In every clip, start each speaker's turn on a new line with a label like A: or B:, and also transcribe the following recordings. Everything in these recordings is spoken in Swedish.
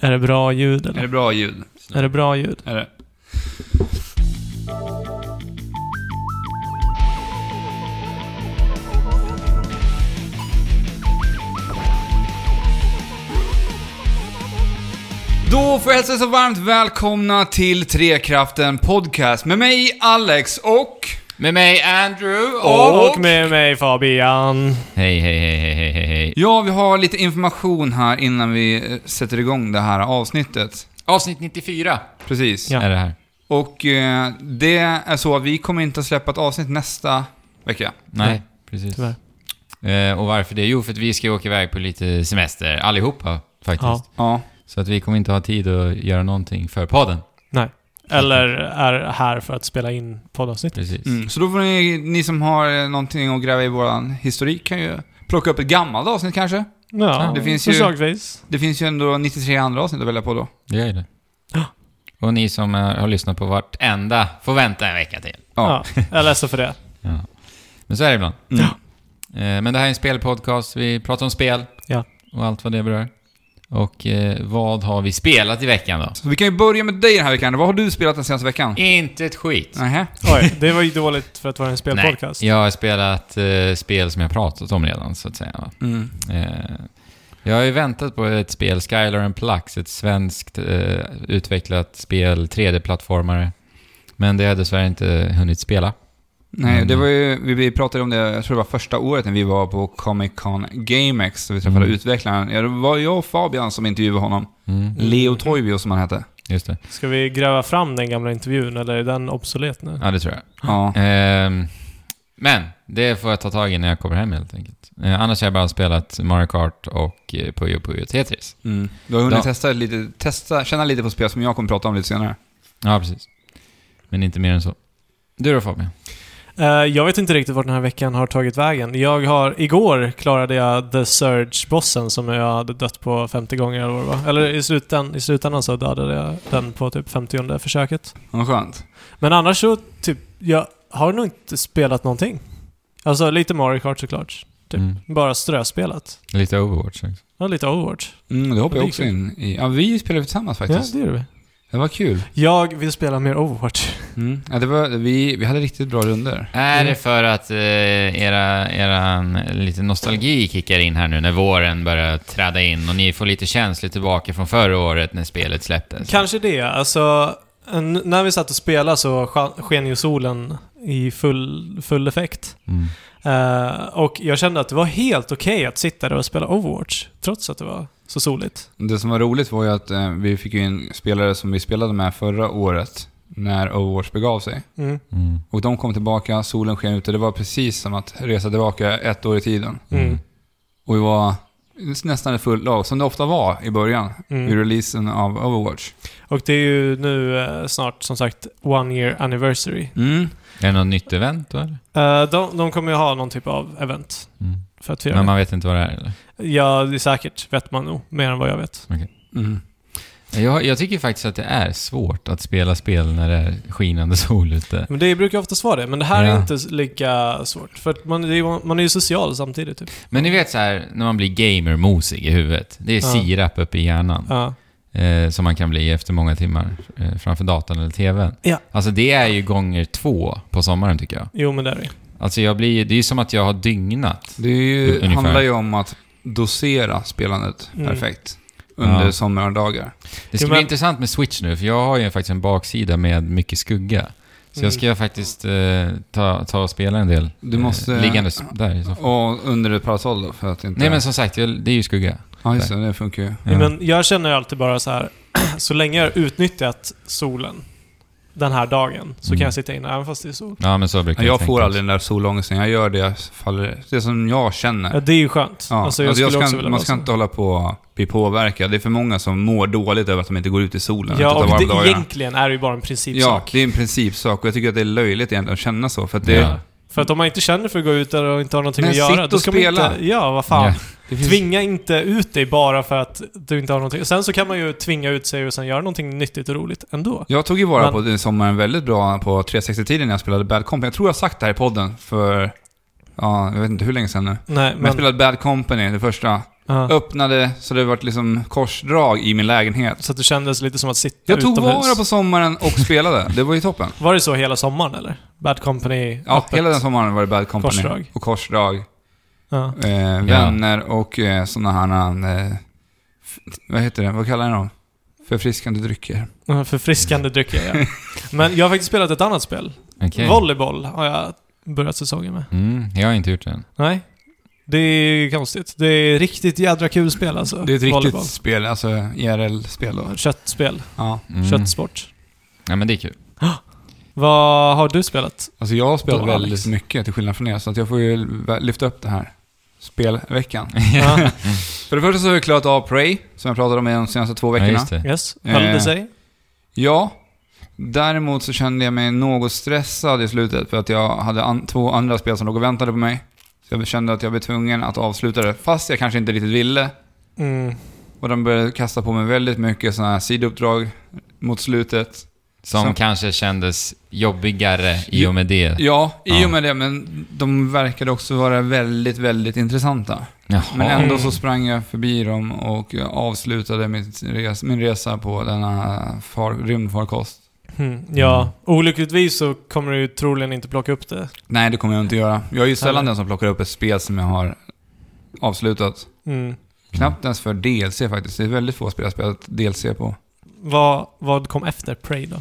A: Är det bra ljud
B: Är
A: eller?
B: det bra ljud?
A: Är det bra ljud?
B: Är det? Då får jag hälsa så varmt välkomna till Trekraften Podcast med mig Alex och...
C: Med mig Andrew
B: Och-
A: Och med mig Fabian.
C: Hej, hej, hej, hej, hej, hej, hej.
B: Ja, vi har lite information här innan vi eh, sätter igång det här avsnittet.
C: Avsnitt 94
B: Precis.
A: Ja.
C: är det här.
B: Och eh, det är så att vi kommer inte att släppa ett avsnitt nästa vecka.
C: Nej,
A: Nej,
C: precis.
A: tyvärr.
C: Eh, och varför det? Jo, för att vi ska ju åka iväg på lite semester, allihopa faktiskt.
A: Ja.
B: Ja.
C: Så att vi kommer inte ha tid att göra någonting för podden.
A: Nej. Eller är här för att spela in poddavsnitt.
C: Precis.
B: Mm. Så då får ni, ni som har eh, någonting att gräva i våran historik kan ju plocka upp ett gammalt avsnitt kanske.
A: Ja,
B: Det finns ju-
A: förslagsvis.
B: Det finns ju ändå 93 andra avsnitt att välja på då.
C: Det gör ju det. Och ni som eh, har lyssnat på vartenda får vänta en vecka till.
B: Ja.
A: Ja. Jag är ledsen för det.
C: Men så är det ibland.
B: Mm.
C: Eh, men det här är en spelpodcast. Vi pratar om spel
A: Ja.
C: och allt vad det berör. Och eh, vad har vi spelat i veckan då?
B: Så vi kan ju börja med dig den här veckan. Vad har du spelat den senaste veckan?
C: Inte ett skit.
B: Nähä?
A: Oj, det var ju dåligt för att vara en spelpodcast.
C: Nej, jag har spelat eh, spel som jag pratat om redan, så att säga. va.
B: Mm.
C: Eh, jag har ju väntat på ett spel, Skylar and Plux, ett svenskt eh, utvecklat spel, 3D-plattformare. Men det har jag dessvärre inte hunnit spela.
B: Nej,
C: Mm.
B: det var ju, vi- vi pratade om det, jag tror det var första året när vi var på Comic Con GameX, där vi träffade
C: Mm.
B: utvecklaren. Ja, det var jag och Fabian som intervjuade honom.
C: Mm,
B: Leo Toivio som han hette.
C: just det.
A: Ska vi gräva fram den gamla intervjun eller är den obsolet nu?
C: Ja, det tror jag.
B: Ja.
C: Ehm, men det får jag ta tag i när jag kommer hem helt enkelt. Eh, annars har jag bara spelat Mario Kart och eh, Puyo Puyo Tetris.
B: Mm. Du har hunnit
C: Ja.
B: testa lite, testa, känna lite på spel som jag kommer prata om lite senare.
C: Ja, precis. Men inte mer än så. Du då Fabian?
A: Eh, jag vet inte riktigt vart den här veckan har tagit vägen. Jag har... Igår klarade jag The Surge-bossen som jag hade dött på 50 gånger eller vad det var. Eller i, slutan, i slutändan så dödade jag den på typ 50 försöket.
B: Vad skönt.
A: Men annars så, typ, jag har nog inte spelat någonting. Alltså lite Mario Kart såklart. Typ.
C: Mm.
A: Bara ströspelat.
C: Lite Overwatch liksom. också.
A: Ja, lite Overwatch.
B: Mm, det hoppar
A: Ja,
B: jag
A: det
B: också
A: gick
B: in i. Ja, vi spelade tillsammans
A: Ja,
B: faktiskt.
A: det gör vi.
B: Det var kul.
A: Jag vill spela mer Overwatch.
B: Mm. Ja, det var, vi, vi hade riktigt bra runder.
C: Är
A: Mm.
C: det för att eh, era, eran lite nostalgi kickar in här nu när våren börjar träda in och ni får lite känslor tillbaka från förra året när spelet släpptes?
A: Kanske det. Alltså, en, när vi satt och spelade så sken- sken ju solen i full, full effekt.
C: Mm.
A: Eh, och jag kände att det var helt okej att sitta där och spela Overwatch, trots att det var så soligt.
B: Det som var roligt var ju att eh, vi fick ju in spelare som vi spelade med förra året när Overwatch begav sig.
A: Mm.
C: Mm.
B: Och de kom tillbaka, solen sken ute. Det var precis som att resa tillbaka ett år i tiden.
A: Mm.
B: Och vi var nästan ett fullt lag, som det ofta var i början
A: Mm.
B: vid releasen av Overwatch.
A: Och det är ju nu eh, snart, som sagt, one year anniversary.
B: Mm.
C: Är det något nytt event då eller?
A: Eh, de, de kommer ju ha någon typ av event
C: Mm.
A: för att fira
C: Men
A: det.
C: man vet inte vad det är eller?
A: Ja, det är säkert vet man nog. Mer än vad jag vet.
B: Mm.
C: Jag, jag tycker faktiskt att det är svårt att spela spel när det är skinande sol ute.
A: Men det brukar oftast vara det. Men det här är
C: Ja.
A: inte lika svårt. För att man, det är, ju- man är ju social samtidigt typ.
C: Men ni vet så här när man blir gamer-mosig i huvudet. Det är
A: Ja.
C: sirap uppe i hjärnan.
A: Ja.
C: eh, som man kan bli efter många timmar eh, framför datorn eller TVn.
A: Ja.
C: Alltså det är ju gånger två på sommaren tycker jag.
A: Jo, men det är det.
C: Alltså jag blir, det är ju som att jag har dygnat.
B: Det är ju,
C: Ungefär.
B: handlar ju om att dosera spelandet
A: Mm.
B: perfekt under
C: Ja.
B: sommardagar.
C: Det ska
A: Jo,
C: bli
A: men-
C: intressant med Switch nu, för jag har ju faktiskt en baksida med mycket skugga. Så
A: Mm.
C: jag ska faktiskt eh, ta, ta och spela en del.
B: Du måste-
C: Eh, liggandes där i soffan.
B: Och under ett parasoll då, för att inte...
C: Nej men som sagt, jag, det är ju skugga.
B: Ja, just det. Det funkar ju.
C: Ja.
A: Men jag känner ju alltid bara så här. så länge jag har utnyttjat solen den här dagen så kan
C: Mm.
A: jag sitta inne även fast det är sol.
C: Ja men så brukar
B: Jag,
C: jag,
B: får
C: tänka
B: aldrig den där solångesten. Jag gör det jag faller... Det som jag känner.
A: Ja, det är ju skönt.
B: Ja.
A: Alltså, jag
B: Alltså, jag
A: skulle
B: ska,
A: också vilja
B: man
A: vara
B: ska
A: så.
B: inte hålla på och bli påverkad. Det är för många som mår dåligt över att de inte går ut i solen. utan
A: Ja,
B: tar
A: och det,
B: varma dagar.
A: egentligen typ är det ju bara en
B: Ja,
A: principsak.
B: det är en principsak. Och jag tycker att det är löjligt egentligen att känna så. För att det...
C: Ja.
A: För att om man inte känner för att gå ut där och inte har någonting
B: Men
A: att
B: sitt
A: göra, då
B: och
A: ska man
B: spela.
A: inte... Ja, vad fan.
C: Ja.
B: det finns-
A: Tvinga inte ut dig bara för att du inte har någonting. Sen så kan man ju tvinga ut sig och sen göra någonting nyttigt och roligt ändå.
B: Jag tog ju vara
A: Men-
B: på det sommaren väldigt bra på 360-tiden när jag spelade Bad Company. Jag tror jag har sagt det här i podden för... Ja, jag vet inte hur länge sedan nu.
A: Nej,
B: Men jag
A: men...
B: spelade Bad Company, det första.
A: Ja.
B: Öppnade så det vart liksom korsdrag i min lägenhet.
A: Så att det kändes lite som att sitta
B: Jag tog
A: utomhus.
B: vara på sommaren och spelade. Det var ju toppen.
A: Var det så hela sommaren eller? Bad Company
B: Ja,
A: öppet?
B: hela den sommaren var det Bad Company.
A: Korsdrag.
B: Och korsdrag.
A: Ja.
B: Eh, vänner och eh, sådana här... Eh, f- vad heter det? Vad kallar ni dem? Förfriskande drycker.
A: Ja, Förfriskande drycker, ja. Men jag har faktiskt spelat ett annat spel.
C: Okej.
A: Volleyboll har jag börjat säsongen med.
C: Mm, jag har inte gjort den.
A: Nej. Det är konstigt. Det är riktigt jädra kul spel alltså.
B: Det är ett riktigt
A: Volleyboll.
B: spel, alltså IRL-spel då.
A: Köttspel.
B: Ja.
C: Mm.
A: Köttsport.
C: Ja, men det är kul.
A: Vad har du spelat?
B: Alltså jag har spelat
A: Då,
B: väldigt
A: Alex.
B: mycket till skillnad från er, så att jag får ju vä- lyfta upp det här. Spelveckan.
C: Mm.
A: Ja,
B: För det första så har jag klarat av Prey, som jag pratade om i de senaste två
C: Ja,
B: veckorna.
C: just det.
A: yes. Höll det
B: Eh.
A: sig?
B: Ja. Däremot så kände jag mig något stressad i slutet för att jag hade an- två andra spel som låg och väntade på mig. Så jag kände att jag blev tvungen att avsluta det, fast jag kanske inte riktigt ville.
A: Mm.
B: Och de började kasta på mig väldigt mycket sådana här sidouppdrag mot slutet.
C: Som
B: Som-
C: kanske kändes jobbigare i och med det.
B: Ja, i
C: Ja.
B: och med det, men de verkade också vara väldigt, väldigt intressanta.
C: Jaha.
B: Men
A: Ja.
B: ändå så sprang jag förbi dem och jag avslutade mitt res- min resa på denna far- rymdfarkost.
A: Mm. Ja, olyckligtvis så kommer du ju troligen inte plocka upp det.
B: Nej, det kommer jag inte göra. Jag är ju sällan
A: Eller?
B: den som plockar upp ett spel som jag har avslutat.
A: Mm.
B: Knappt ens för DLC faktiskt. Det är väldigt få spel jag har spelat DLC på.
A: Vad, vad kom efter Prey då?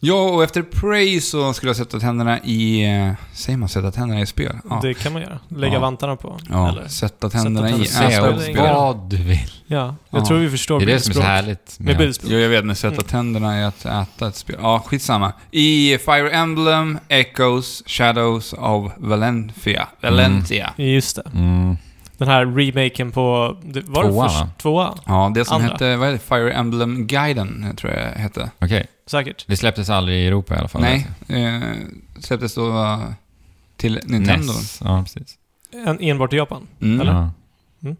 B: Ja, och efter Prey så skulle jag sätta tänderna i... eh, Säger man sätta tänderna i spel? Ja.
A: Det kan man göra. Lägga
B: Ja.
A: vantarna på.
B: ja.
A: Eller?
B: Sätta tänderna
A: tänderna i
B: i
C: Se
A: spel.
B: äta upp
A: Spel.
B: spel.
C: vad du vill.
A: Ja, jag
B: Ja.
A: tror vi förstår
C: Det är det som är så härligt
A: Med
C: med
A: bildspråk.
B: Jo, jag vet, men sätta tänderna i att äta ett spel. Ja, skitsamma. I Fire Emblem, Echoes, Shadows of Valencia. Valencia.
A: Just det.
C: mm.
A: Den här remaken på... Det, var
C: Tvåan,
A: det först,
C: va?
A: tvåan?
B: Ja, det som
A: Andra.
B: hette, vad är det? Fire Emblem Guiden, tror jag det hette.
C: Okej.
A: Säkert.
C: Det släpptes aldrig i Europa i alla fall. alltså.
B: Nej, eh, släpptes då eh,
C: E
B: till Nintendo.
C: NES. Ja, precis.
A: En, enbart i Japan.
B: Mm.
A: Eller?
C: Ja.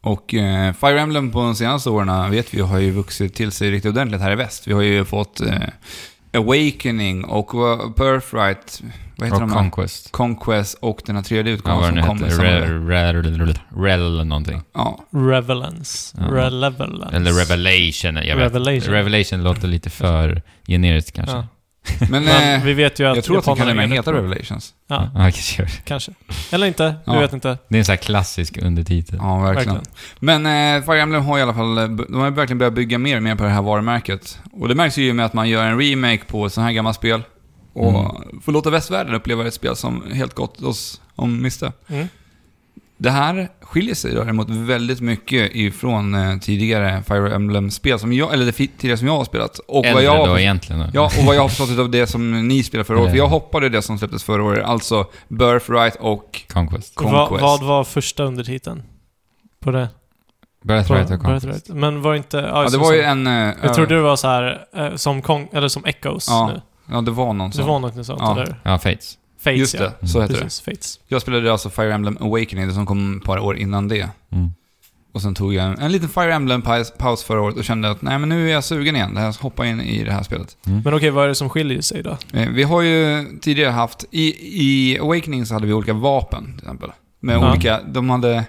B: Och eh, Fire Emblem på de senaste åren vet vi har ju vuxit till sig riktigt ordentligt här i väst. Vi har ju fått eh, Awakening och eh, Birthright, vad heter
C: Och
B: de här?
C: Conquest.
B: Conquest och den här tredje
C: Ja,
B: utgåvan
C: vad det nu
B: som kom
C: hette.
B: i samma-
C: Re- re- re- Rel eller någonting.
B: Ja,
A: Revelance.
C: Ja.
A: Relevelance.
C: Eller Revelation. Jag vet.
A: Revelation.
C: Revelation låter lite för generiskt kanske.
A: Ja.
B: men
A: Men
B: eh,
A: vi vet ju att
B: jag tror att de
A: japanerna
B: kan även
A: är
B: heta
A: det.
B: Revelations.
A: Ja,
C: Ja, kanske gör det.
A: kanske. Eller inte. Vi
B: Ja.
A: vet inte.
C: Det är en sån här klassisk undertitel.
B: Ja, verkligen.
A: Verkligen.
B: Men eh, Fire Emblem har i alla fall, eh, de har verkligen börjat bygga mer och mer på det här varumärket. Och det märks ju med att man gör en remake på ett sånt här gammalt spel. Och
C: Mm.
B: får låta västvärlden uppleva ett spel som helt gott oss om miste.
A: Mm.
B: Det här skiljer sig däremot väldigt mycket ifrån eh, tidigare Fire Emblem-spel som jag, eller det fi- tidigare som jag har spelat. Och
C: Äldre
B: vad jag,
C: då
B: har-
C: egentligen. då.
B: ja, och vad jag har förstått av det som ni spelade förra året. För jag hoppade det som släpptes förra året, alltså Birthright och
C: Conquest.
A: Va,
B: Conquest.
A: vad var första undertiteln? På det? På
C: Birthright och Conquest.
A: Birthright. Men var inte... Ja,
B: Ja,
A: just
B: det
A: det,
B: var ju
A: som-
B: en... eh,
A: Jag trodde det var så här eh, som Kong, eller som Echoes
B: Ja,
A: nu.
B: Ja, det var någon
A: Det
B: sån.
A: var något sånt,
B: Ja.
A: eller?
C: Ja, Fates.
A: Fates,
B: Just
A: ja.
B: det, så heter det.
A: Precis, Fates.
B: Jag spelade alltså Fire Emblem Awakening, det som kom ett par år innan det.
C: Mm.
B: Och sen tog jag en, en liten Fire Emblem-paus förra året och kände att nej men nu är jag sugen igen, det här, hoppa in i det här spelet.
C: Mm.
A: Men okej, vad är det som skiljer sig då?
B: Eh, vi har ju tidigare haft, i, i Awakening så hade vi olika vapen till exempel. Med
A: Ja.
B: olika, de hade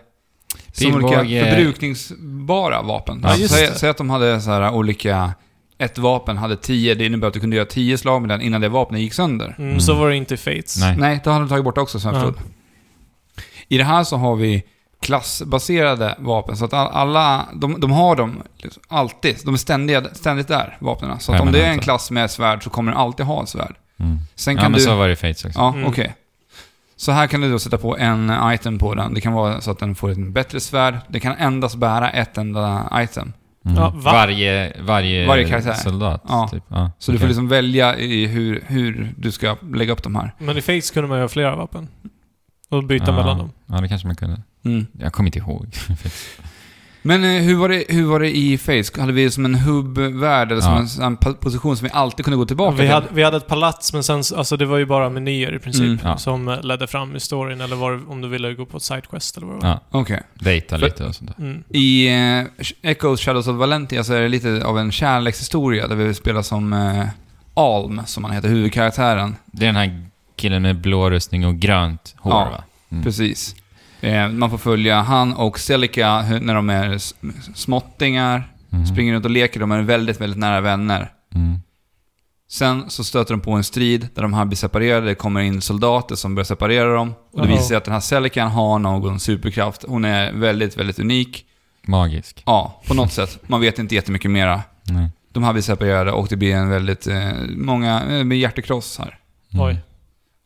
B: som
C: Pilbåge.
B: olika förbrukningsbara vapen.
A: Ja, just
B: Säg
A: det.
B: säg att de hade så här olika, ett vapen hade tio, det innebär att du kunde göra tio slag med den innan det vapnet gick sönder.
A: Mm,
C: Mm.
A: Så var det inte i Fates.
C: Nej.
B: Nej, det har de tagit bort också som jag
A: Ja.
B: förstod. I det här så har vi klassbaserade vapen, så att all- alla, de, de har dem liksom alltid, de är ständiga, ständigt där, vapnen. Så att om det är en
C: Permanenta.
B: klass med svärd så kommer den alltid ha ett svärd.
C: Mm.
B: Sen
C: Ja,
B: kan
C: men
B: du...
C: så var det i Fates också.
B: Ja,
A: Mm.
B: okej. Så här kan du då sätta på en item på den. Det kan vara så att den får ett bättre svärd. Det kan endast bära ett enda item.
C: Mm.
A: Ja, va?
C: varje, varje,
B: Varje karaktär.
C: soldat.
B: Ja.
C: Typ. Ja,
B: Så du får
C: okej.
B: liksom välja i hur, hur du ska lägga upp de här.
A: Men i Fates kunde man ju ha flera vapen. Och byta
C: ja.
A: mellan dem.
C: Ja, det kanske man kunde.
B: Mm.
C: Jag kommer inte ihåg.
B: Men eh, hur var, det, hur var det i Face? Hade vi som en hubbvärld, eller som
C: Ja.
B: en, sån po- position som vi alltid kunde gå tillbaka
A: Vi
B: till?
A: hade, vi hade ett palats, men sen, så- alltså det var ju bara menyer i princip.
B: Mm.
C: Ja.
A: Som eh, ledde fram i storyn, eller var, det- om du ville gå på ett sidequest eller vad det var.
C: Ja.
B: Okej.
C: Dejta
B: För-
C: lite och sånt där.
A: Mm.
B: I eh, Echoes Shadows of Valentia så är det lite av en kärlekshistoria där vi spelar som eh, Alm, som han heter,
A: Mm.
B: huvudkaraktären.
C: Det är den här killen med blå rustning och grönt hår
B: Ja.
C: va?
B: Precis. Eh, man får följa han och Celica hur- när de är s- småttingar,
A: Mm.
C: Mhm.
B: springer runt och leker, de är väldigt, väldigt nära vänner.
C: Mm.
B: Sen så stöter de på en strid där de här blir separerade, det kommer in soldater som börjar separera dem. Och det
A: Uh-oh.
B: visar sig att den här Celican har någon superkraft. Hon är väldigt, väldigt unik.
C: Magisk.
B: Ja, på något sätt. Man vet inte jättemycket mera.
C: Nej.
B: De här blir separerade och det blir en väldigt, eh, många, eh, med hjärtekross här.
C: Mm.
A: Oj.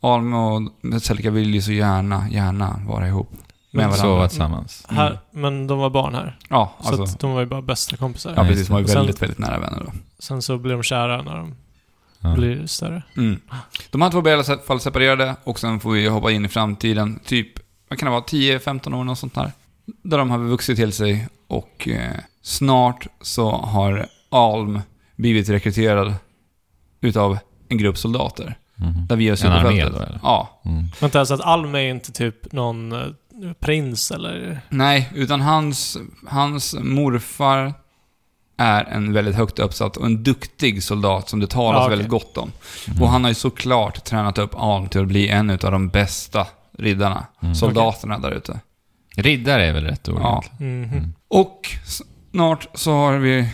B: Alm och Selika vill ju så gärna, gärna vara ihop. Med
A: Men
B: varandra.
C: Sova tillsammans.
A: Här,
B: Mm.
A: men de var barn här.
B: Ja,
A: Så
B: alltså.
A: att de var ju bara bästa kompisar.
B: Ja,
C: Nej,
B: precis. De var ju
A: och sen-
B: väldigt, väldigt nära vänner då.
A: Sen så blir de kära när de
C: Ja.
A: blir större.
B: Mm. De här två blir i alla fall separerade och sen får vi hoppa in i framtiden, typ, vad kan det vara, 10-15 år, något sånt där. Där de har vuxit till sig och eh, snart så har Alm blivit rekryterad utav en grupp soldater.
C: Mhm.
B: Där vi är
C: En armé
B: superfältet.
C: då eller?
B: Ja,
C: Mm.
A: Vänta, alltså att Alm är inte typ någon eh, prins eller...
B: Nej, utan hans, hans morfar är en väldigt högt uppsatt och en duktig soldat som det talas
A: Ja, okej.
B: väldigt gott om.
C: Mm.
B: Och han har ju såklart tränat upp Alm till att bli en av de bästa riddarna,
C: Mm.
B: soldaterna där ute.
C: Riddare är väl rätt ord?
B: Ja.
C: egentligen.
A: Mhm.
C: Mm.
B: Och snart så har vi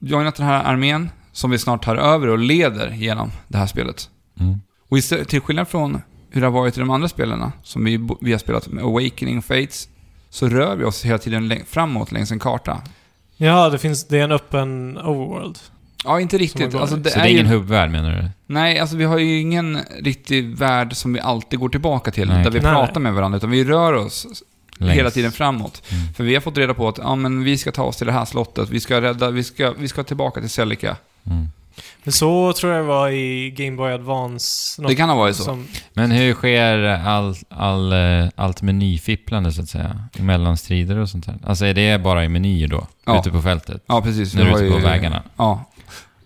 B: joinat den här armén som vi snart tar över och leder genom det här spelet.
C: Mm.
B: Och istället, till skillnad från hur det har varit i de andra spelen som vi, vi har spelat med Awakening och Fates, så rör vi oss hela tiden läng- framåt längs en karta.
A: Ja, det finns... Det är en öppen overworld.
B: Ja, inte riktigt.
A: går
B: Alltså,
A: där.
B: det
C: Så
B: är
C: det är ingen
B: ju,
C: hubbvärld menar du?
B: nej, alltså vi har ju ingen riktig värld som vi alltid går tillbaka till,
C: Nej,
B: där vi
A: okej. Nej,
B: pratar med varandra, utan vi rör oss
C: Längs.
B: hela tiden framåt.
C: Mm.
B: För vi har fått reda på att ja, men vi ska ta oss till det här slottet, vi ska rädda, vi ska, vi ska tillbaka till Celica.
C: Mm.
A: Men så tror jag det var i Game Boy Advance. något
B: Det kan ha varit så.
A: Som,
C: Men hur sker all, all, eh, allt menyfipplande så att säga? Mellan strider och sånt där? Alltså är det bara i menyer då?
B: Ja.
C: Ute på fältet?
B: Ja, precis.
C: När du
B: Det
C: är
B: var
C: ute på
B: ju-
C: vägarna?
B: Ja.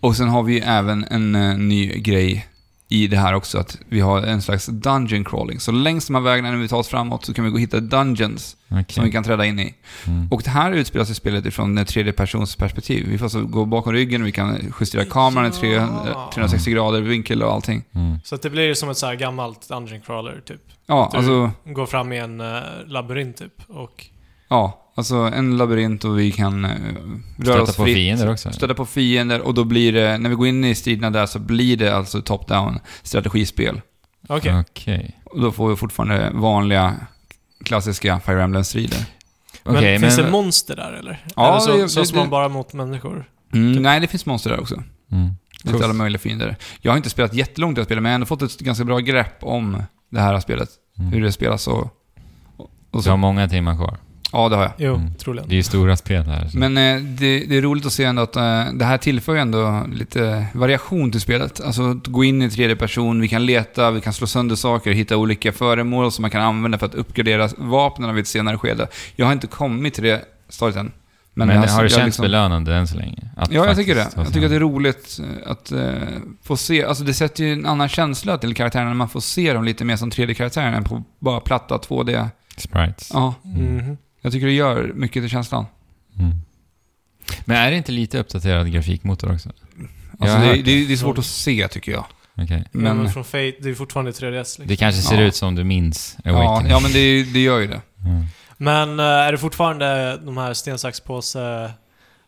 B: Och sen har vi ju även en eh, ny grej i det här också, att vi har en slags dungeon crawling. Så längs de här vägarna när vi tar oss framåt så kan vi gå och hitta dungeons som vi
C: Okej.
B: kan träda in i.
C: Mm.
B: Och det här utspelar sig spelet ifrån ett tredjepersonsperspektiv. Vi får alltså gå bakom ryggen, vi kan justera kameran i tre-
A: Ja.
B: 360 grader, vinkel och allting.
C: Mm.
A: så att det blir ju som ett så här gammalt Dungeon Crawler, typ.
B: Ja,
A: Du-
B: alltså,
A: Går fram i en eh, labyrint, typ. Och...
B: ja, alltså en labyrint och vi kan eh, röra
C: Stöta
B: oss
C: på
B: fritt.
C: fiender också?
B: Stöta på fiender och då blir det, när vi går in i striderna där så blir det alltså top-down strategispel.
A: Okej.
C: Okej.
B: Och då får vi fortfarande vanliga klassiska Fire Emblem-strider.
A: Men
C: Okej,
A: finns
C: men-
A: det monster där, eller?
B: Ja,
A: eller så,
B: det-
A: så
B: det-
A: slår man
B: det-
A: bara mot människor?
B: Mm, nej, det finns monster där också.
C: Mm.
B: Lite
C: Typ. Coolt.
B: alla möjliga fiender. Jag har inte spelat jättelångt i det här spelet, men jag har ändå fått ett ganska bra grepp om det här spelet.
C: Mm.
B: hur det spelas och, och
C: Du har
B: så.
C: många timmar kvar.
B: Ja, det har jag.
A: Jo,
C: Mm.
A: troligen.
C: Det är ju stora spel här. så-
B: Men eh, det, det är roligt att se ändå att eh, det här tillför ju ändå lite variation till spelet. Alltså att gå in i tredje person, vi kan leta, vi kan slå sönder saker, hitta olika föremål som man kan använda för att uppgradera vapnen vid ett senare skede. Jag har inte kommit till det stadiet än.
C: Men,
B: jag
C: har det
B: jag
C: känts
B: liksom-
C: belönande än så länge? Att
B: Ja, jag
C: faktiskt alltså.
B: tycker det.
C: ta
B: Jag
C: sig
B: tycker att det är
C: an-
B: roligt eh, att eh, få se. Alltså det sätter ju en annan känsla till karaktärerna när man får se dem lite mer som 3D-karaktärer än på bara platta 2D.
C: Sprites.
B: Ja,
A: Mhm.
B: jag tycker det gör mycket till känslan.
C: Mm. Men är det inte lite uppdaterad grafikmotor också?
B: Alltså
C: Jag har
B: det,
C: hört
B: det, det är svårt att se tycker jag.
C: Okej.
A: Men, ja, men
B: Men,
A: från Fate, det är fortfarande 3DS. Liksom.
C: Det kanske ser
B: Ja.
C: ut som du minns
B: ja,
C: Awakening.
B: ja, men det, det gör ju det.
C: Mm.
A: Men eh, är det fortfarande de här sten, sax, påse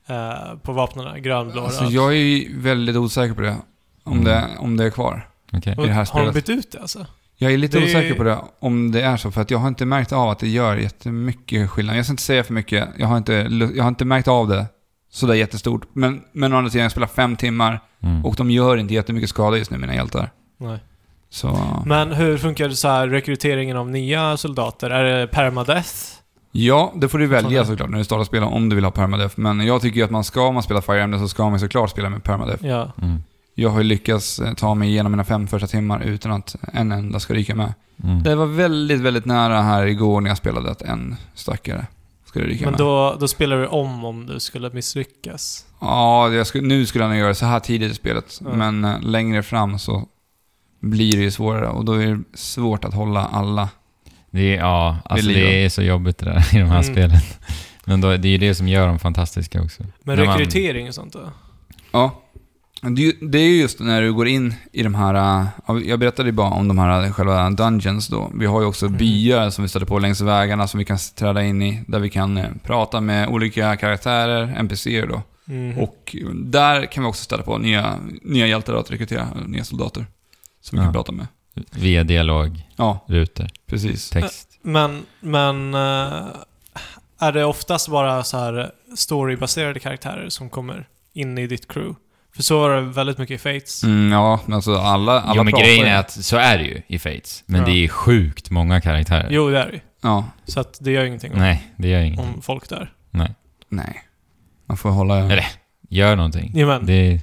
A: eh, på vapnen? Grön, blå,
B: Alltså,
A: röd?
B: jag är ju väldigt osäker på det. Om,
C: Mm.
B: det. om det är kvar.
C: Okej.
A: Och
B: i det här
A: Har de
B: spelet.
A: bytt ut det alltså?
B: Jag är lite
A: Det-
B: osäker på det, om det är så. För att jag har inte märkt av att det gör jättemycket skillnad. Jag ska inte säga för mycket. Jag har inte, lu- jag har inte märkt av det sådär jättestort. Men, men å andra sidan, jag spelar fem timmar
C: Mm.
B: och de gör inte jättemycket skada just nu, mina hjältar.
A: Nej.
B: Så...
A: Men hur funkar det så här rekryteringen av nya soldater? Är det permadeath?
B: Ja, det får du välja
A: Sådär.
B: såklart när du startar spela om du vill ha permadeath. Men jag tycker ju att man ska, om man spelar Fire Emblem, så ska man såklart spela med permadeath.
A: Ja.
C: Mm.
B: Jag har ju lyckats eh, ta mig igenom mina fem första timmar utan att en enda ska ryka med.
C: Mm.
B: Det var väldigt, väldigt nära här igår när jag spelade att en stackare skulle ryka
A: Men
B: med.
A: då, då spelar du om om du skulle misslyckas.
B: Ja, jag skulle, nu skulle han göra det så här tidigt i spelet.
A: Ja.
B: Men eh, längre fram så blir det ju svårare och då är det svårt att hålla alla.
C: Det är, ja, alltså
B: Det är liv,
C: det är så jobbigt det där i de
A: Mm.
C: här spelen. Men då, det är ju det som gör dem fantastiska också.
A: Men
C: När man-
A: rekrytering och sånt då?
B: Ja. Det är ju- Det är ju just när du går in i de här, äh, ja, jag berättade ju bara om de här äh, själva dungeons då. Vi har ju också
A: Mm.
B: byar som vi stöter på längs vägarna som vi kan träda in i, där vi kan eh, prata med olika karaktärer, NPCer då.
C: Mm.
A: Mhm.
B: Och där kan vi också stöta på nya, nya hjältar att rekrytera, eller nya soldater. Som vi
C: Ja.
B: kan prata med.
C: Via dialog,
B: Ja,
C: rutor,
B: precis.
C: text.
A: Men, men eh, är det oftast bara så här storybaserade karaktärer som kommer in i ditt crew? För så var det väldigt mycket i Fates.
B: Mm, ja, men alltså alla, alla
C: jo, men
B: pratar
C: grejen
B: ju.
C: är att så är det ju i Fates. Men
A: Ja.
C: det är sjukt många karaktärer.
A: Jo, det är det ju.
B: Ja,
A: Så att det gör ingenting om,
C: Nej, det gör inget.
A: om folk där.
B: nej. Man får hålla...
C: Eller- Gör någonting.
A: Jajamän.
C: Det är,
A: Ja,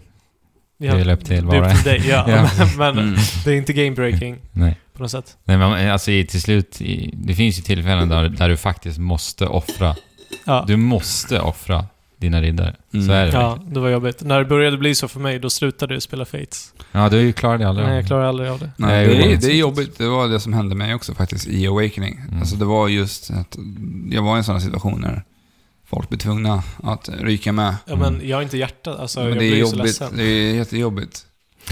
C: det är väl upp till
A: Det är
C: var och
A: upp till dig, ja.
C: Ja.
A: Men, men
B: Mm.
A: det är inte game-breaking
C: nej.
A: på något sätt.
C: nej, men alltså i- till slut, i- det finns ju tillfällen där, där du faktiskt måste offra.
A: Ja.
C: Du måste offra dina riddare.
B: Mm.
C: Så är det
A: ja,
C: verkligen.
A: det var jobbigt. När det började bli så för mig, då slutade jag spela Fates.
C: Ja, du klarar det aldrig.
A: Nej, jag klarar aldrig av det.
C: Nej,
B: Nej,
C: jag gjorde
B: det, är,
C: inte
B: det är
C: så.
B: jobbigt. Det var det som hände mig också faktiskt i Awakening.
C: Mm.
B: Alltså det var just att jag var i en sån här situation när folk blir tvungna att ryka med.
A: Ja,
C: Mm.
A: men jag har inte hjärta. Alltså,
B: Men
A: jag
B: det
A: blir
B: är
A: ju så
B: jobbigt.
A: ledsen.
B: Det är jättejobbigt.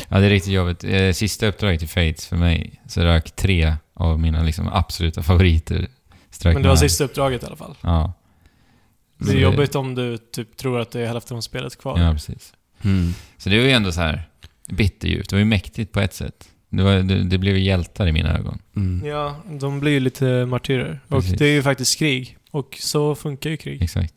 C: Ja, det är riktigt jobbigt. Eh, Sista uppdraget i Fates för mig så rök tre av mina liksom, absoluta favoriter. Strök
A: Men det var
C: med.
A: sista uppdraget i alla fall.
C: Ja.
A: Det
C: Så
A: är jobbigt om du typ tror att det är hälften av spelet kvar.
C: Mm. Ja, precis. Så det var ju ändå så här bitterljuvt. Det var ju mäktigt på ett sätt. Det, var, det, det blev ju hjältar i mina ögon.
B: Mm.
A: Ja, de blir ju lite martyrer.
C: Precis.
A: Och det är ju faktiskt krig. Och så funkar ju krig.
C: Exakt.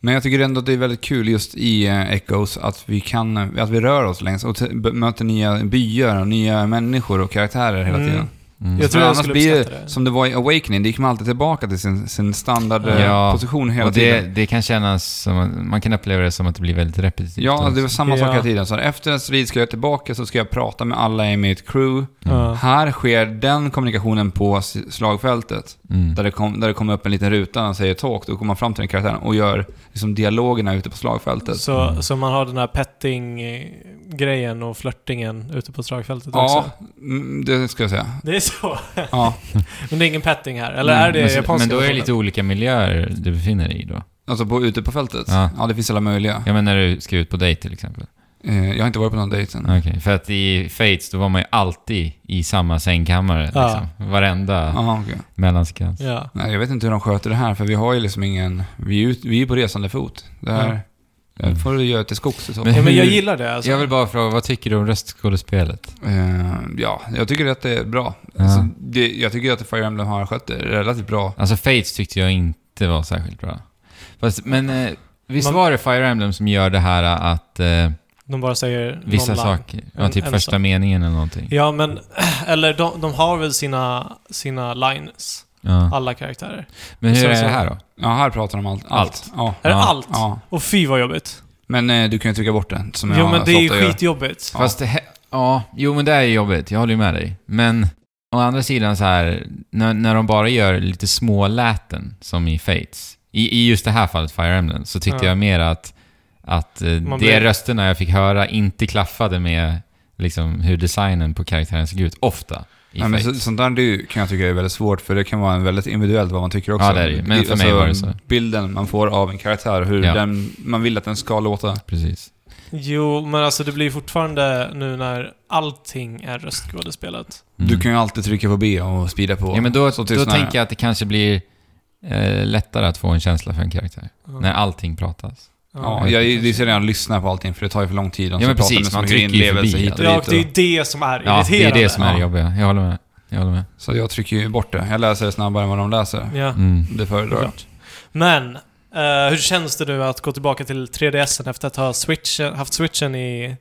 B: Men jag tycker ändå att det är väldigt kul just i eh, Echoes att vi kan, eh, att vi rör oss längs och t- b- möter nya byar och nya människor och karaktärer hela
A: Mm.
B: tiden.
C: Mm.
A: Jag tror
B: För
A: jag
B: annars
A: skulle
B: blir
A: uppskatta det.
B: Som det var i Awakening, det gick man alltid tillbaka till sin, sin
C: Ja.
B: standardposition hela
C: Och det,
B: tiden.
C: det kan kännas som, man kan uppleva det som att det blir väldigt repetitivt. alltså.
B: Ja, det var
C: också.
B: samma sak
A: Ja.
B: hela tiden. Så efter en strid ska jag tillbaka så ska jag prata med alla i mitt crew.
C: Mm.
A: Ja.
B: Här sker den kommunikationen på s- slagfältet.
C: Mm.
B: Där det, kom, där det kommer upp en liten ruta och säger talk. Då kommer man fram till den karaktären och gör liksom dialogerna ute på slagfältet.
C: Mm.
A: Så, så man har den här petting-grejen och flörtingen ute på slagfältet
B: ja,
A: också?
B: mm, det ska jag säga.
A: Det är så?
B: Ja,
A: Men det är ingen petting här? Eller
B: Mm,
A: är det
C: men, så-
A: japanska?
C: men då är det lite
A: versionen?
C: olika miljöer du befinner dig i då.
B: alltså på, ute på fältet. Ja.
C: Ja.
B: det finns alla möjliga.
C: Ja, men när du ska ut på dejt till exempel.
B: Eh, jag har inte varit på någon dejt än.
C: Okej, för att i Fates då var man ju alltid i samma sängkammare.
A: Ja.
C: Liksom. Varenda
B: Aha, okej.
C: mellansekvens.
A: Ja.
B: Nej, jag vet inte hur de sköter det här, för vi har ju liksom ingen... Vi är ju vi är på resande fot. Det här
A: Mm.
B: det här får du göra till skogs i så
C: Men-
A: ja, men jag
C: hur-
A: gillar det alltså.
C: Jag vill bara fråga, vad tycker du om röstskådespelet?
B: Eh, ja, jag tycker att det är bra.
C: Ja.
B: Alltså, det, jag tycker att Fire Emblem har skött det relativt bra.
C: Alltså Fates tyckte jag inte var särskilt bra. Fast, men eh, visst
A: Man-
C: var det Fire Emblem som gör det här eh, att eh,
A: De bara säger
C: vissa
A: någon line.
C: saker, ja,
A: En-
C: typ
A: en
C: första
A: sak.
C: meningen eller någonting?
A: Ja, men... Eller de, de har väl sina, sina lines,
C: Ja.
A: alla karaktärer.
C: Men hur
A: sen
C: är
A: så-
C: det här då?
B: Ja, här pratar de om allt. Allt. Ja.
A: Är det
C: Ja.
A: allt?
B: ja.
A: Och fy vad jobbigt.
B: Men eh, du kan ju trycka bort den, som
A: jo,
B: jag
A: men det
B: så
A: är ju
B: ofta gör.
A: skitjobbigt.
B: Ja.
C: Fast det, he- ja, jo men det är ju jobbigt, jag håller ju med dig. Men å andra sidan så här, när, när de bara gör lite små läten som i Fates, i, i just det här fallet Fire Emblem, så tyckte
A: Ja.
C: jag mer att, att eh, de
A: Man blir-
C: rösterna jag fick höra inte klaffade med liksom, hur designen på karaktären såg ut, ofta. I
B: Nej, men
C: Fates.
B: så, sånt där det är ju- kan jag tycka är väldigt svårt, för det kan vara en väldigt individuellt vad man tycker också. alltså,
C: Ja, det är det ju. Men för mig var det så.
B: Bilden man får av en karaktär, hur
C: Ja.
B: den, man vill att den ska låta.
C: Precis.
A: Jo, men alltså det blir ju fortfarande nu när allting är röstskådespelat.
C: Mm.
B: Du kan ju alltid trycka på B och speeda på.
C: ja, men då,
B: så
C: då
B: tystnar
C: tänker jag att det kanske blir eh, lättare att få en känsla för en karaktär. När allting pratas.
B: Ja, jag, det är så redan lyssna på allting, för det tar ju för lång tid. De
C: Ja, men
B: ska prata
C: precis,
B: med så
C: man
B: mycket
C: trycker ju
B: inlevelse
C: förbi
B: hit och
C: det.
A: Ja, och
B: dit
A: det är
B: och-
A: ju det som är
C: Ja,
A: irriterande.
C: det är det som är det
B: Ja.
C: jobbiga. Jag håller med. Jag håller med.
B: Så jag trycker ju bort det. Jag läser det snabbare än vad de läser.
A: Ja,
C: Mm.
B: Det föredrar jag.
A: klart. Men, eh, hur känns det nu att gå tillbaka till 3DSen efter att ha switchen, haft switchen i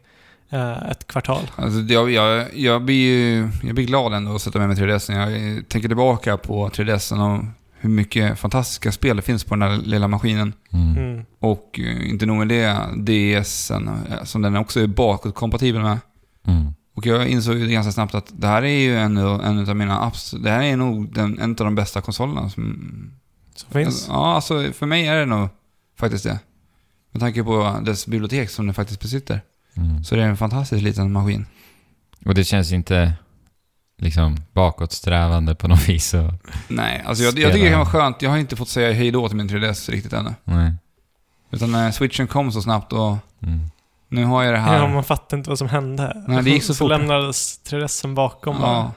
A: eh, ett kvartal?
B: Alltså, det- jag, jag, jag, blir ju, jag blir glad ändå att sätta med mig 3DSen. Jag eh, tänker tillbaka på 3DSen och hur mycket fantastiska spel det finns på den här lilla maskinen.
C: Mm.
A: Mm.
B: Och eh, inte nog med det, DSen eh, som den också är bakåtkompatibel med.
C: Mm.
B: Och jag insåg ju ganska snabbt att det här är ju en, en av mina apps. Det här är nog den, en av de bästa konsolerna som...
A: Som finns?
B: Ja, alltså för mig är det nog faktiskt det. Med tanke på dess bibliotek som den faktiskt besitter.
C: Mm.
B: Så det är en fantastisk liten maskin.
C: Och det känns inte liksom bakåtsträvande på något vis. Och,
B: Nej, alltså jag, jag
C: Spela.
B: tycker det kan vara skönt. Jag har inte fått säga hej då till min 3DS riktigt ännu. eh,
C: nej.
B: Utan när switchen kom så snabbt och
C: Mm.
B: Nu har jag det här.
A: Ja, man fattar inte vad som hände.
B: Nej, det gick så
A: så
B: fort.
A: lämnades terressen bakom
B: ja.
A: bara.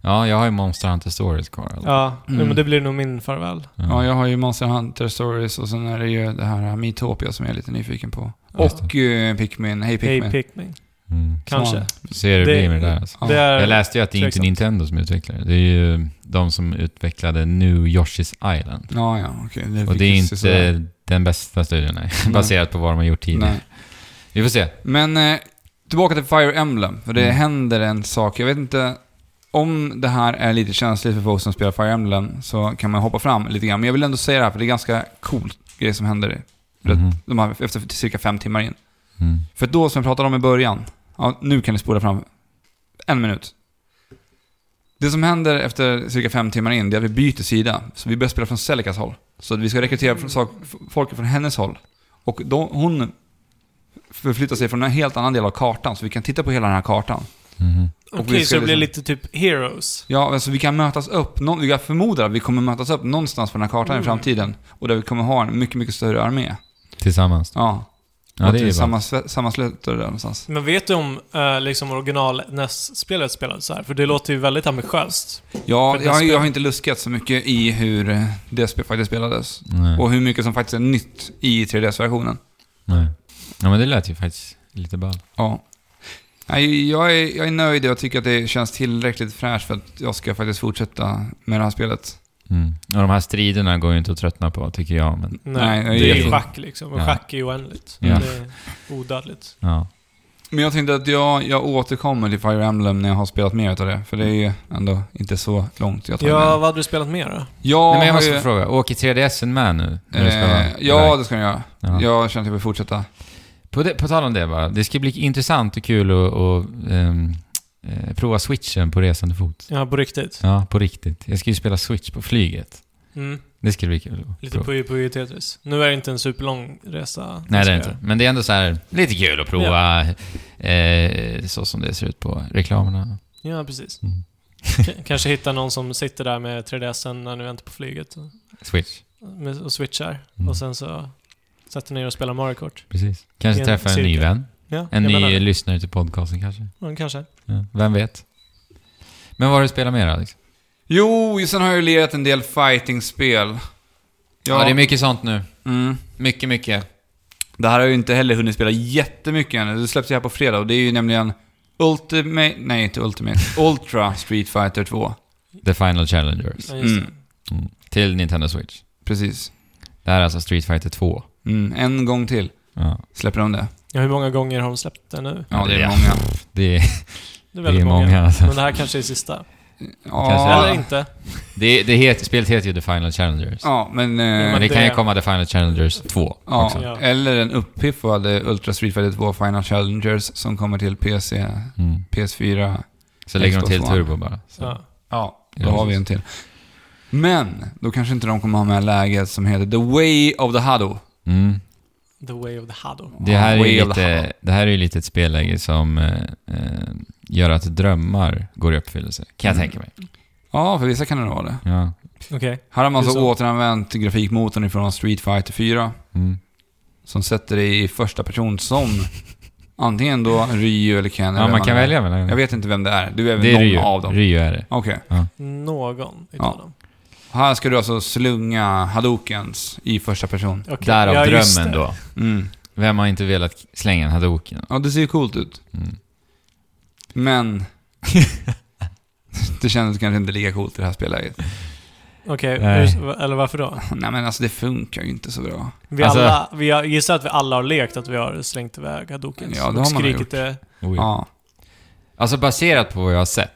C: Ja, jag har ju Monster Hunter Stories kvar. alltså. eller?
A: Ja,
B: Mm.
A: men det blir nog min farväl.
B: ja, jag har ju Monster Hunter Stories och sen är det ju det här Metopia som jag är lite nyfiken på.
A: Ja, just
B: Och eh, Pikmin. Hej Pikmin.
A: Hey Pikmin.
C: Mm.
A: Kanske.
B: Ja.
C: Se hur det,
A: Det-
C: blir med det där alltså.
B: Ja.
A: Det är...
C: Jag läste ju att det är inte
A: tveksamt.
C: Nintendo som utvecklar det. Det är ju de som utvecklade New Yoshi's Island.
B: Ja, ja, okej.
C: Och det är
B: fick ju se sådär.
C: inte den bästa studion, nej.
B: Nej.
C: Baserat på vad de har gjort tidigare.
B: Nej.
C: Vi får se.
B: Men eh, tillbaka till Fire Emblem, för det
C: Mm.
B: händer en sak. Jag vet inte om det här är lite känsligt för folk som spelar Fire Emblem så kan man hoppa fram lite grann. Men jag vill ändå säga det här för det är ganska cool grej som händer Rätt.
C: Mhm.
B: de här, efter cirka fem timmar in.
C: Mm.
B: För då som jag pratade om i början, ja, nu kan ni spola fram en minut. Det som händer efter cirka fem timmar in, det är att vi byter sida. Så vi börjar spela från Selikas håll. Så att vi ska rekrytera från sak- folk från hennes håll. Och då, hon förflyttar sig från en helt annan del av kartan, så vi kan titta på hela den här kartan.
C: Mhm.
B: Och
A: Okej,
B: vi ska
A: så det blir
B: liksom-
A: lite typ Heroes.
B: Ja, alltså vi kan mötas upp. Någon, jag förmodar att vi kommer mötas upp någonstans på den här kartan i
A: Mm.
B: framtiden. Och där vi kommer ha en mycket, mycket större armé.
C: Tillsammans.
B: Ja,
C: Ja,
B: att vi
C: det är ju bra.
B: sammans- sammansluter där någonstans.
A: Men vet du om eh, liksom original NES-spelet spelades så här? För det låter ju väldigt ambitiöst.
B: Ja,
A: För det
B: jag, har-
A: spel-
B: jag har inte luskat så mycket i hur eh, det spe- faktiskt spelades.
C: Nej.
B: Och hur mycket som faktiskt är nytt i 3DS-versionen.
C: Nej. Ja, men det lät ju faktiskt lite ball.
B: Ja. Nej, Jag är, jag är nöjd och jag tycker att det känns tillräckligt fräscht för att jag ska faktiskt fortsätta med det här spelet.
C: Mm. Och de här striderna går ju inte att tröttna på, tycker jag. Men,
A: Nej,
B: Nej,
A: det är
B: det-
A: ju schack liksom. Och
C: Ja.
A: schack är ju oändligt.
C: Ja.
A: Det är odödligt.
C: ja.
B: Men jag tänkte att jag, jag återkommer till Fire Emblem när jag har spelat mer utav det. För det är ju ändå inte så långt jag tar
A: Ja,
B: med.
A: vad hade du spelat mer då?
B: Jag
C: Nej, men jag
B: har
C: måste
B: ju,
C: fråga, åker 3DSen med nu? När du ska vara
B: eh, ja,
C: iväg?
B: det ska jag göra.
C: Ja.
B: Jag känner att jag vill fortsätta.
C: På, det, på tal om det bara, det ska bli intressant och kul att att, ehm, eh, prova switchen på resande fot.
A: Ja, på riktigt.
C: Ja, på riktigt. Jag ska ju spela switch på flyget.
A: Mm.
C: Det ska bli kul. att
A: Lite
C: prova.
A: Puyo Puyo Tetris. Nu är det inte en superlång resa.
C: Nej, det är
A: Ska
C: inte. Men det är ändå så här, lite kul att prova eh, så som det ser ut på reklamerna.
A: jag. Ja, precis.
C: Mm.
A: K- Kanske hitta någon som sitter där med 3DSen när ni väntar på flyget och-
C: Switch.
A: med- och switchar.
C: Mm.
A: Och sen så sätter ni er och spelar Mario Kart.
C: Precis. Kanske
A: En
C: träffa en ny
A: cirkel.
C: vän.
A: Ja,
C: En
A: jag
C: ny
A: menar det.
C: lyssnare till podcasten kanske.
A: Ja, kanske.
C: Ja, vem vet? Men vad har du spelat mer Alex?
B: Jo, sen har jag ju lirat en del fighting-spel.
C: Ja. det är mycket sånt nu.
B: mm.
C: Mycket, mycket.
B: Det här har jag ju inte heller hunnit spela jättemycket än. Det släpps ju här på fredag och det är ju nämligen Ultimate... Nej, inte Ultimate. Ultra Street Fighter 2.
C: The Final Challengers.
A: Ja, just det.
B: Mm.
C: Mm. Till Nintendo Switch.
B: Precis.
C: Det här är alltså Street Fighter 2.
B: Mm. En gång till
C: Ja,
B: släpper de det.
A: Ja, hur många gånger har de släppt det nu?
B: Ja, det är
C: Ja.
B: många.
A: Det
C: det, är,
A: är
C: det är
A: väldigt
C: många.
A: många.
C: alltså.
A: Men det här kanske är sista. Eller
B: Ja,
A: inte.
C: Det, det heter, spelet heter ju The Final Challengers.
B: ja men...
A: Ja,
C: Men
B: Eh,
C: det kan ju
A: det-
C: komma The Final Challengers 2 också.
B: ja,
A: Ja.
B: eller en uppiffad eh, Ultra Street Fighter 2 Final Challengers som kommer till PC,
C: Mm.
B: PS4.
C: Så lägger de
B: Xbox
C: till
B: One.
C: turbo bara. Så.
A: Ja.
B: Ja, då
C: Ja,
B: har vi
C: precis.
B: en till. Men, då kanske inte de kommer ha med läget som heter The Way of the Hado.
C: Mm.
A: The Way of the Hado.
C: Det, här är
B: Way
C: ju
B: of the
C: lite, det här är ju lite ett spelläge som eh, eh, gör att drömmar går i uppfyllelse. Kan jag
B: Mm.
C: tänka mig.
B: Ja, för vissa kan det vara det.
C: Ja.
A: Okej.
B: Här har man
A: Det är
B: alltså
A: så.
B: återanvänt grafikmotorn ifrån Street Fighter 4
C: Mm.
B: som sätter dig i första person som antingen då Ryu eller Ken. eller
C: ja,
B: vem
C: man kan
B: är.
C: välja mellan
B: Jag vet inte vem det är. Du är väl
C: Det är
B: någon
C: Ryu.
B: av dem?
C: Ryu är det.
B: Okej.
A: Någon utav
B: Ja.
A: dem.
B: Här ska du alltså slunga Hadokens i första person.
A: Okej.
C: Typ. Därav
A: Ja, just
C: drömmen
A: det.
C: då.
B: Mm.
C: Vem har inte velat slänga en hadoken?
B: Ja, det ser ju coolt ut.
C: Mm.
B: Men... det kändes kanske inte lika coolt i det här spelläget.
A: Okej,
C: Nej.
A: hur- eller varför då?
B: Nej men alltså det funkar ju inte så bra.
A: Vi
C: Alltså-
A: alla, vi har, gissar att vi alla har lekt att vi har slängt iväg Hadokens.
B: Ja, det har
A: och
B: man
A: skrikit
B: gjort.
A: det.
C: Oj.
B: Ja.
C: Alltså baserat på vad jag har sett.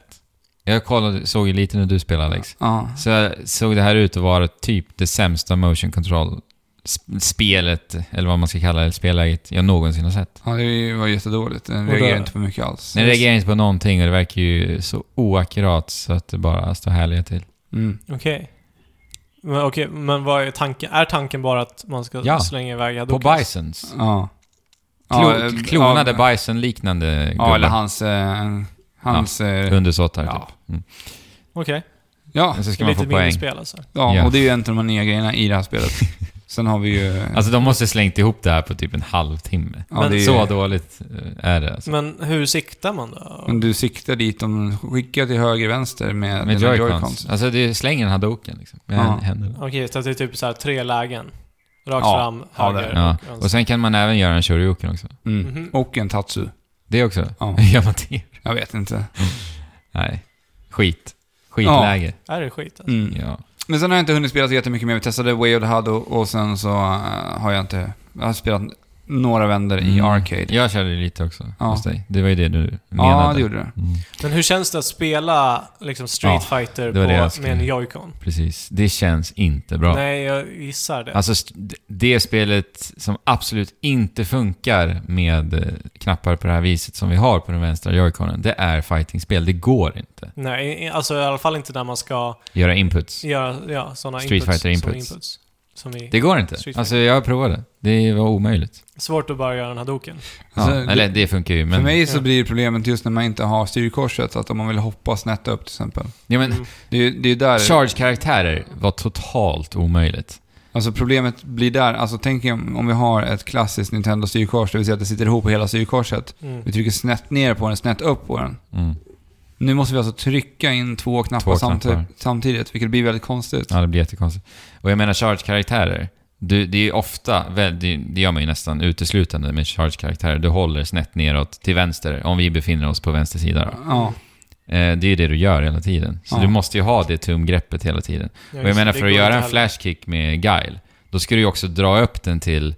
C: Jag kollade, såg ju lite när du spelade Alex.
B: ja.
C: Så såg det här ut att vara typ det sämsta motion control-spelet, eller vad man ska kalla det, spelläget jag någonsin har sett.
B: Ja, det var jättedåligt. Den
A: Och
B: reagerar
A: där-
B: inte på mycket alls.
C: Den reagerar inte på någonting och det verkar ju så oakkurat så att det bara står härliga till.
B: Mm.
A: Okej. Men Okej, men vad är tanken? Är tanken bara att man ska
C: Ja.
A: slänga iväg
C: På
A: Hadokens?
C: Bisons.
B: Ja.
C: Klo,
B: eh,
C: klonade
B: ja,
C: Bison-liknande
B: Ja, eller
C: gubbar.
B: hans... Eh, hans... eh,
C: Undersåtar
B: Ja.
C: typ. Mm.
A: Okej.
B: Ja,
C: Men så ska man
A: Lite
C: få poäng.
A: mindre spel alltså.
B: ja,
C: Ja.
B: och det är ju en av de nya grejerna i det här spelet. Sen har vi ju... eh,
C: Alltså de måste slängt ihop det här på typ en halvtimme.
B: ja,
A: men
B: det är,
C: Så dåligt eh, är det alltså.
A: Men hur siktar man då?
B: Men du siktar dit, de skickar till höger, vänster med,
C: Med
B: dina
C: joycons. Alltså du slänger den här doken liksom. Med
B: Ja.
C: händerna.
A: Okej, så att det är typ så här tre lägen. Rakt
B: Ja.
A: fram,
B: Ja,
A: höger
C: Ja.
A: och vänster.
C: Och sen kan man även göra en shoryuken också.
B: Mm.
A: Mhm.
B: Och en tatsu.
C: Det också?
B: Ja.
C: Gör man det?
B: Jag vet inte.
C: Nej. Skit. Skitläge.
A: Är det skit? Alltså?
B: Mm.
C: Ja.
B: Men sen har jag inte hunnit spela så jättemycket mer. Vi testade Way of the Hud och, och sen så eh, har jag inte... Jag har spelat några vändor i
C: Mm.
B: Arcade.
C: Jag körde lite också
B: Ja.
C: hos dig. Det var ju det du menade.
B: Ja, det gjorde det.
C: Mm,
A: Men hur känns det att spela liksom Street
C: Ja,
A: Fighter
C: det var det jag
A: på,
C: skulle-
A: med en Joy-Con?
C: precis. Det känns inte bra.
A: Nej, jag gissar det.
C: Alltså, st- d- det spelet som absolut inte funkar med eh, knappar på det här viset som vi har på den vänstra joyconen, det är fightingspel. Det går inte.
A: Nej, i- alltså i alla fall inte när man ska
C: Göra inputs.
A: göra ja, sådana
C: Street
A: inputs.
C: Fighter
A: som
C: inputs.
A: inputs. Som i,
C: Det går inte.
A: Street Fighter.
C: Alltså, jag provade. Det var omöjligt.
A: Svårt att bara göra den här doken.
C: Ja,
B: Alltså, det-
C: eller det funkar ju, men...
B: För mig så
A: Ja.
B: blir problemet just när man inte har styrkorset, att om man vill hoppa snett upp till exempel.
C: ja, men
A: Mm.
B: Det är ju det är där...
C: charge-karaktärer var totalt omöjligt.
B: Alltså problemet blir där, alltså tänk om om vi har ett klassiskt Nintendo-styrkors, det vill säga att det sitter ihop på hela styrkorset.
A: Mm.
B: Vi trycker snett ner på den, snett upp på den.
C: Mm.
B: Nu måste vi alltså trycka in två knappar,
C: Två knappar.
B: samti- samtidigt, vilket blir väldigt konstigt.
C: Ja, det blir jättekonstigt. Och jag menar charge-karaktärer. Du, det är ju ofta, väl, det, det gör man ju nästan uteslutande med charge-karaktärer. Du håller snett neråt till vänster, om vi befinner oss på vänster sida. Då.
B: Ja.
C: Eh, det är ju det du gör hela tiden. Så
B: Ja.
C: du måste ju ha det tumgreppet hela tiden.
A: Ja,
C: Och jag
A: just
C: menar,
A: det,
C: för
A: det går
C: att göra
A: inte
C: en
A: heller.
C: flashkick med guile, då ska du ju också dra upp den till...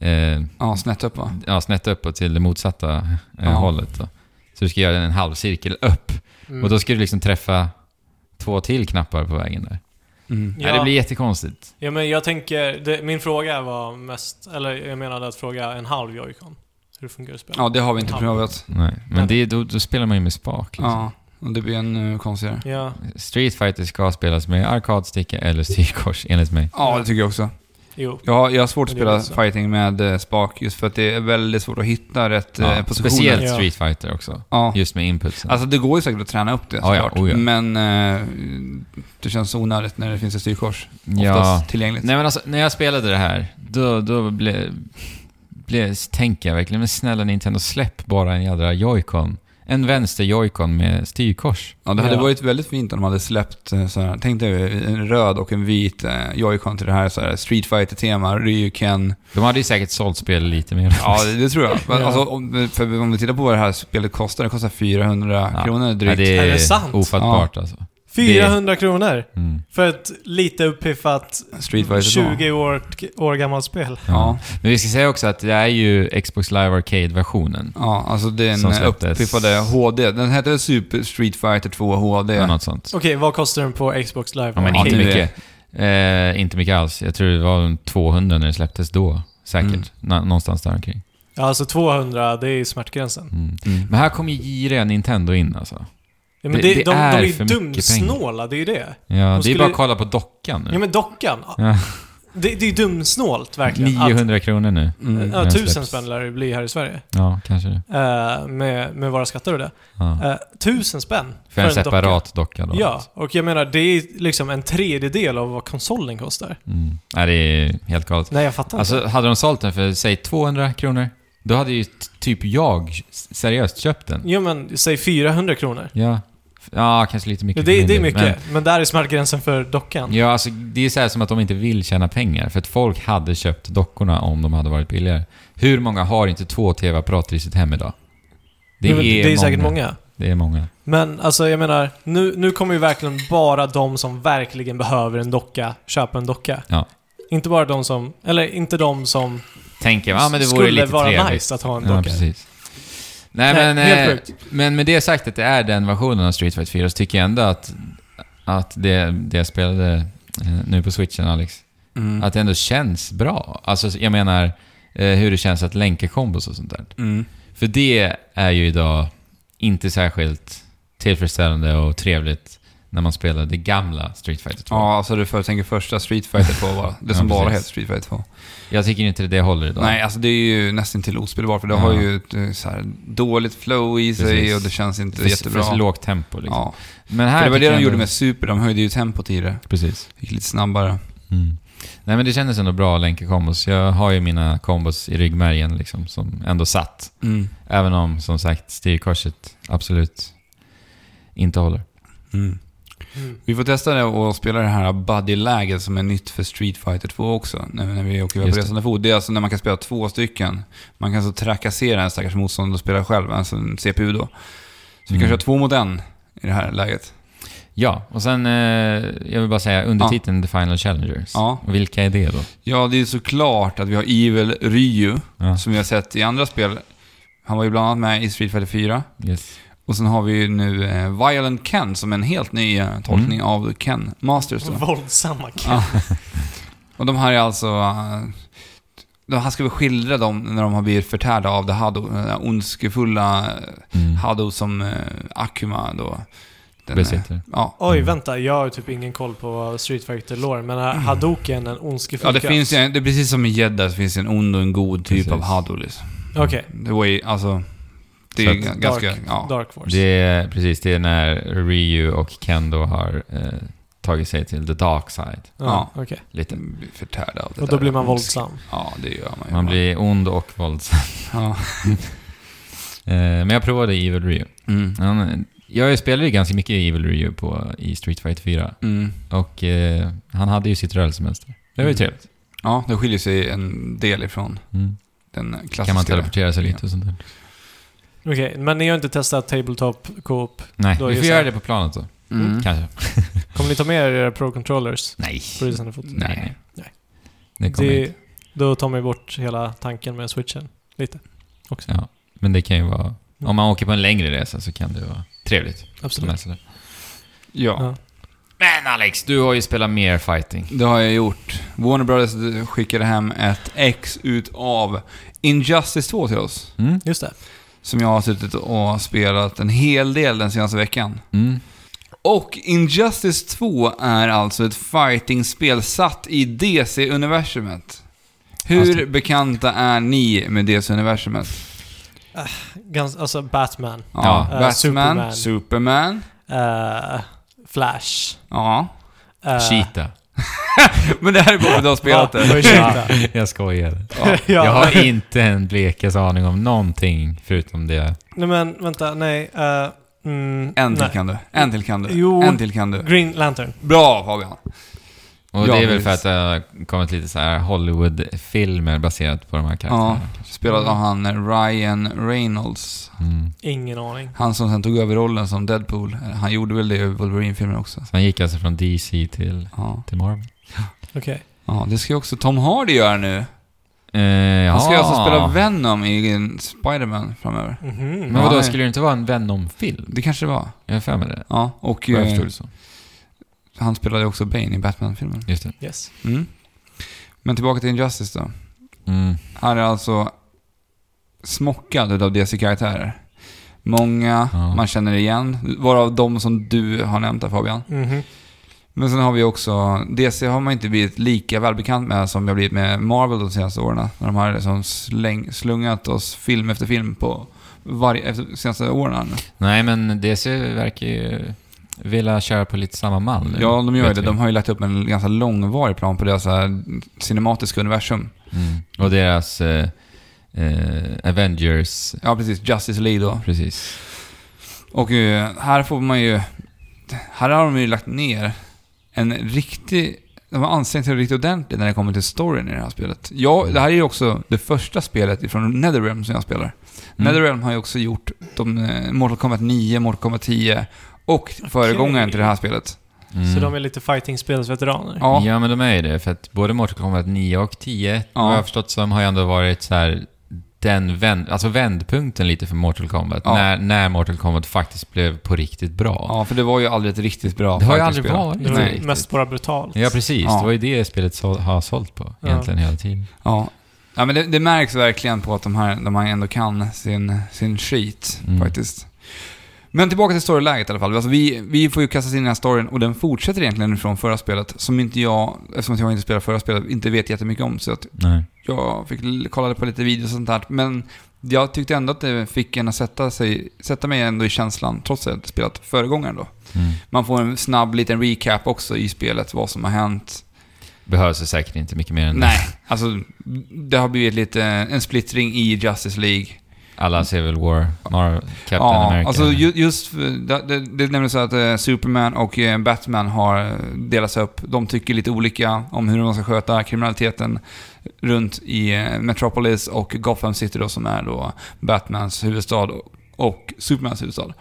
C: Eh,
B: ja, snett upp va?
C: ja, snett upp och till det motsatta eh,
B: Ja.
C: hållet. Då. Så du ska göra en halvcirkel upp.
A: Mm.
C: Och då ska du liksom träffa två till knappar på vägen där.
B: Mm.
C: Ja. det blir jättekonstigt.
A: Ja, men jag tänker... Det, min fråga var mest... Eller jag menade att fråga en halv Joy-Con. Hur funkar det spelet?
B: Ja, det har vi inte
A: Ja.
B: provat.
C: Nej, men det, är- då, då spelar man ju med spak. Liksom.
B: Ja, och det blir ännu konstigare.
A: Ja,
C: Street Fighter ska spelas med arkadsticka eller styrkors, enligt mig.
B: Ja, det tycker jag också.
A: jo.
B: Ja, jag har svårt att
A: Men det är alltså.
B: spela
A: så.
B: fighting med eh, spak just för att det är väldigt svårt att hitta rätt eh,
C: Ja,
B: positioner.
C: speciellt
A: Ja.
C: Street Fighter också,
B: Ja.
C: just med inputsen.
B: Alltså det går ju säkert att träna upp det
C: Ja, ja,
B: såklart.
C: oh ja.
B: Men eh, det känns onödigt när det finns ett styrkors. Oftast
C: ja.
B: tillgängligt.
C: Nej men alltså, när jag spelade det här, då, då blev... Ble, tänker jag verkligen, men snälla Nintendo, släpp bara en jädra joycon. En vänster joycon med styrkors.
B: Ja, det hade
A: Ja.
B: varit väldigt fint om de hade släppt eh, så här, tänk dig en röd och en vit eh, joycon till det här, så här Street fighter tema Ryuken.
C: De hade ju säkert sålt spelet lite mer.
B: Ja, det, det tror jag. Men,
A: Ja.
B: alltså, om, för om vi tittar på vad det här spelet kostar, det kostar 400
C: Ja.
B: kronor drygt.
C: Ja, det är,
A: Är det sant?
C: ofattbart alltså.
A: 400 kronor
C: Mm.
A: för ett lite uppiffat
B: Street Fighter
A: 20 år, år gammalt spel.
B: Ja.
C: Ja. Men vi ska säga också att det är ju Xbox Live Arcade-versionen.
B: Ja, alltså den
C: Som släpptes.
B: uppiffade HD. Den hette väl Super Street Fighter 2 HD?
C: Eller något sånt.
A: Okej, vad kostar den på Xbox Live?
C: Ja, men
B: Ja,
C: inte
B: nu är-
C: mycket. Eh, inte mycket alls. Jag tror det var en 200 när det släpptes då. Säkert.
B: Mm.
C: Nå- någonstans där omkring.
A: Ja, alltså 200, det är ju smärtgränsen.
C: Mm.
B: Mm.
C: Men här kommer ju giriga Nintendo in alltså.
A: Ja, men
C: Det-
A: det,
C: det
A: de, de
C: är
A: är ju
C: för mycket pengar.
A: dumsnåla, det är ju det.
C: Ja, det är
A: skulle-
C: bara att kolla på dockan
A: Ja,
C: nu.
A: men dockan.
C: Ja.
A: Det, det är ju dumsnålt verkligen.
C: 900 kronor nu.
A: Att,
B: Mm.
A: ja,
C: den
A: tusen
C: släpps.
A: spänn lär det bli här i Sverige.
C: Ja, kanske det.
A: Eh, med, med våra skatter och det.
C: Ja.
A: Eh, tusen spänn
C: För en
A: docka.
C: separat docka, då.
A: Ja, och jag menar det är liksom en tredjedel av vad konsolen kostar.
C: Mm. Nej, det är helt galet.
A: Nej, jag fattar inte.
C: Alltså, hade de sålt den för, säg 200 kronor, då hade ju t- typ jag s- seriöst köpt den.
A: Jo men, säg 400 kronor.
C: Ja. Ja, kanske lite
A: Det,
C: mycket. för
A: det,
C: min
A: är
C: del,
A: mycket,
C: men-
A: men, där är smärtgränsen för dockan.
C: Ja, alltså det är så här som att de inte vill tjäna pengar. För att folk hade köpt dockorna om de hade varit billigare. Hur många har inte två TV-apparater i sitt hem idag? Det
A: Jo,
C: är,
A: men det är säkert många.
C: Det är många.
A: Men alltså jag menar, nu, nu kommer ju verkligen bara de som verkligen behöver en docka köpa en docka.
C: Ja.
A: Inte bara de som, eller inte de som
C: Tänker jag, ja men det vore
A: skulle
C: lite
A: vara
C: trevligt.
A: nice att ha en docka.
C: ja, precis. Nej,
A: Nej,
C: men,
A: helt
C: eh, men med det sagt att det är den versionen av Street Fighter 4 så tycker jag ändå att, att det, det jag spelade eh, nu på switchen, Alex,
B: Mm.
C: att det ändå känns bra. Alltså jag menar eh, hur det känns att länka kombos och sånt där.
B: Mm.
C: För det är ju idag inte särskilt tillfredsställande och trevligt när man spelar det gamla Street Fighter 2.
B: Ja, alltså du för, tänker första Street Fighter 2 bara. Det som
C: Ja,
B: bara
C: precis.
B: heter Street Fighter 2.
C: Jag tycker inte det håller idag.
B: Nej, alltså det är ju nästan till ospelbart för det
C: Ja.
B: har ju ett eh, så här, dåligt flow i sig
C: Precis.
B: och det känns inte
C: det är för,
B: jättebra.
C: för lågt tempo liksom.
B: ja.
C: Men här
B: för det var
C: tycker
B: det de
C: jag
B: gjorde
C: ändå-
B: med Super, de höjde ju tempot i det.
C: Precis.
B: Gick lite snabbare.
C: Mm. Nej men det kändes ändå bra att länka kombos. Jag har ju mina kombos i ryggmärgen liksom, som ändå satt.
B: Mm.
C: Även om, som sagt, styrkorset absolut inte håller.
B: Mm.
A: Mm.
B: Vi får testa det och spela det här buddy-läget som är nytt för Street Fighter 2 också. När, när vi åker iväg
C: Just
B: på
C: det.
B: resande fot. Det är alltså när man kan spela två stycken. Man kan så trakassera en stackars motståndare och spela själv, alltså en CPU då. Så vi kan
C: Mm.
B: köra två mot en i det här läget.
C: Ja, och sen, eh, jag vill bara säga, undertiteln The Final Challengers.
B: Ja.
C: Och Vilka är det då?
B: Ja, det är såklart att vi har Evil Ryu,
C: Ja.
B: som vi har sett i andra spel. Han var ju bland annat med i Street Fighter 4.
C: Yes.
B: Och sen har vi ju nu eh, Violent Ken, som är en helt ny eh, tolkning
C: Mm.
B: av Ken Masters. Då.
A: Våldsamma
B: Ja. Och de här är alltså... eh, De, han ska väl skildra dem när de har blivit förtärda av det Hado, den där ondskefulla eh,
C: Mm.
B: Hado som eh, Akuma då... Den, eh,
C: Besitter.
B: ja.
A: Oj, vänta. Jag har typ ingen koll på Street fighter lore men
C: Mm.
A: är Hadoken en ondskefull
B: Ja, det
A: kraft?
B: finns ju, en- det är precis som i Jeddah, så finns det en ond och en god typ
C: Precis.
B: av Hado liksom.
A: Okej.
B: Det var ju, alltså... Det
C: Så
B: är
C: att-
B: ga-
A: Dark,
B: ganska... ja.
A: Dark Force.
C: Det är precis, det är när Ryu och Ken då har eh, tagit sig till the dark side.
A: ja,
B: ja.
A: okej.
C: Lite.
B: Blir förtärda av det
A: Och då
B: där.
A: blir man våldsam.
B: Ja, det gör man ju.
C: Man blir ond och våldsam.
B: Ja.
C: Eh, men jag provade Evil Ryu.
B: Mm.
C: Han, jag spelade ju ganska mycket Evil Ryu på, i Street Fighter 4.
B: Mm.
C: Och eh, han hade ju sitt rörelsemönster. Det var ju
B: Mm.
C: trevligt.
B: Ja, det skiljer sig en del ifrån
C: Mm.
B: den klassiska.
C: Kan man teleportera sig lite och sånt där.
A: Okej, men ni har inte testat Tabletop Co-op?
C: Nej,
A: Då är
C: vi
A: det
C: får
A: så
C: göra
A: här.
C: det på planet då.
B: Mm.
C: Kanske.
A: Kommer ni ta med er era Pro Controllers
C: Nej.
A: på resande fot?
B: Nej.
A: Nej.
C: Mm, Det kommer jag
A: Det,
C: inte.
A: då tar man ju bort hela tanken med switchen. Lite. Mm.
C: Ja. Men det kan ju vara... Om man åker på en längre resa så kan det vara trevligt.
A: Absolut.
C: Som helst.
B: Ja.
A: Ja.
C: Men Alex, du har ju spelat mer fighting.
B: Det har jag gjort. Warner Brothers skickade hem ett ex utav Injustice 2 till oss.
C: Mm.
A: Just det.
B: Som jag har suttit och spelat en hel del den senaste veckan.
C: Mm.
B: Och Injustice 2 är alltså ett fighting-spel satt i DC-universumet.
C: Alltså-
B: Hur bekanta är ni med DC-universumet?
A: Gans, alltså Batman.
B: Ja,
A: Eh,
B: Batman,
A: Superman.
B: Superman.
A: eh, Flash.
B: Ja.
A: eh,
C: Cheetah.
B: Men det här är bara för att du har spelat
A: ja,
B: det.
A: ursäkta.
C: jag skojar.
B: Ja.
A: ja,
C: Jag har inte en blekes aning om någonting förutom det.
A: Nej men vänta, nej. eh, mm,
B: En till
A: nej.
B: kan du. En till kan du.
A: Jo.
B: En till kan du.
A: Green Lantern.
B: Bra Fabian.
C: Och
B: Ja,
C: det är väl
B: precis.
C: för att det har kommit lite så här Hollywood-filmer baserat på de här
B: Ja,
C: karaktärerna.
B: spelad av han eh, Ryan Reynolds.
C: Mm.
A: Ingen aning.
B: Han som sen tog över rollen som Deadpool. Eh, Han gjorde väl det i Wolverine-filmen också.
C: Så han gick alltså från DC till,
B: Ja.
C: till Marvel.
A: Okej.
B: ja, det ska ju också Tom Hardy göra nu.
C: Eh, ja.
B: Han ska ju alltså spela Venom i en Spider-Man framöver.
A: Mhm.
C: Men
B: Ja,
C: vadå,
B: nej.
C: skulle det inte vara en Venom-film?
B: Det kanske det var.
C: Jag har för mig det.
B: Ja, och
C: Vad jag
B: eh,
C: förstod det som.
B: han spelade också Bane i Batman-filmen.
C: Just det.
A: Yes.
B: Mm. Men tillbaka till Injustice då.
C: Mm.
B: Han är alltså smockad av DC-karaktärer. Många
C: Ja.
B: man känner igen, varav de som du har nämnt där Fabian.
A: Mhm.
B: Men sen har vi också, DC har man inte blivit lika välbekant med som jag blivit med Marvel de senaste åren. När de har liksom släng, slungat oss film efter film på varje, efter de senaste åren.
C: Nej, men DC verkar ju vilja köra på lite samma mall nu,
B: Ja, de gör ju
C: vet
B: det.
C: vi.
B: De har ju lagt upp en ganska långvarig plan på deras så här cinematiska universum.
C: Mm. Och deras eh, eh, Avengers...
B: Ja, precis. Justice League då.
C: Precis.
B: Och eh, här får man ju... Här har de ju lagt ner en riktig... De har ansträngt sig riktigt ordentligt när det kommer till storyn i det här spelet. Ja, det här är ju också det första spelet ifrån Netherrealm som jag spelar.
C: Mm.
B: Netherrealm har ju också gjort de, eh, Mortal Kombat 9, Mortal Kombat 10 och föregångaren till det här spelet.
C: Mm.
A: Så de är lite fighting-spelsveteraner?
B: Ja,
C: Ja, men de är ju det. För att både Mortal Kombat 9 och 10, vad jag har förstått som, har ju ändå varit så här den vänd, alltså vändpunkten lite för Mortal Kombat.
B: Ja.
C: När, när Mortal Kombat faktiskt blev på riktigt bra.
B: ja, för det var ju aldrig ett riktigt bra
C: det har ju aldrig
B: fighting-spel.
C: varit
A: Det
B: Nej,
A: var ju
C: riktigt.
A: mest bara brutalt.
C: Ja, precis.
B: Ja.
C: Det var ju det spelet så, har sålt på egentligen hela tiden.
B: Ja. ja men det, det märks verkligen på att de här, de här ändå kan sin, sin skit
C: Mm.
B: faktiskt. Men tillbaka till storyläget i alla fall. Alltså vi, vi får ju kasta in i den här storyn och den fortsätter egentligen från förra spelet som inte jag, eftersom att jag inte spelade förra spelet, inte vet jättemycket om. Så att
C: Nej.
B: jag fick l- kolla på lite videos och sånt där. Men jag tyckte ändå att det fick en att sätta, sig, sätta mig ändå i känslan, trots att jag inte spelat föregångaren då.
C: Mm.
B: Man får en snabb liten recap också i spelet, vad som har hänt.
C: behövs det säkert inte mycket mer än
B: Nej,
C: det.
B: alltså det har blivit lite en splittring i Justice League.
C: Alla Civil War, Marvel, Captain America.
B: alltså ju, just för- det, det, det nämndes så att eh, Superman och eh, Batman har eh, delats upp. De tycker lite olika om hur de ska sköta kriminaliteten runt i eh, Metropolis och Gotham City då, som är då Batmans huvudstad och Supermans huvudstad.
C: Typ.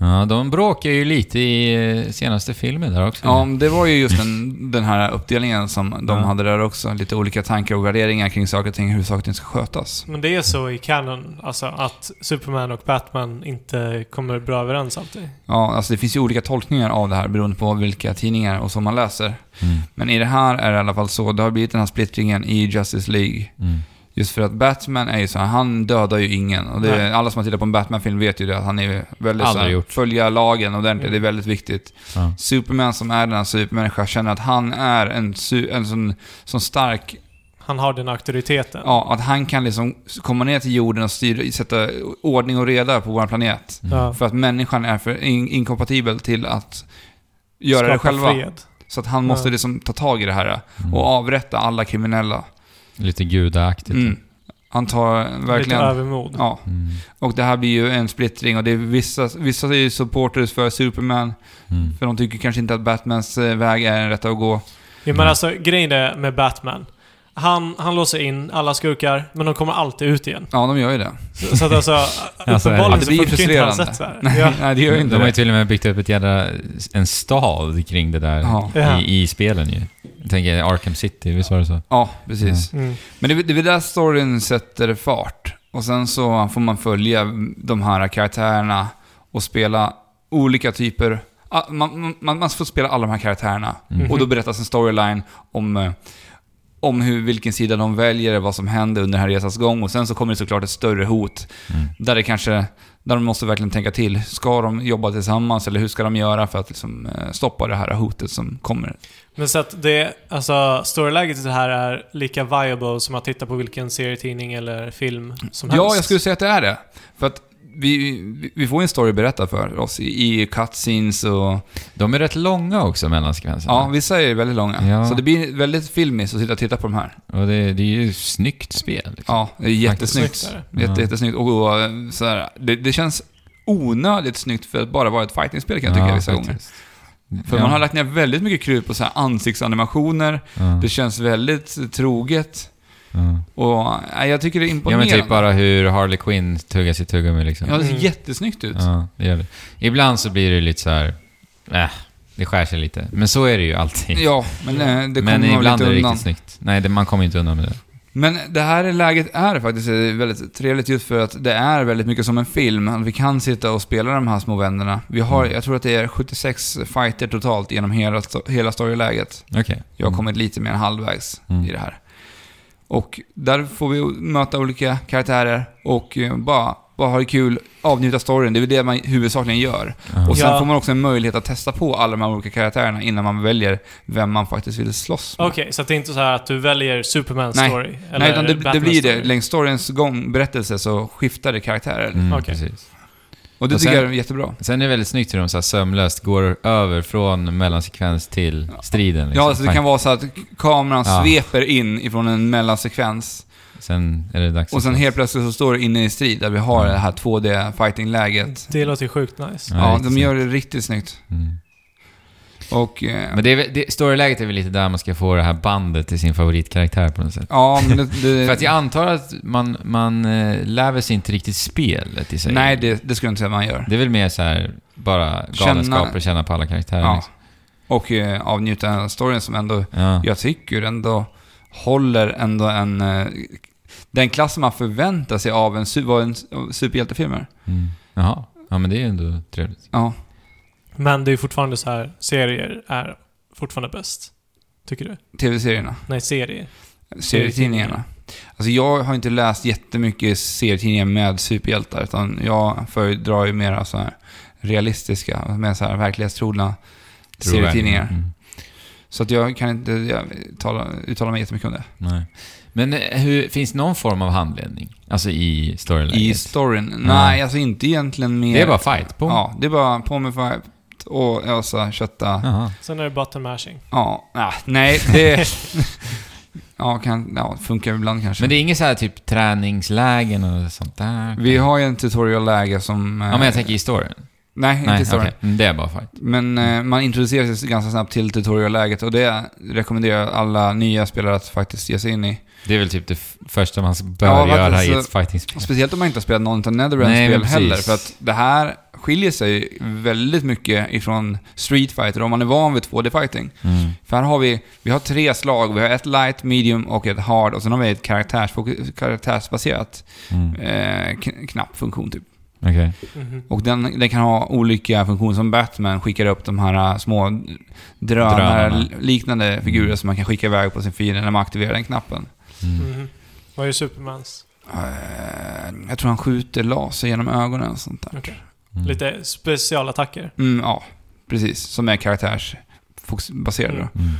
C: ja, de bråkar ju lite i eh, senaste filmen där också.
B: Ja, det var ju just den, den här uppdelningen som de
C: Ja.
B: hade där också. Lite olika tankar och värderingar kring saker och ting, hur saker och ting ska skötas.
A: Men det är så i canon, alltså att Superman och Batman inte kommer bra överens alltid.
B: Ja, alltså det finns ju olika tolkningar av det här beroende på vilka tidningar och som man läser.
C: Mm,
B: Men i det här är det i alla fall så, det har blivit den här splittringen i Justice League.
C: mm.
B: Just för att Batman är ju så här, han dödar ju ingen. Och det,
A: Nej.
B: alla som har tittat på en Batman-film vet ju det, att han är ju väldigt så
C: Aldrig
B: här,
C: gjort.
B: följa lagen och det,
A: Mm.
B: det är väldigt viktigt.
C: Ja.
B: Superman som är den här supermänniskan känner att han är en, su- en sån, sån stark
A: Han har den auktoriteten.
B: Ja, att han kan liksom komma ner till jorden och styra, sätta ordning och reda på vår planet.
A: Ja.
B: Mm. För att människan är för in, inkompatibel till att göra det
A: Skapa
B: själva.
A: Fred.
B: Så att han måste
A: Ja.
B: liksom ta tag i det här
C: Mm.
B: och avrätta alla kriminella.
C: Lite gudaktigt.
B: Mm. Han tar
A: Typ. Lite
B: verkligen...
A: övermod.
B: Ja,
C: Mm.
B: och det här blir ju en splittring och det är vissa, vissa är ju supporters för Superman,
C: Mm.
B: för de tycker kanske inte att Batmans eh, väg är den rätta att gå.
A: Jo, men
C: Mm.
A: alltså grejen är med Batman. Han, han låser in alla skurkar, men de kommer alltid ut igen.
B: Ja, de gör ju det.
A: Så, så att alltså,
C: Ja,
A: uppenbarligen
B: det
A: så
B: blir
A: funkar ju inte hans
B: frustrerande.
A: sätt så här.
B: Nej,
A: Ja.
B: nej det gör ju
C: De
B: inte
C: har ju
B: det.
C: till och med byggt upp ett jädra, en stad kring det där
B: Ja.
A: Ja.
C: i, i spelen ju. Jag tänker Arkham City, visst var det så?
B: Ja, precis.
A: Mm.
B: Men det är det är väl där storyn sätter fart. Och sen så får man följa de här karaktärerna och spela olika typer... ah, Man, man, man får spela alla de här karaktärerna.
C: Mm.
B: Och då berättas en storyline om, eh, om hur, vilken sida de väljer, vad som händer under den här resans gång. Och sen så kommer det såklart ett större hot.
C: Mm.
B: Där det kanske... Där de måste verkligen tänka till. Ska de jobba tillsammans eller hur ska de göra för att liksom eh, stoppa det här hotet som kommer?
A: Men så att det, alltså storyläget i det här är lika viable som att titta på vilken serietidning eller film som helst.
B: Ja, jag skulle säga att det är det. För att vi, vi- vi får ju en story berättad för oss i, i cutscenes och...
C: De är rätt långa också, mellansekvenserna.
B: Ja, vissa är ju väldigt långa.
C: Ja.
B: Så det blir väldigt filmiskt att sitta och titta på de här.
C: Och det, det är ju ett snyggt spel. Liksom.
B: Ja, det är jättesnyggt.
A: Snyggt
C: är det.
B: Jätte,
C: Ja.
B: jättesnyggt. Och, och så här, det, det känns onödigt snyggt för att bara vara ett fightingspel kan jag tycka vissa gånger.
C: gånger.
B: För man har lagt ner väldigt mycket krut på så här ansiktsanimationer.
C: ja.
B: Det känns väldigt eh, troget.
C: Ja.
B: Och nej, jag tycker det är
C: ja, men
B: imponerande.
C: typ bara hur Harley Quinn tuggar sitt tuggummi liksom.
B: Ja, det ser
A: Mm.
B: jättesnyggt ut.
C: Ja, det gör det. Ibland så blir det ju lite så här... Äh, det skär sig lite. Men så är det ju alltid.
B: Ja, men eh, det kommer
C: men
B: man väl
C: ibland
B: inte
C: är det
B: undan.
C: riktigt snyggt. Nej, det, man kommer inte undan med det.
B: Men det här läget är faktiskt väldigt trevligt just för att det är väldigt mycket som en film. Vi kan sitta och spela de här små vännerna. Vi har,
C: Mm.
B: jag tror att det är 76 fighter totalt genom hela, hela storyläget.
C: Okej.
B: Jag har
C: Mm.
B: kommit lite mer än halvvägs
C: Mm.
B: i det här. Och där får vi möta olika karaktärer och eh, bara, bara ha det kul, avnjuta storyn. Det är väl det man huvudsakligen gör.
C: Ja.
B: Och sen
A: Ja.
B: får man också en möjlighet att testa på alla de här olika karaktärerna innan man väljer vem man faktiskt vill slåss med.
A: Okej, så att det är inte så här att du väljer Superman
B: Nej.
A: story?
B: Nej, utan det, det
A: Batman
B: blir det.
A: story.
B: Längs storyns gång, berättelse, så skiftar det karaktärer.
C: Mm,
A: Okej.
C: precis.
B: Och det
C: Och
B: tycker
C: sen-
B: jag är jättebra.
C: Sen är det väldigt snyggt hur de så här sömlöst går över från mellansekvens till striden. Liksom.
B: Ja, alltså det kan vara så att k- kameran
C: Ja.
B: sveper in ifrån en mellansekvens
C: Sen är det dags
B: och sen
C: att-
B: helt plötsligt så står det inne i strid där vi har
C: Ja.
B: det här 2D-fighting-läget.
A: Det låter ju sjukt nice.
C: Ja,
B: Ja,
C: riktigt
B: de gör det riktigt snyggt.
C: Mm.
B: Och... eh,
C: Men det är, väl- det, storyläget är väl lite där man ska få det här bandet till sin favoritkaraktär på något sätt.
B: Ja, men det... det
C: För att jag antar att man, man eh, lär väl sig inte riktigt spelet i sig.
B: nej, det, det skulle jag inte säga man gör.
C: Det är väl mer så här bara galenskaper,
B: Känna-
C: känna, på alla karaktärer.
B: Ja.
C: Liksom.
B: Och eh, avnjuta den storyn som ändå,
C: Ja.
B: jag tycker ändå håller ändå en... eh, Den klass man förväntar sig av en, su- vad en su- superhjältefilm är.
C: Mm. Jaha. Ja, men det är ju ändå trevligt.
B: Ja.
A: Men det är ju fortfarande så här, serier är fortfarande bäst. Tycker du?
B: Tv-serierna.
A: Nej, serier.
B: Serietidningarna. Alltså jag har inte läst jättemycket serietidningar med superhjältar, utan jag föredrar ju mera så här realistiska, mer så här verklighetstrogna
C: Tror jag.
B: serietidningar.
C: Mm.
B: Så att jag kan inte jag, tala, uttala mig jättemycket om det.
C: Nej. Men eh, hur, finns någon form av handledning? Alltså i storyläget?
B: I storyn? Nej, alltså inte egentligen mer...
C: det är bara fight på.
B: Ja, det är bara på med fight. och ösa, kötta.
C: Jaha.
A: Sen är det button mashing.
B: Ja, ah, nej, det... ja, kan, ja, funkar ibland kanske.
C: Men det är inget så här typ träningslägen och sånt där?
B: Vi har ju en tutorial-läge som... eh,
C: Ja, men jag tänker i storyn.
B: Nej, inte
C: Nej,
B: i storyn.
C: okej. Mm, Det är bara fight.
B: Men eh, man introducerar sig ganska snabbt till tutorial-läget och det rekommenderar jag alla nya spelare att faktiskt ge sig in i.
C: Det är väl typ det f- första man bör
B: Ja,
C: göra i
B: alltså-
C: ett fightingspel.
B: Speciellt om man inte har spelat någon av
C: Nej, men
B: Netherrealms-spel
C: precis.
B: heller, för att det här skiljer sig väldigt mycket ifrån Street Fighter om man är van vid 2D-fighting.
C: Mm.
B: För här har vi, vi har tre slag, vi har ett light, medium och ett hard och sen har vi ett karaktärsfokus- karaktärsbaserat
C: Mm.
B: eh, kn- knappfunktion typ.
C: Okej.
A: Mhm.
B: Och den, den kan ha olika funktioner som Batman skickar upp de här äh, små drönare
C: Drönarna.
B: liknande figurer som man kan skicka iväg på sin fiende när man aktiverar den knappen.
C: Mm.
A: Mhm. Vad är Supermans?
B: Eh, jag tror han skjuter laser genom ögonen och sånt där.
A: Okej.
C: Mm.
A: Lite specialattacker.
B: Mm, ja, precis. Som är karaktärsbaserade då.
A: Mm.
C: Mm.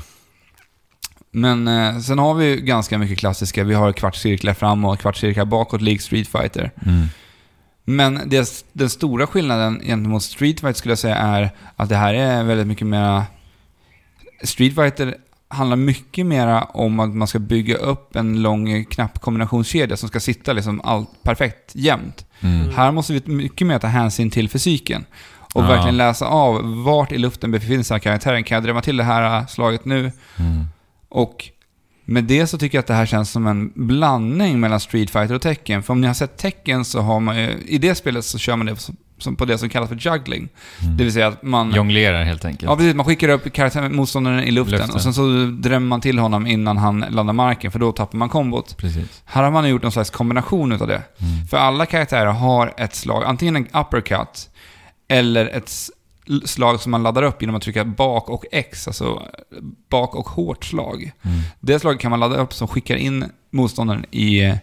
B: Men eh, sen har vi ju ganska mycket klassiska. Vi har kvartscirklar fram och kvartscirklar bakåt, lik Street Fighter.
C: Mm.
B: Men det, den stora skillnaden gentemot Street Fighter skulle jag säga är att det här är väldigt mycket mera... Street Fighter handlar mycket mera om att man ska bygga upp en lång knappkombinationskedja som ska sitta liksom allt perfekt jämnt.
C: Mm.
B: Här måste vi mycket mer ta hänsyn till fysiken och
C: Ja.
B: verkligen läsa av vart i luften befinner sig karaktären. Kan jag drämma till det här äh, slaget nu?
C: Mm.
B: Och med det så tycker jag att det här känns som en blandning mellan Street Fighter och Tekken. För om ni har sett Tekken så har man ju, i det spelet så kör man det som- som på det som kallas för juggling.
C: mm.
B: Det vill säga att man...
C: Jonglerar helt enkelt.
B: Ja, precis. Man skickar upp karaktären, motståndaren i luften,
C: Luften.
B: och sen så drämmer man till honom innan han landar marken, för då tappar man kombot.
C: Precis.
B: Här har man gjort någon slags kombination utav det.
C: Mm.
B: För alla karaktärer har ett slag, antingen en uppercut, eller ett s- slag som man laddar upp genom att trycka bak och X, alltså bak och hårt slag.
C: Mm.
B: Det slaget kan man ladda upp som skickar in motståndaren i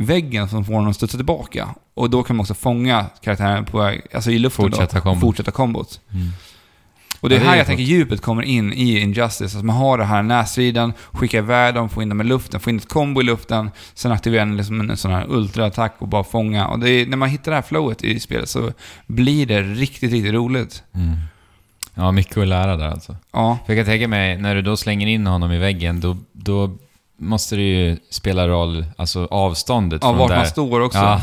B: väggen som får honom att studsa tillbaka. Och då kan man också fånga karaktären på väg, alltså i luften
C: Fortsätta
B: då,
C: kombot.
B: fortsätta kombot.
C: Mm.
B: Och det är
C: Ja, det är
B: här
C: ju
B: jag
C: coolt.
B: tänker djupet kommer in i Injustice. Att man har det här närstriden, skickar iväg dem, får in dem i luften, får in ett kombo i luften, sen aktiverar den liksom en sån här ultraattack och bara fånga. Och det är, när man hittar det här flowet i spelet så blir det riktigt, riktigt roligt.
C: Mm. Ja, mycket att lära där alltså.
B: Ja,
C: För jag kan tänka mig, när du då slänger in honom i väggen, då, då måste det ju spela roll, alltså avståndet
B: ja
C: från
B: vart
C: där.
B: man står också.
C: Ja.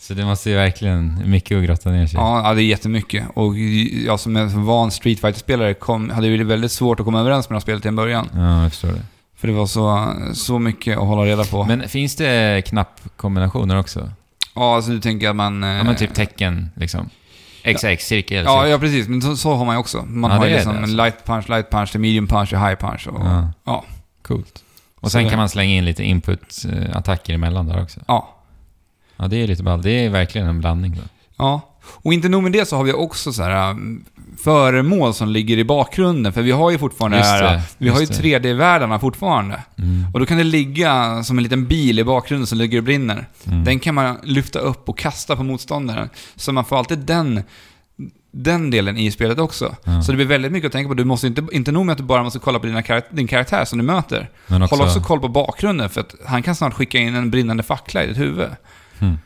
C: Så det måste ju verkligen, mycket att grotta ner sig i.
B: Ja, ja, det är jättemycket. Och jag som en van Street fighter spelare kom, hade ju väldigt svårt att komma överens med de här spelet i en början.
C: Ja, jag förstår det.
B: För det var så, så mycket att hålla reda på.
C: Men finns det knappkombinationer också?
B: ja, alltså du tänker att man... eh,
C: Ja, men typ tecken liksom. XX, cirkel,
B: Ja,
C: cirkel.
B: ja, precis. Men så, så har man ju också. Man
C: Ja,
B: har
C: det
B: ju
C: är
B: liksom
C: det,
B: en
C: alltså.
B: light punch, light punch, till medium punch och high punch. Och, ja.
C: Ja. Coolt.
B: Så
C: Och sen
B: det-
C: kan man slänga in lite input-attacker emellan där också.
B: ja.
C: Ja, det är lite ball. Det är verkligen en blandning då.
B: Och inte nog med det så har vi också så här eh, föremål som ligger i bakgrunden. För vi har ju fortfarande det
C: Just
B: här... eh,
C: det,
B: vi har ju
C: just det.
B: 3D-världarna fortfarande.
C: Mm.
B: Och då kan det ligga som en liten bil i bakgrunden som ligger och brinner.
C: Mm.
B: Den kan man lyfta upp och kasta på motståndaren. Så man får alltid den, den delen i spelet också.
C: Ja.
B: Så det blir väldigt mycket att tänka på. Du måste inte, inte nog med att du bara måste kolla på dina karak- din karaktär som du möter.
C: Men också...
B: Håll också koll på bakgrunden för att han kan snart skicka in en brinnande fackla i ditt huvud.
C: Mm.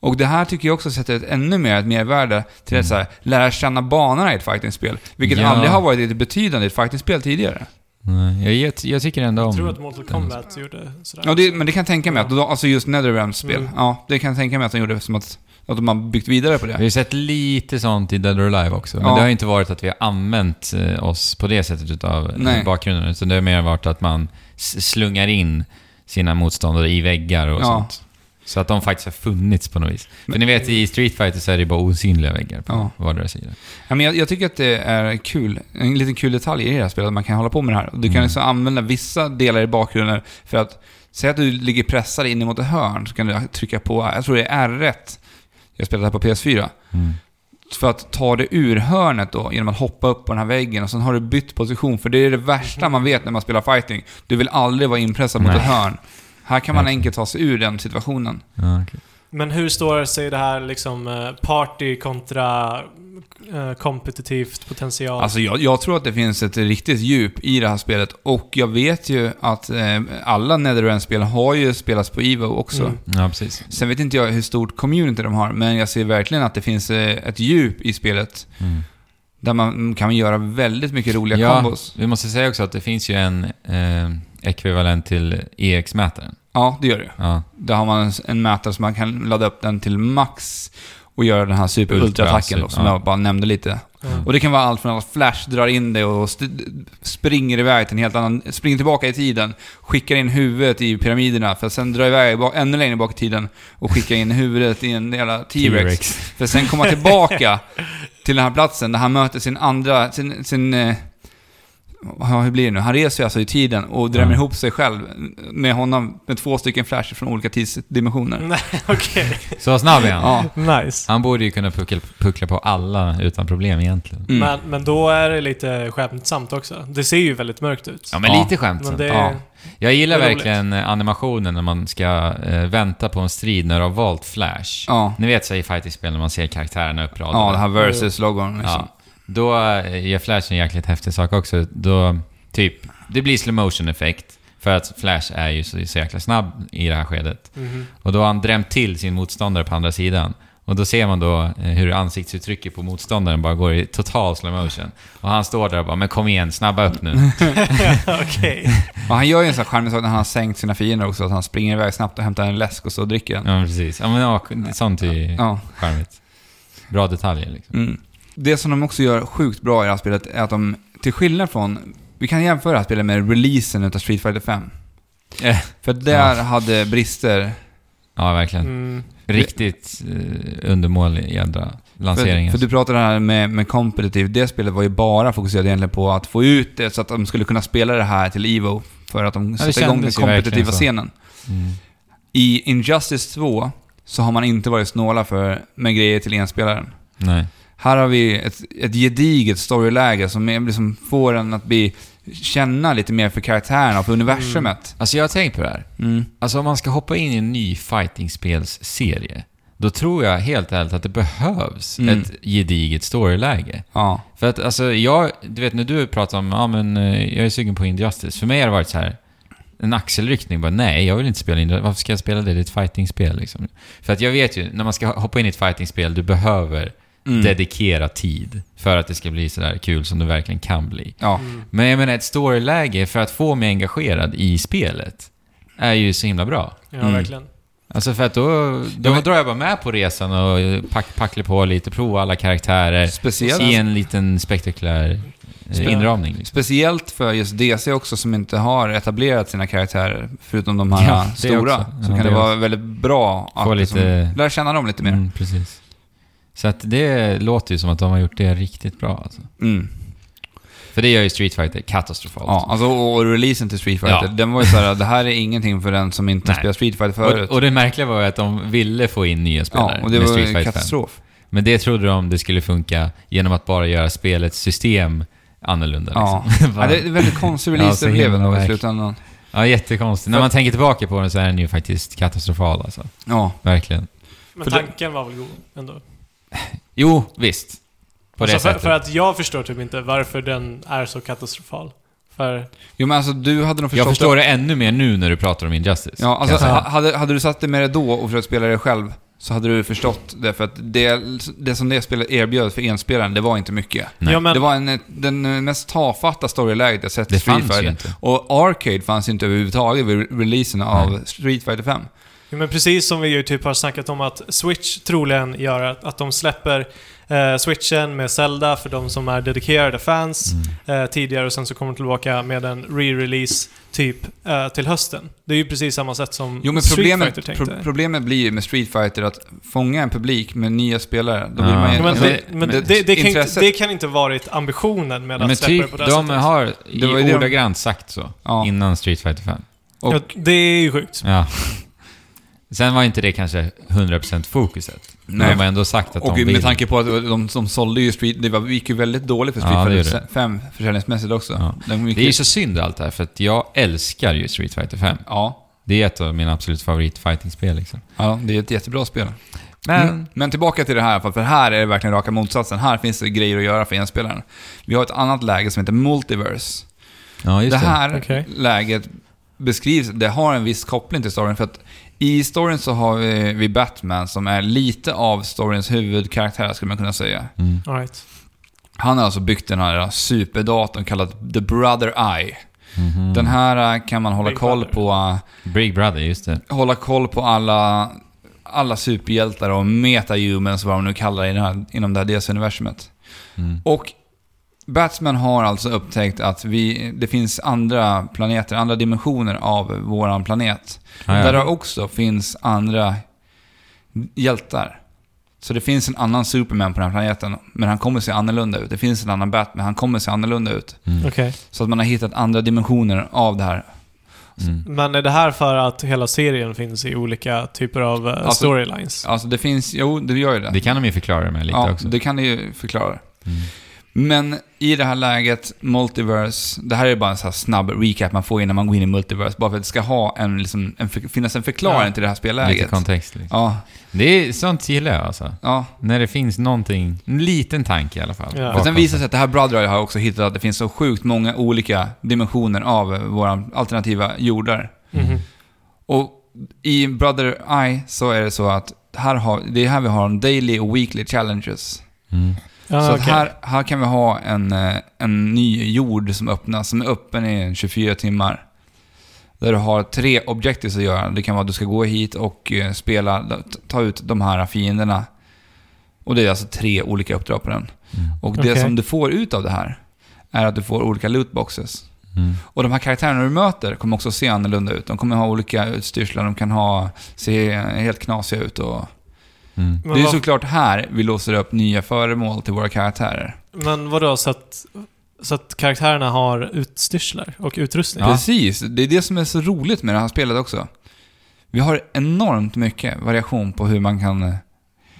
B: Och det här tycker jag också sätter ett ännu mer ett mervärde till att så här, lära känna banorna i ett fightingspel. Vilket
C: Ja.
B: aldrig har varit ett betydande i ett fightingspel tidigare.
C: Nej, jag, jag, jag tycker ändå om...
A: Jag tror att Mortal Kombat gjorde sådär.
B: Ja, det, men det kan jag tänka mig att, alltså just Netherrealms spel,
A: Mm.
B: ja, det kan jag tänka mig att de gjorde som att, att de har byggt vidare på det.
C: Vi har ju sett lite sånt i Dead or Alive också, men
B: Ja.
C: det har ju inte varit att vi har använt eh, oss på det sättet utav
B: Nej.
C: Nej. bakgrunden, utan det har mer varit att man s- slungar in sina motståndare i väggar och
B: Ja.
C: sånt. Så att de faktiskt har funnits på något vis. För ni vet, i Street Fighter så är det ju bara osynliga väggar på
B: Ja.
C: vardera sida.
B: Ja, men jag, jag tycker att det är kul. En liten kul detalj i det här spelet, att man kan hålla på med det här. Du kan liksom använda vissa delar i bakgrunden för att, säg att du ligger pressad in mot ett hörn, så kan du trycka på, jag tror det är R1, jag spelade det här på PS4,
C: Mm.
B: för att ta dig ur hörnet då genom att hoppa upp på den här väggen och sen har du bytt position, för det är det värsta man vet när man spelar fighting. Du vill aldrig vara inpressad mot
C: Nej.
B: ett hörn. Här kan man
C: Verkligen.
B: enkelt ta sig ur den situationen.
C: Ja, okej.
A: Men hur står sig det här liksom eh, party kontra eh, kompetitivt potential?
B: Alltså jag, jag tror att det finns ett riktigt djup i det här spelet och jag vet ju att eh, alla Netherrealm-spel har ju spelats på Evo också.
A: Mm.
C: ja precis.
B: Sen vet inte jag hur stort community de har, men jag ser verkligen att det finns eh, ett djup i spelet.
C: Mm.
B: Där man kan göra väldigt mycket roliga
C: Ja.
B: kombos.
C: Vi måste säga också att det finns ju en eh, ekvivalent till EX-mätaren.
B: Ja, det gör det.
C: Ja.
B: Där har man en, en mätare som man kan ladda upp den till max och göra den här super-ultra-attacken då,
C: Ultra,
B: som
C: ja.
B: jag bara nämnde lite.
A: Mm.
B: Och det kan vara allt från att Flash drar in dig och st- springer iväg till en helt annan... Springer tillbaka i tiden, skickar in huvudet i pyramiderna för att sen dra iväg ba- ännu längre bak i tiden och skicka in huvudet i en jävla T-Rex. För att sen komma tillbaka till den här platsen där han möter sin andra, sin, sin eh, ja, hur blir det nu? Han reser ju alltså i tiden och drämmer
C: Ja.
B: ihop sig själv med honom, med två stycken flasher från olika tidsdimensioner.
A: Nej, okej.
C: Så snabb är han.
B: Ja.
A: Nice.
C: Han borde ju kunna puckla, puckla på alla utan problem egentligen.
B: Mm.
A: Men, men då är det lite skämtsamt också. Det ser ju väldigt mörkt ut.
C: Ja, men
B: Ja.
C: lite skämt.
A: men det...
B: ja.
C: Jag gillar
A: det är roligt.
C: verkligen eh, animationen när man ska eh, vänta på en strid när du har valt Flash.
B: Ja.
C: Ni vet så i fighting-spel när man ser karaktärerna uppradade.
B: ja, det här versus-logon liksom.
C: Ja. Då eh, gör Flash en jäkligt häftig sak också. Då, typ, det blir slow motion effekt för att Flash är ju så, så jäkla snabb i det här skedet.
A: Mhm.
C: Och då har han drämt till sin motståndare på andra sidan. Och då ser man då eh, hur ansiktsuttrycket på motståndaren bara går i total slow motion. Och han står där och bara “Men kom igen, snabba upp nu”.
A: Okej.
B: Och han gör ju en sån här charmig sak när han har sänkt sina fiender också, att han springer iväg snabbt och hämtar en läsk och så dricker en.
C: Ja, men precis. Ja, men, ja, sånt är ju
B: Ja.
C: charmigt. Bra detaljer liksom.
B: Mm. Det som de också gör sjukt bra i det här spelet är att de, till skillnad från, vi kan jämföra det här spelet med releasen utav Street Fighter 5.
C: Eh.
B: För där hade brister.
C: Ja, verkligen.
A: Mm.
C: Riktigt eh, undermålig jädra
B: För,
C: lansering.
B: för
C: alltså.
B: du pratade här med, med competitive, det spelet var ju bara fokuserat egentligen på att få ut det så att de skulle kunna spela det här till Evo för att de
C: det
B: sätter igång den
C: kändes ju verkligen
B: kompetitiva
C: så.
B: scenen.
C: Mm.
B: I Injustice 2 så har man inte varit snåla för, med grejer till enspelaren.
C: Nej.
B: Här har vi ett, ett gediget storyläge som är, liksom får en att bli, känna lite mer för karaktärerna och för universumet.
C: Alltså jag har tänkt på det här.
B: Mm.
C: Alltså om man ska hoppa in i en ny fightingspelsserie, då tror jag helt ärligt att det behövs
B: Mm.
C: ett gediget storyläge.
B: Ja.
C: För att alltså jag, du vet när du pratar om, ja men eh, jag är sugen på Injustice. För mig har det varit så här en axelryckning bara, nej jag vill inte spela Injustice. Varför ska jag spela det? Det är ett fightingspel liksom. För att jag vet ju, när man ska hoppa in i ett fightingspel, du behöver
B: Mm.
C: dedikera tid för att det ska bli sådär kul som det verkligen kan bli.
B: ja.
A: Mm.
C: Men jag menar, ett storyläge för att få mig engagerad i spelet är ju så himla bra.
A: Ja,
B: Mm.
A: verkligen.
C: Alltså för att då, då
B: Ja, men-
C: drar jag bara med på resan och pack, packlar på lite, provar alla karaktärer i
B: Speciellt,
C: en liten spektakulär
A: Spel.
C: eh, inramning. Liksom.
B: speciellt för just DC också som inte har etablerat sina karaktärer, förutom de här
C: Ja, det
B: stora.
C: också.
B: Så
C: Ja,
B: kan det,
C: det
B: vara väldigt bra att
C: Få
B: liksom
C: lite-
B: lära känna dem lite mer. Mm.
C: Mm, precis. Så att det låter ju som att de har gjort det riktigt bra alltså. För det gör ju Street Fighter katastrofalt.
B: Mm. Ja, alltså, och, och releasen till Street Fighter,
C: Ja.
B: den var ju såhär, det här är ingenting för den som inte
C: Nej.
B: spelar Street Fighter förut.
C: och, och det märkliga var ju att de ville få in nya spelare
B: ja, och det
C: med
B: var
C: Street
B: ju
C: Fighter 5.
B: katastrof.
C: Men det trodde de det skulle funka genom att bara göra spelets system annorlunda.
B: Ja.
C: Liksom.
B: Ja, det är en väldigt konstig
C: Ja, så
B: release det blev
C: himla
B: ändå i
C: verk-
B: slutändan.
C: ja, jättekonstigt. När man tänker tillbaka på den så är den ju faktiskt katastrofal alltså.
B: Ja.
C: Verkligen.
A: Men
B: För det-
A: tanken var väl god ändå?
C: Jo, visst. På det
A: alltså, för,
C: sättet.
A: för att jag förstår typ inte varför den är så katastrofal. För...
B: Jo men alltså du hade nog förstått
C: jag förstår det ännu mer nu när du pratar om Injustice.
B: Ja, alltså,
C: kan jag säga.
B: ha- hade, hade du satt dig med det då och försökt spela det själv så hade du förstått det. För att det, det som det spelet erbjöd för enspelaren, det var inte mycket.
C: Nej.
A: Ja, men,
B: Det var en, den mest tafatta storyläget jag sett i
C: det
B: Street
C: fanns ju
B: Fighter. Mm.
C: inte.
B: Och Arcade fanns ju inte överhuvudtaget vid re- releasen av Street Fighter
A: Mm.
B: 5.
A: ja, men precis som vi ju typ har snackat om att Switch troligen gör att, att de släpper eh, Switchen med Zelda för de som är dedikerade fans.
C: Mm.
A: eh, tidigare och sen så kommer de tillbaka med en re-release typ eh, till hösten. Det är ju precis samma sätt som
B: Jo men
A: Street
B: problemet,
A: Fighter
B: pro-
A: tänkte.
B: problemet blir ju med Street Fighter att fånga en publik med nya spelare. Då vill
C: Ja.
B: man ju,
A: Ja, men
B: alltså,
A: det, men det, det, kan ju inte,
B: intresset-
A: det kan inte varit ambitionen med
C: Ja,
A: att
C: men
A: släppa det
C: typ,
A: på det här
C: de
A: sättet.
C: har
B: Det var ju det
C: i
B: de-
C: ordagrant sagt så.
B: Ja.
C: Innan Street Fighter 5.
B: och-
A: ja, det är ju sjukt.
C: Ja. Sen var inte det kanske 100% fokuset. Men
B: Nej.
C: de har ändå sagt att
B: Och
C: de vill.
B: med tanke på att de som sålde ju Street, det var- gick ju väldigt dåligt för Street
C: Ja, det gjorde
B: Fighter 5 försäljningsmässigt också.
C: Ja.
B: Den gick
C: Det är ju så synd allt det här, för att jag älskar ju Street Fighter 5.
B: Ja.
C: Det är ett av mina absolut favoritfightingspel liksom.
B: ja, det är ett jättebra spel.
C: Men...
B: Mm. Men tillbaka till det här, för för här är det verkligen raka motsatsen. Här finns det grejer att göra för enspelaren. Vi har ett annat läge som heter Multiverse.
C: Ja, just
B: det
C: det.
B: här
A: Okej.
B: läget beskrivs, det har en viss koppling till storyn. För att i storyn så har vi, vi Batman som är lite av storyns huvudkaraktär, skulle man kunna säga.
C: Mm.
A: All right.
B: Han har alltså byggt den här superdatorn kallad The Brother Eye.
C: Mm.
B: Den här eh, kan man hålla
A: Big
B: koll
A: Brother.
B: på eh,
C: Mm-hmm. Big Brother, just det.
B: hålla koll på alla, alla superhjältar och metahumans, vad de nu kallar det i den här, inom det här DC-universumet.
C: Mm.
B: Och Batsman har alltså upptäckt att vi, det finns andra planeter, andra dimensioner av våran planet.
C: Ah, ja.
B: Där det också finns andra hjältar. Så det finns en annan Superman på den här planeten, men han kommer se annorlunda ut. Det finns en annan Batman, han kommer se annorlunda ut.
A: Okej.
B: Så att man har hittat andra dimensioner av det här.
C: Mm.
A: Men är det här för att hela serien finns i olika typer av eh,
B: Alltså-
A: storylines?
B: Alltså det finns, jo det gör ju det.
C: Det kan de ju förklara med lite
B: ja,
C: också.
B: det kan det ju förklara.
C: Mm.
B: Men i det här läget, Multiverse, det här är bara en så här snabb recap man får innan man går in i Multiverse, bara för att det ska ha en, liksom, en för, finnas en förklaring
A: Ja.
B: till det här
C: Lite
B: spelläget.
C: kontext liksom.
B: Ja,
C: Det är, sånt gillar jag alltså.
B: ja.
C: När det finns någonting, en liten tanke i alla fall.
A: Ja.
C: bakom.
B: Och sen visar det sig att det här Brother Eye har också hittat att det finns så sjukt många olika dimensioner av våra alternativa jordar.
A: Mhm.
B: Och i Brother Eye så är det så att här har, det är här vi har de daily och weekly challenges.
C: Mm.
A: Ja,
B: så att
A: Ah, okej.
B: här, här kan vi ha en, eh, en ny jord som öppnas, som är öppen i 24 timmar. Där du har tre objectives att göra. Det kan vara att du ska gå hit och eh, spela, ta ut de här fienderna. Och det är alltså tre olika uppdrag på den.
C: Mm.
B: Och det
A: Okej.
B: som du får ut av det här är att du får olika lootboxes.
C: Mm.
B: Och de här karaktärerna du möter kommer också se annorlunda ut. De kommer ha olika utstyrslar, de kan ha, se helt knasiga ut och...
C: Mm.
A: Men
B: det är
A: vad-
B: såklart här vi låser upp nya föremål till våra karaktärer.
A: Men vadå, så att, så att karaktärerna har utstyrslar och utrustning?
B: Precis, det är det som är så roligt med det här spelet också. Vi har enormt mycket variation på hur man kan... eh,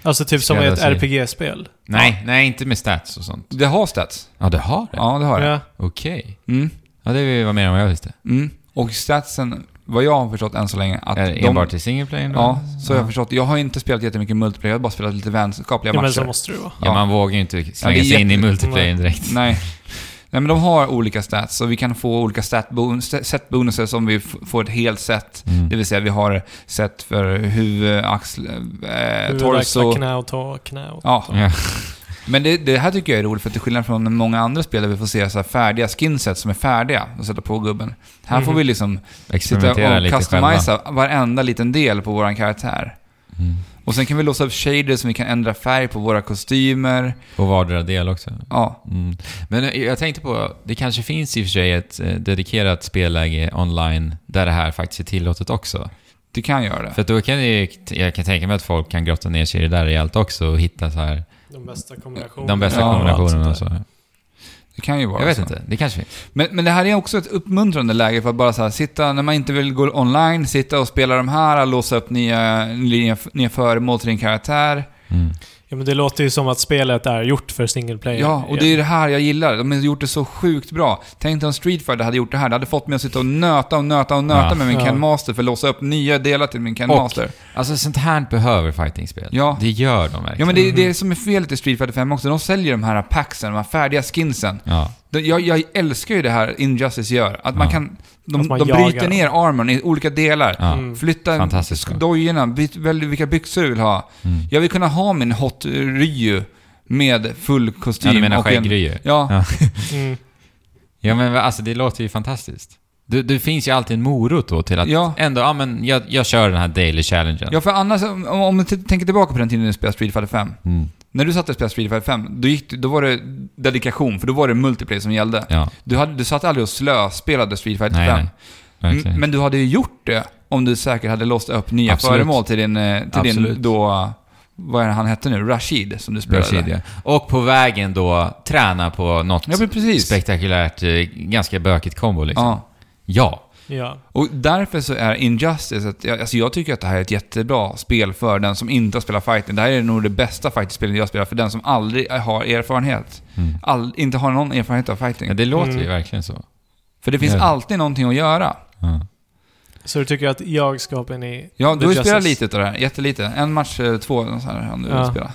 A: Alltså typ som i ett
C: Skräddarsy.
A: RPG-spel?
C: Nej, nej, inte med stats och sånt.
B: Det har stats.
C: Ja, det har det?
B: Ja, det har det.
A: Ja.
C: Okej.
B: Mm.
C: Ja, det var mer än vad jag visste.
B: Mm. Och statsen, vad jag har förstått än så länge, att
C: Är det
B: de...
C: enbart i single player då?
B: Ja, så har jag
C: ja.
B: förstått. Jag har inte spelat jättemycket multiplayer, jag har bara spelat lite vänskapliga
A: Ja, men
B: matcher.
A: så måste det ju vara.
C: ja, man vågar ju inte slänga
B: Ja, det är
C: sig in i
B: jätte-
C: multiplayer direkt.
B: Nej. Nej, men de har olika stats och vi kan få olika stat bonus- set bonuses om vi f- får ett helt set.
C: Mm.
B: Det vill säga vi har set för huvud, axel, eh,
A: Huvud, axlar,
B: torso.
A: knä och tå, knä och...
B: Ja.
C: Ja.
B: Men det, det här tycker jag är roligt för till skillnad från många andra spel där vi får se så här färdiga skinset som är färdiga att sätta på gubben. Här får
A: Mhm.
B: vi liksom sitta
C: Experimentera
B: och
C: lite själva.
B: customisa varenda liten del på vår karaktär.
C: Mm.
B: Och sen kan vi låsa upp shaders som vi kan ändra färg på våra kostymer.
C: På vardera del också.
B: Ja,
C: Mm. Men eh, jag tänkte på, det kanske finns i och för sig ett eh, dedikerat spelläge online där det här faktiskt är tillåtet också.
B: du kan göra det.
C: För att då kan det ju, jag kan tänka mig att folk kan grotta ner sig i det där rejält också och hitta så här,
A: De bästa kombinationerna.
C: de bästa
B: Oh, Ja,
C: kombinationerna
B: alltså.
C: och så.
B: Det kan ju vara
C: Jag vet
B: så.
C: inte, det kanske finns.
B: Men, men det här är också ett uppmuntrande läge för att bara så här, sitta, när man inte vill gå online, sitta och spela de här, låsa upp nya, nya, nya föremål till din karaktär.
C: Mm.
A: Ja, men det låter ju som att spelet är gjort för single player.
B: Ja, och det är det här jag gillar. De har gjort det så sjukt bra. Tänk dig om Street Fighter hade gjort det här. Det hade fått mig att sitta och nöta och nöta och nöta
C: Ja.
B: med min
A: Ja.
B: Ken Master för att låsa upp nya delar till min Ken
C: Och-
B: Master.
C: Alltså sånt här behöver fightingspel.
B: Ja.
C: Det gör de
B: Ja,
C: verkligen.
B: men det är det som är felet i Street Fighter 5 också. De säljer de här packsen, de här färdiga skinsen.
C: Ja.
B: De- Jag, jag älskar ju det här Injustice gör. Att man
C: Ja.
B: kan... De,
A: Att man
B: de
A: jagar
B: bryter
A: dem.
B: ner armorn i olika delar.
C: Ja.
A: Mm.
B: Flytta
C: Fantastiskt bra.
B: dojorna, byt, välj vilka byxor du vill ha.
C: Mm.
B: Jag vill kunna ha min Hot Ryu med full kostym.
C: Ja, du menar
B: och en-
C: skägggryor?
B: Ja,
C: Ja.
A: Mm.
C: Ja men alltså det låter ju fantastiskt. Det, det finns ju alltid en morot då till att
B: Ja.
C: ändå, ja men jag, jag kör den här daily challengen.
B: Ja, för annars, om, om du t- tänker tillbaka på den tiden du spelade Street Fighter 5.
C: Mm.
B: När du satt och spelade Street Fighter 5, då, gick, du- då var det dedikation, för då var det multiplayer som gällde.
C: ja.
B: Du, hade, du satt aldrig och slöspelade Street Fighter
C: Nej,
B: 5.
C: nej. Verkligen.
B: M- Mm, Men du hade ju gjort det om du säkert hade låst upp nya
C: Absolut.
B: föremål till din, eh, till
C: Absolut.
B: din då, vad är det han hette nu, Rashid som du spelade.
C: Rashid, ja. Och på vägen då träna på något
B: Ja, men precis.
C: spektakulärt, eh, ganska bökigt kombo liksom.
B: ja.
C: Ja.
A: Ja.
B: Och därför så är Injustice, ett, jag- alltså jag tycker att det här är ett jättebra spel för den som inte har spelat fighting. Det här är nog det bästa fighting-spelet jag spelar för den som aldrig har erfarenhet.
C: Mm.
B: All, inte har någon erfarenhet av
C: ja,
B: fighting.
C: det låter ju
A: Mm.
C: verkligen så.
B: För det finns
C: Ja.
B: alltid någonting att göra.
C: Ja.
A: Så du tycker att jag ska hoppa in i
B: Ja,
A: The
B: du har ju spelat
A: Justice?
B: lite utav det här. Jättelite. En match, eh, två, så här, hann du
A: Ja.
B: spela.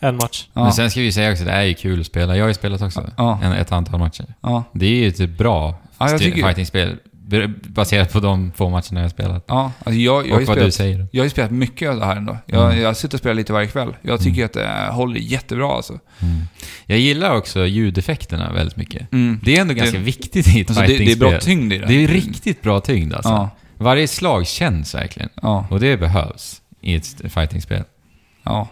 A: en match?
B: Ja.
C: Men sen ska vi ju säga också, det är ju kul att spela. Jag har ju spelat också.
B: Ja.
C: En, ett antal matcher.
B: ja.
C: Det är ju ett bra
B: Ja, jag
C: st-
B: tycker-
C: fightingspel b- baserat på de få matcherna jag spelat.
B: Ja, alltså jag, jag, har
C: och
B: ju
C: vad
B: spelat,
C: du säger.
B: jag har ju spelat mycket av det här ändå. Jag,
C: Mm.
B: jag sitter och spelar lite varje kväll. Jag tycker att det håller jättebra alltså.
C: Mm. Jag gillar också ljudeffekterna väldigt mycket.
B: Mm.
C: Det är ändå ganska viktigt i ett
B: alltså det, det är
C: fightingspel.
B: bra tyngd i det.
C: Det är riktigt bra tyngd alltså.
B: Ja,
C: Varje slag känns verkligen.
B: ja,
C: Och det behövs i ett fightingspel.
B: ja.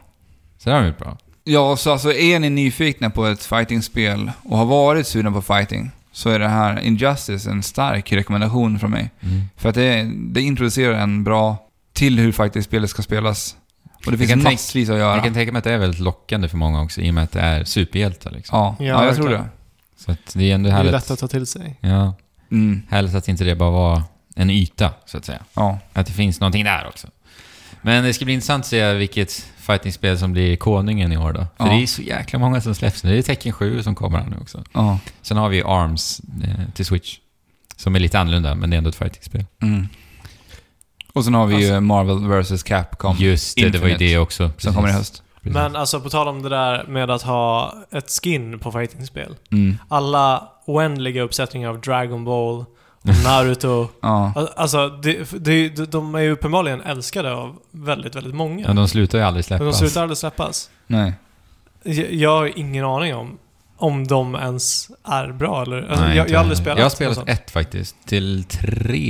C: Så det har de gjort bra.
B: Ja, så alltså är ni nyfikna på ett fightingspel och har varit sugna på fighting så är det här Injustice en stark rekommendation från mig.
C: Mm.
B: För att det, det introducerar en bra till hur fightingspelet ska spelas. Och det
C: Jag
B: finns
C: kan tänk-
B: massvis att göra.
C: Jag kan tänka mig att det är väldigt lockande för många också i och med att det är superhjältar liksom.
B: Ja, ja,
A: Ja,
B: jag tror
A: verkligen.
B: det.
C: Så att det är ändå
A: Det är ju
C: härligt.
A: lätt att ta till sig.
C: Ja,
B: Mm,
C: härligt att inte det bara var en yta, så att säga.
B: ja.
C: Att det finns någonting där också. Men det ska bli intressant att se vilket fightingspel som blir konungen i år då. För
B: Ja.
C: det är så jäkla många som släpps nu. Det är Tekken 7 som kommer här nu också.
B: ja.
C: Sen har vi Arms eh, till Switch. Som är lite annorlunda, men det är ändå ett fightingspel.
B: Mm. Och sen har vi ju Marvel vs Capcom
C: Alltså- Just det, det var ju
B: Infinite,
C: det också. Precis.
B: som kommer i höst.
C: Precis.
A: Men alltså på tal om det där med att ha ett skin på fightingspel.
B: Mm.
A: Alla oändliga uppsättningar av Dragon Ball, och Naruto.
B: Ja.
A: Al- Alltså, det, det, de- de är ju uppenbarligen älskade av väldigt, väldigt många.
C: Ja, de slutar ju aldrig släppas.
A: Men de slutar aldrig släppas.
B: Nej.
A: Jag, jag har ingen aning om om de ens är bra eller... Alltså,
C: Nej,
A: jag,
C: inte
A: jag har aldrig
C: heller.
A: spelat
C: Jag har
A: något
C: spelat
A: sånt.
C: ett faktiskt. Till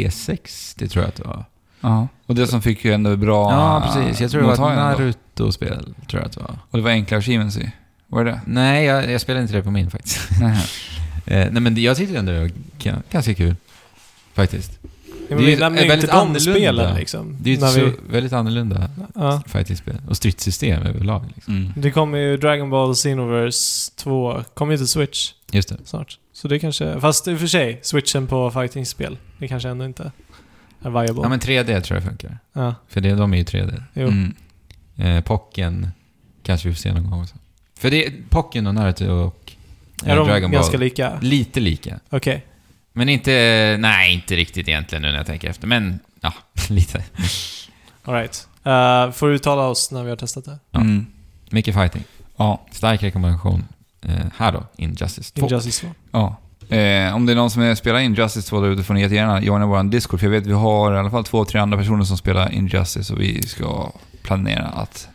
C: 360 tror jag att det var.
B: Ja. Och det som fick ju ändå bra
C: Ja, precis. Jag tror det var ett
B: mottagande då.
C: Naruto-spel, tror jag att det var.
B: Och det var enkla achievements i. Var det det?
C: Nej, jag, jag spelade inte det på min faktiskt.
B: Nej.
C: Eh, nej, men det- jag tyckte ändå det var ga- ganska kul. Faktiskt.
A: Ja,
C: det
A: men
C: är
A: vi
C: ju-
A: nämner
C: är
A: ju inte
C: väldigt
A: de
C: annorlunda.
A: spelen liksom.
C: Det är ju
A: när
C: ett så
A: vi,
C: väldigt annorlunda
A: ja.
C: fighting-spel. Och stridssystem överlag. Liksom.
B: Mm.
A: Det kommer ju Dragon Ball Xenoverse 2, kommer ju till Switch
C: Just det.
A: snart. Så det kanske... Fast i och för sig, switchen på fighting-spel, det kanske ändå inte är viable.
C: Ja, men 3D tror jag funkar.
A: Ja,
C: För det, de är ju 3D.
A: jo.
B: Mm.
C: Eh, Pocken kanske vi får se någon gång också. För det är Pocken och Naruto och eh,
A: Är de
C: Dragon Ball.
A: ganska lika?
C: Lite lika.
A: Okej.
C: Men inte... Nej, inte riktigt egentligen nu när jag tänker efter. Men ja, lite.
A: Alright. Uh, får uttala oss när vi har testat det.
C: Ja.
B: Mm.
C: Mycket fighting.
B: Ja.
C: Stark rekommendation. Eh, här då, Injustice 2.
A: Injustice 2.
B: Ja. Eh, om det är någon som eh, spelar Injustice 2 där ute får ni jättegärna joina vår Discord. För jag vet vi har i alla fall två, tre andra personer som spelar Injustice och vi ska planera att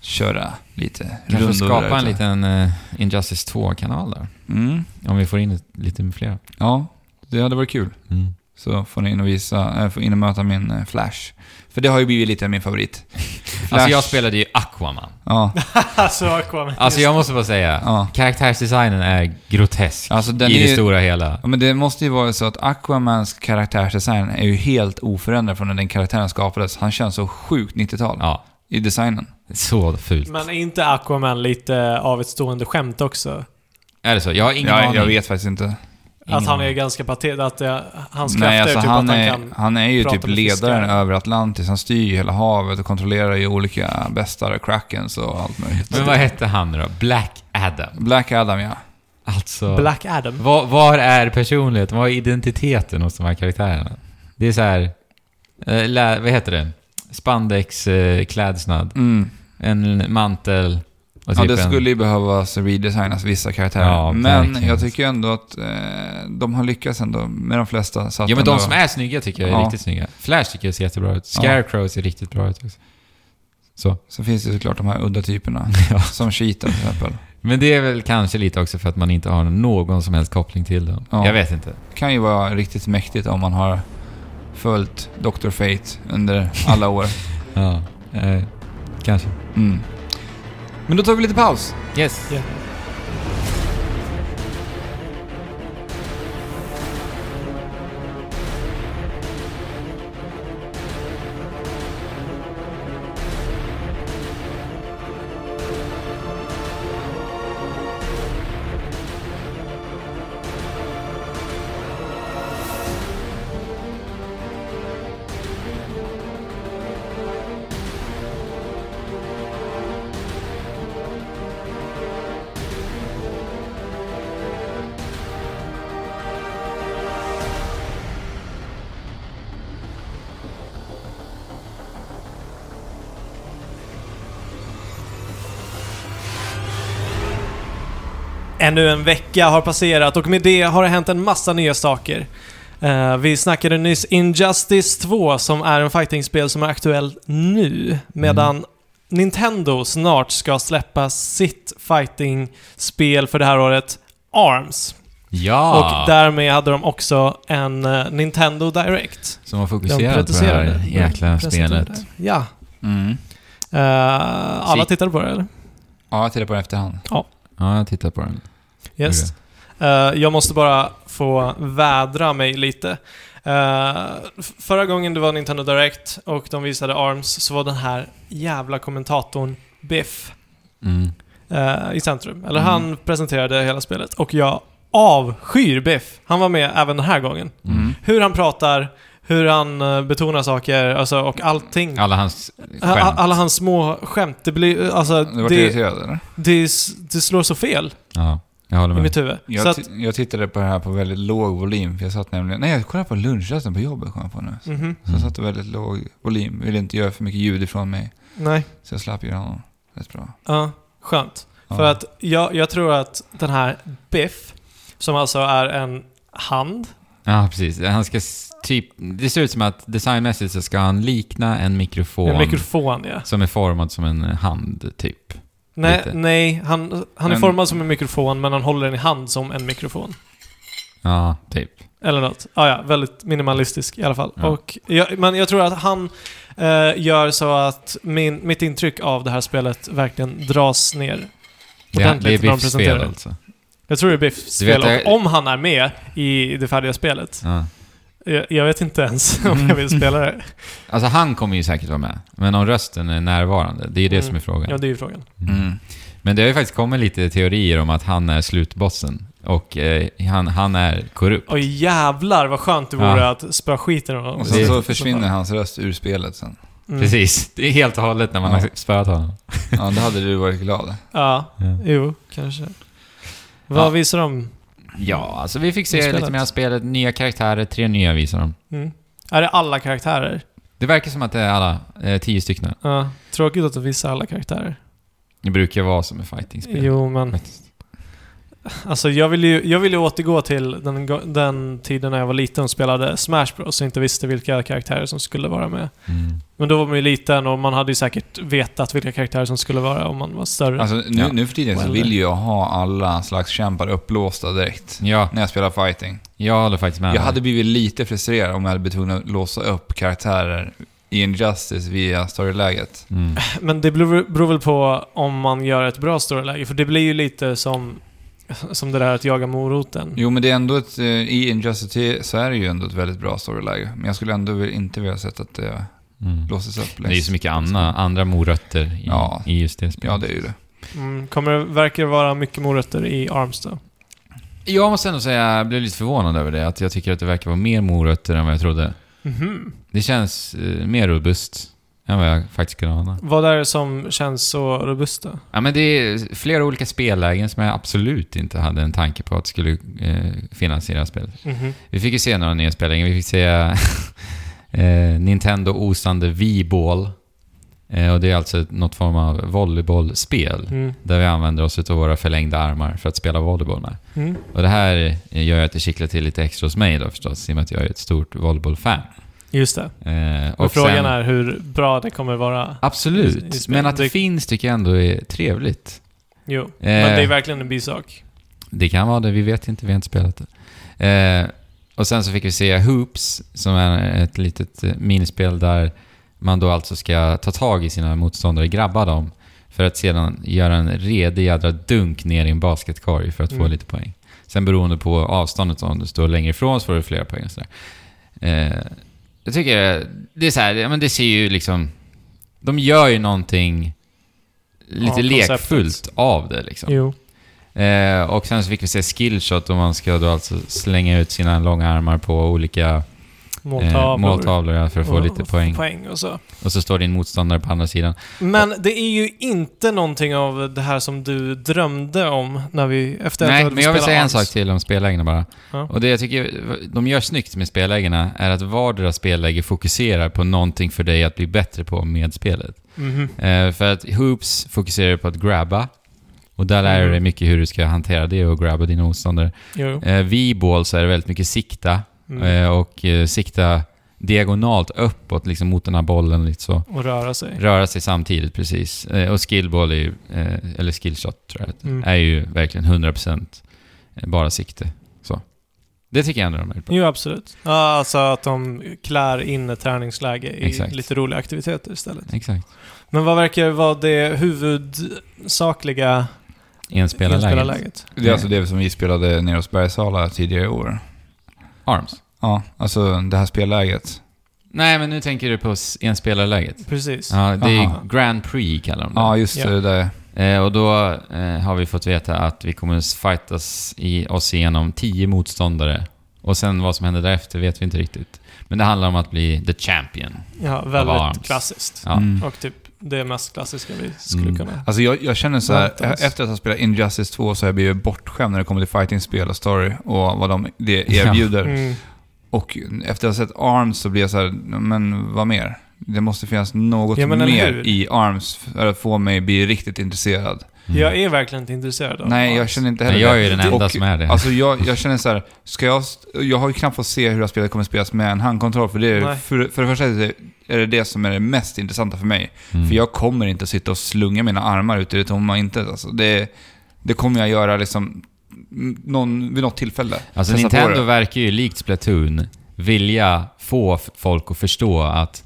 B: köra lite
C: Kanske
B: rundor där
C: skapa en
B: ute.
C: liten eh, Injustice 2-kanal där.
B: Mm.
C: Om vi får in ett, lite med fler.
B: Ja, det hade varit kul.
C: Mm.
B: Så får ni in och, visa, eh, får in och möta min eh, Flash. För det har ju blivit lite min favorit. Flash.
C: Alltså jag spelade ju Aquaman.
B: Ja,
A: alltså, Aquaman.
C: Alltså jag måste bara säga,
B: Ja.
C: karaktärsdesignen är grotesk
B: alltså den
C: i
B: är
C: det
B: ju,
C: stora hela.
B: Ja, men det måste ju vara så att Aquamans karaktärsdesign är ju helt oförändrad från när den karaktären skapades. Han känns så sjukt 90-tal
C: Ja,
B: i designen.
C: så fult.
A: Men är inte Aquaman lite av ett stående skämt också?
C: Är det så? Jag har ingen
B: Jag,
C: aning.
B: jag vet faktiskt inte.
A: att
C: Ingen
A: Alltså, han är
C: aning.
A: ganska patetisk, att det, hans
B: Nej,
A: krafter
B: alltså
A: är typ
B: han,
A: att han
B: är,
A: kan...
B: han är ju
A: prata
B: typ
A: med fiskar.
B: ledaren över Atlantis. Han styr ju hela havet och kontrollerar ju olika bestar och krakens och allt möjligt.
C: Men vad hette han då? Black Adam.
B: Black Adam, ja.
C: Alltså...
A: Black Adam.
C: Var, var är personligheten? Var är identiteten hos de här karaktärerna? Det är så här... Eh, lä, vad heter det? Spandex eh, klädsnad.
B: Mm.
C: En mantel. Och
B: ja
C: typ
B: det
C: en-
B: skulle ju behövas redesignas vissa karaktärer.
C: Ja,
B: men
C: verkligen.
B: jag tycker ändå att eh, de har lyckats ändå med de flesta. Så att
C: Ja men de
B: ändå-
C: som är snygga tycker jag är
B: Ja.
C: riktigt snygga. Flash tycker jag ser jättebra ut. Scarecrow ser riktigt bra ut också. Så.
B: Så finns det såklart de här udda typerna. Som Cheetah till exempel.
C: Men det är väl kanske lite också för att man inte har någon som helst koppling till dem.
B: Ja.
C: Jag vet inte.
B: Kan ju vara riktigt mäktigt om man har följt Dr. Fate under alla år.
C: Ja. Eh, kanske.
B: Mm. Men då tar vi lite paus.
C: Yes.
A: Ja. Ännu en vecka har passerat och med det har det hänt en massa nya saker. Eh, vi snackade nyss Injustice 2 som är en fightingspel som är aktuell nu. Medan Nintendo snart ska släppa sitt fightingspel för det här året, ARMS.
C: Ja!
A: Och därmed hade de också en eh, Nintendo Direct.
C: som har
A: De
C: fokuserat på det
A: producerade-
C: här jäkla
A: presenterade.
C: spelet.
A: Ja.
B: Mm.
A: Eh, alla
B: Sick.
A: tittade på det eller?
B: Ja, jag tittar på det i efterhand.
C: Ja, jag tittar på den.
A: Yes. Eh, jag måste bara få vädra mig lite. Eh, f- förra gången det var Nintendo Direct och de visade ARMS så var den här jävla kommentatorn Biff
C: Mm.
A: eh, i centrum. Eller
B: Mm.
A: han presenterade hela spelet och jag avskyr Biff. Han var med även den här gången.
C: Mm.
A: Hur han pratar, hur han eh, betonar saker alltså, och allting.
C: Alla hans
A: A- a-
C: skämt.
A: Alla hans små skämt. Det blir... Alltså,
B: Du vart
A: det,
B: irriterad eller?
A: det, s- det slår så fel
C: Ja, jag håller
A: i
C: med.
A: mitt huvud.
B: Jag,
A: Så att,
B: ti- jag tittade på det här på väldigt låg volym. För jag satt nämligen... Nej, jag kollade på lunchrasten på jobbet kom jag på nu.
A: mhm,
C: Mm.
B: Så jag satt på väldigt låg volym. Ville inte göra för mycket ljud ifrån mig.
A: nej.
B: Så jag slapp göra honom rätt bra.
A: Ja, skönt.
B: Ja.
A: För att jag, jag tror att den här Biff, som alltså är en hand.
C: Ja, precis. Han ska s- typ... Det ser ut som att designmässigt så ska han likna en mikrofon,
A: En mikrofon ja.
C: som är formad som en hand, typ.
A: Nej,
C: Lite.
A: nej han, han är
B: Men-
A: formad som en mikrofon men han håller den i hand som en mikrofon.
C: Ja, typ.
A: Eller något. Ah, ja, väldigt minimalistisk i alla fall.
C: Ja.
A: Och jag, men jag tror att han eh, gör så att min, mitt intryck av det här spelet verkligen dras ner.
C: Det, är-
A: Ordentligt
C: det är
A: när de
C: Biffs
A: presenterar
C: spel
A: det.
C: alltså.
A: Jag tror det är Biffs
C: Du vet,
A: spel.
C: jag-
A: Och om han är med i det färdiga spelet.
C: Ja.
A: Jag, jag vet inte ens om jag vill spela det.
C: Alltså han kommer ju säkert vara med, men om rösten är närvarande, det är ju det
A: Mm.
C: som är frågan.
A: Ja, det är ju frågan.
B: Mm.
C: Men det har ju faktiskt kommit lite teorier om att han är slutbossen och eh, han, han är korrupt.
A: Oj jävlar vad skönt det vore
C: Ja.
A: att spöa skiten ur honom.
B: Och sen
C: Det-
B: så försvinner hans röst ur spelet sen.
A: Mm.
C: Precis, det är helt och hållet när man
B: Ja.
C: har spöat honom.
B: Ja, då hade du varit glad.
A: Ja,
C: Ja.
A: jo, kanske. Vad
C: Ja.
A: visar de?
C: Ja, alltså vi fick se
A: Det är
C: lite
A: spelet.
C: mer av spelet, nya karaktärer, tre nya visar de.
A: Mm. Är det alla karaktärer?
C: Det verkar som att det är alla, eh, tio stycken.
A: Ja. Tråkigt att de visar alla karaktärer.
C: Det brukar ju vara som ett fightingspel.
A: Jo, men...
C: Faktiskt.
A: Alltså, jag vill ju, jag vill ju återgå till den, go- den tiden när jag var liten och spelade Smash Bros och inte visste vilka karaktärer som skulle vara med.
C: Mm.
A: Men då var man ju liten och man hade ju säkert vetat vilka karaktärer som skulle vara om man var större.
B: Alltså, nu,
C: Ja.
B: nu för tiden så
A: Well.
B: vill ju jag ha alla slags kämpar uppblåsta direkt.
C: Ja,
B: När jag spelar fighting.
C: jag håller faktiskt med.
B: Jag hade blivit lite frustrerad om jag hade blivit tvungen att låsa upp karaktärer i Injustice via storyläget.
C: Mm.
A: Men det beror, beror väl på om man gör ett bra storyläge, för det blir ju lite som, som det där att jaga moroten.
B: Jo, men det är ändå ett... eh, I Injustice så är det ju ändå ett väldigt bra storyläge. Men jag skulle ändå vill- inte vilja sett att det
C: Mm.
B: låses upp
C: Det är ju så mycket andra, andra morötter i,
B: Ja.
C: i just det spelet.
B: Ja, det är ju det.
A: Mm, kommer det, verkar det vara mycket morötter i Arms då?
C: Jag måste ändå säga, jag blev lite förvånad över det. Att jag tycker att det verkar vara mer morötter än vad jag trodde.
A: Mhm.
C: Det känns eh, mer robust än vad jag faktiskt kunde ana.
A: Vad är det som känns så robust då?
C: Ja, men det är flera olika spellägen som jag absolut inte hade en tanke på att skulle eh, finnas i det här spelet.
A: Mhm.
C: Vi fick ju se några nya spellägen. Vi fick se eh, Nintendo osande V-ball. Eh, och det är alltså något form av volleybollspel
A: Mm.
C: där vi använder oss av våra förlängda armar för att spela volleyboll med.
A: Mm.
C: Och det här eh, gör ju att det kicklar till lite extra hos mig då förstås, i och med att jag är ett stort volleybollfan.
A: Just det.
C: Eh,
A: Och, frågan
C: sen-
A: är hur bra det kommer vara. i- i
C: Absolut,
A: spel.
C: men att det
A: Det-
C: finns tycker jag ändå är trevligt.
A: Jo, men det är
C: Eh.
A: verkligen en bisak.
C: Det kan vara det, vi vet inte, vi har inte spelat det. Eh, och sen så fick vi se Hoops, som är ett litet eh, minispel där man då alltså ska ta tag i sina motståndare, grabba dem, för att sedan göra en redig jädra dunk ner i en basketkorg för att få
A: Mm.
C: lite poäng. Sen beroende på avståndet, om du står längre ifrån så får du fler poäng och sådär. Eh, jag tycker eh, det är så här, ja, men det ser ju liksom... De gör ju någonting lite
A: Ja, konceptet.
C: lekfullt av det liksom.
A: Jo.
C: Eh, och sen så fick vi se skillshot och man ska då alltså slänga ut sina långa armar på olika eh,
A: Måltavlor.
C: måltavlor ja, för att få
A: och-
C: lite
A: och
C: poäng.
A: poäng och så.
C: Och så står din motståndare på andra sidan.
A: Men det är ju inte någonting av det här som du drömde om när vi... Efter att du
C: Nej,
A: hade
C: men jag vill
A: spelat
C: säga en
A: Arms.
C: sak till om spellägena bara.
A: Ja.
C: Och det jag tycker de gör snyggt med spellägena är att vardera spelläge fokuserar på någonting för dig att bli bättre på med spelet.
A: Mhm.
C: Eh, för att Hoops fokuserar på att grabba. Och där lär du dig mycket hur du ska hantera det och grabba dina motståndare.
A: Jo.
C: Eh, V-ball så är det väldigt mycket sikta.
A: Mm.
C: eh, och eh, sikta diagonalt uppåt liksom mot den här bollen lite så.
A: Och röra sig.
C: Röra sig samtidigt, precis. Eh, och skillball är ju, eh, eller skillshot tror jag det heter,
A: Mm.
C: är ju verkligen 100% bara sikte. Så. Det tycker jag ändå de är bra.
A: Jo, absolut. Ja, alltså att de klär in ett träningsläge i
C: Exakt.
A: lite roliga aktiviteter istället.
C: Exakt.
A: Men vad verkar vara det huvudsakliga
C: Enspelarläget.
A: inspelarläget?
B: Det är alltså det som vi spelade nere hos Bergsala tidigare i år.
C: Arms.
B: Ja, alltså det här spelläget.
C: Nej, men nu tänker du på s- enspelarläget.
A: Precis.
C: Ja, det är
B: Aha.
C: Grand Prix kallar de det.
B: Ja, just
A: Ja.
B: det. det där.
C: Eh, och då eh, har vi fått veta att vi kommer att fightas i, oss igenom tio motståndare. Och sen vad som händer därefter vet vi inte riktigt. Men det handlar om att bli the champion.
A: Ja,
C: Alarms.
A: väldigt klassiskt.
C: Ja.
B: Mm.
A: Och typ det mest klassiska vi skulle
C: Mm.
A: kunna...
B: Alltså jag, jag känner så här,
A: Väntas.
B: efter att ha spelat Injustice 2 så har jag blivit bortskämd när det kommer till fighting-spel och story och vad de det erbjuder.
A: Mm.
B: Och efter att ha sett ARMS så blir jag så här, men vad mer? Det måste finnas något
A: Ja, men eller
B: mer
A: hur?
B: i ARMS för att få mig bli riktigt intresserad.
C: Mm.
A: Jag är verkligen inte intresserad av
B: Nej, jag
A: Arms.
B: känner inte heller
C: Men jag är ju den enda
B: Och,
C: som är det.
B: Alltså jag, jag känner så här, ska jag... st- Jag har ju knappt fått se hur det här spelet kommer spelas med en handkontroll, för, det är,
A: Nej.
B: för, för det första är det, är det det som är det mest intressanta för mig.
C: Mm.
B: För jag kommer inte sitta och slunga mina armar ut i det tomma intet. Alltså det, det kommer jag göra liksom m- någon, vid något tillfälle.
C: Alltså
B: Testa på
C: Nintendo
B: det.
C: verkar ju likt Splatoon vilja få f- folk att förstå att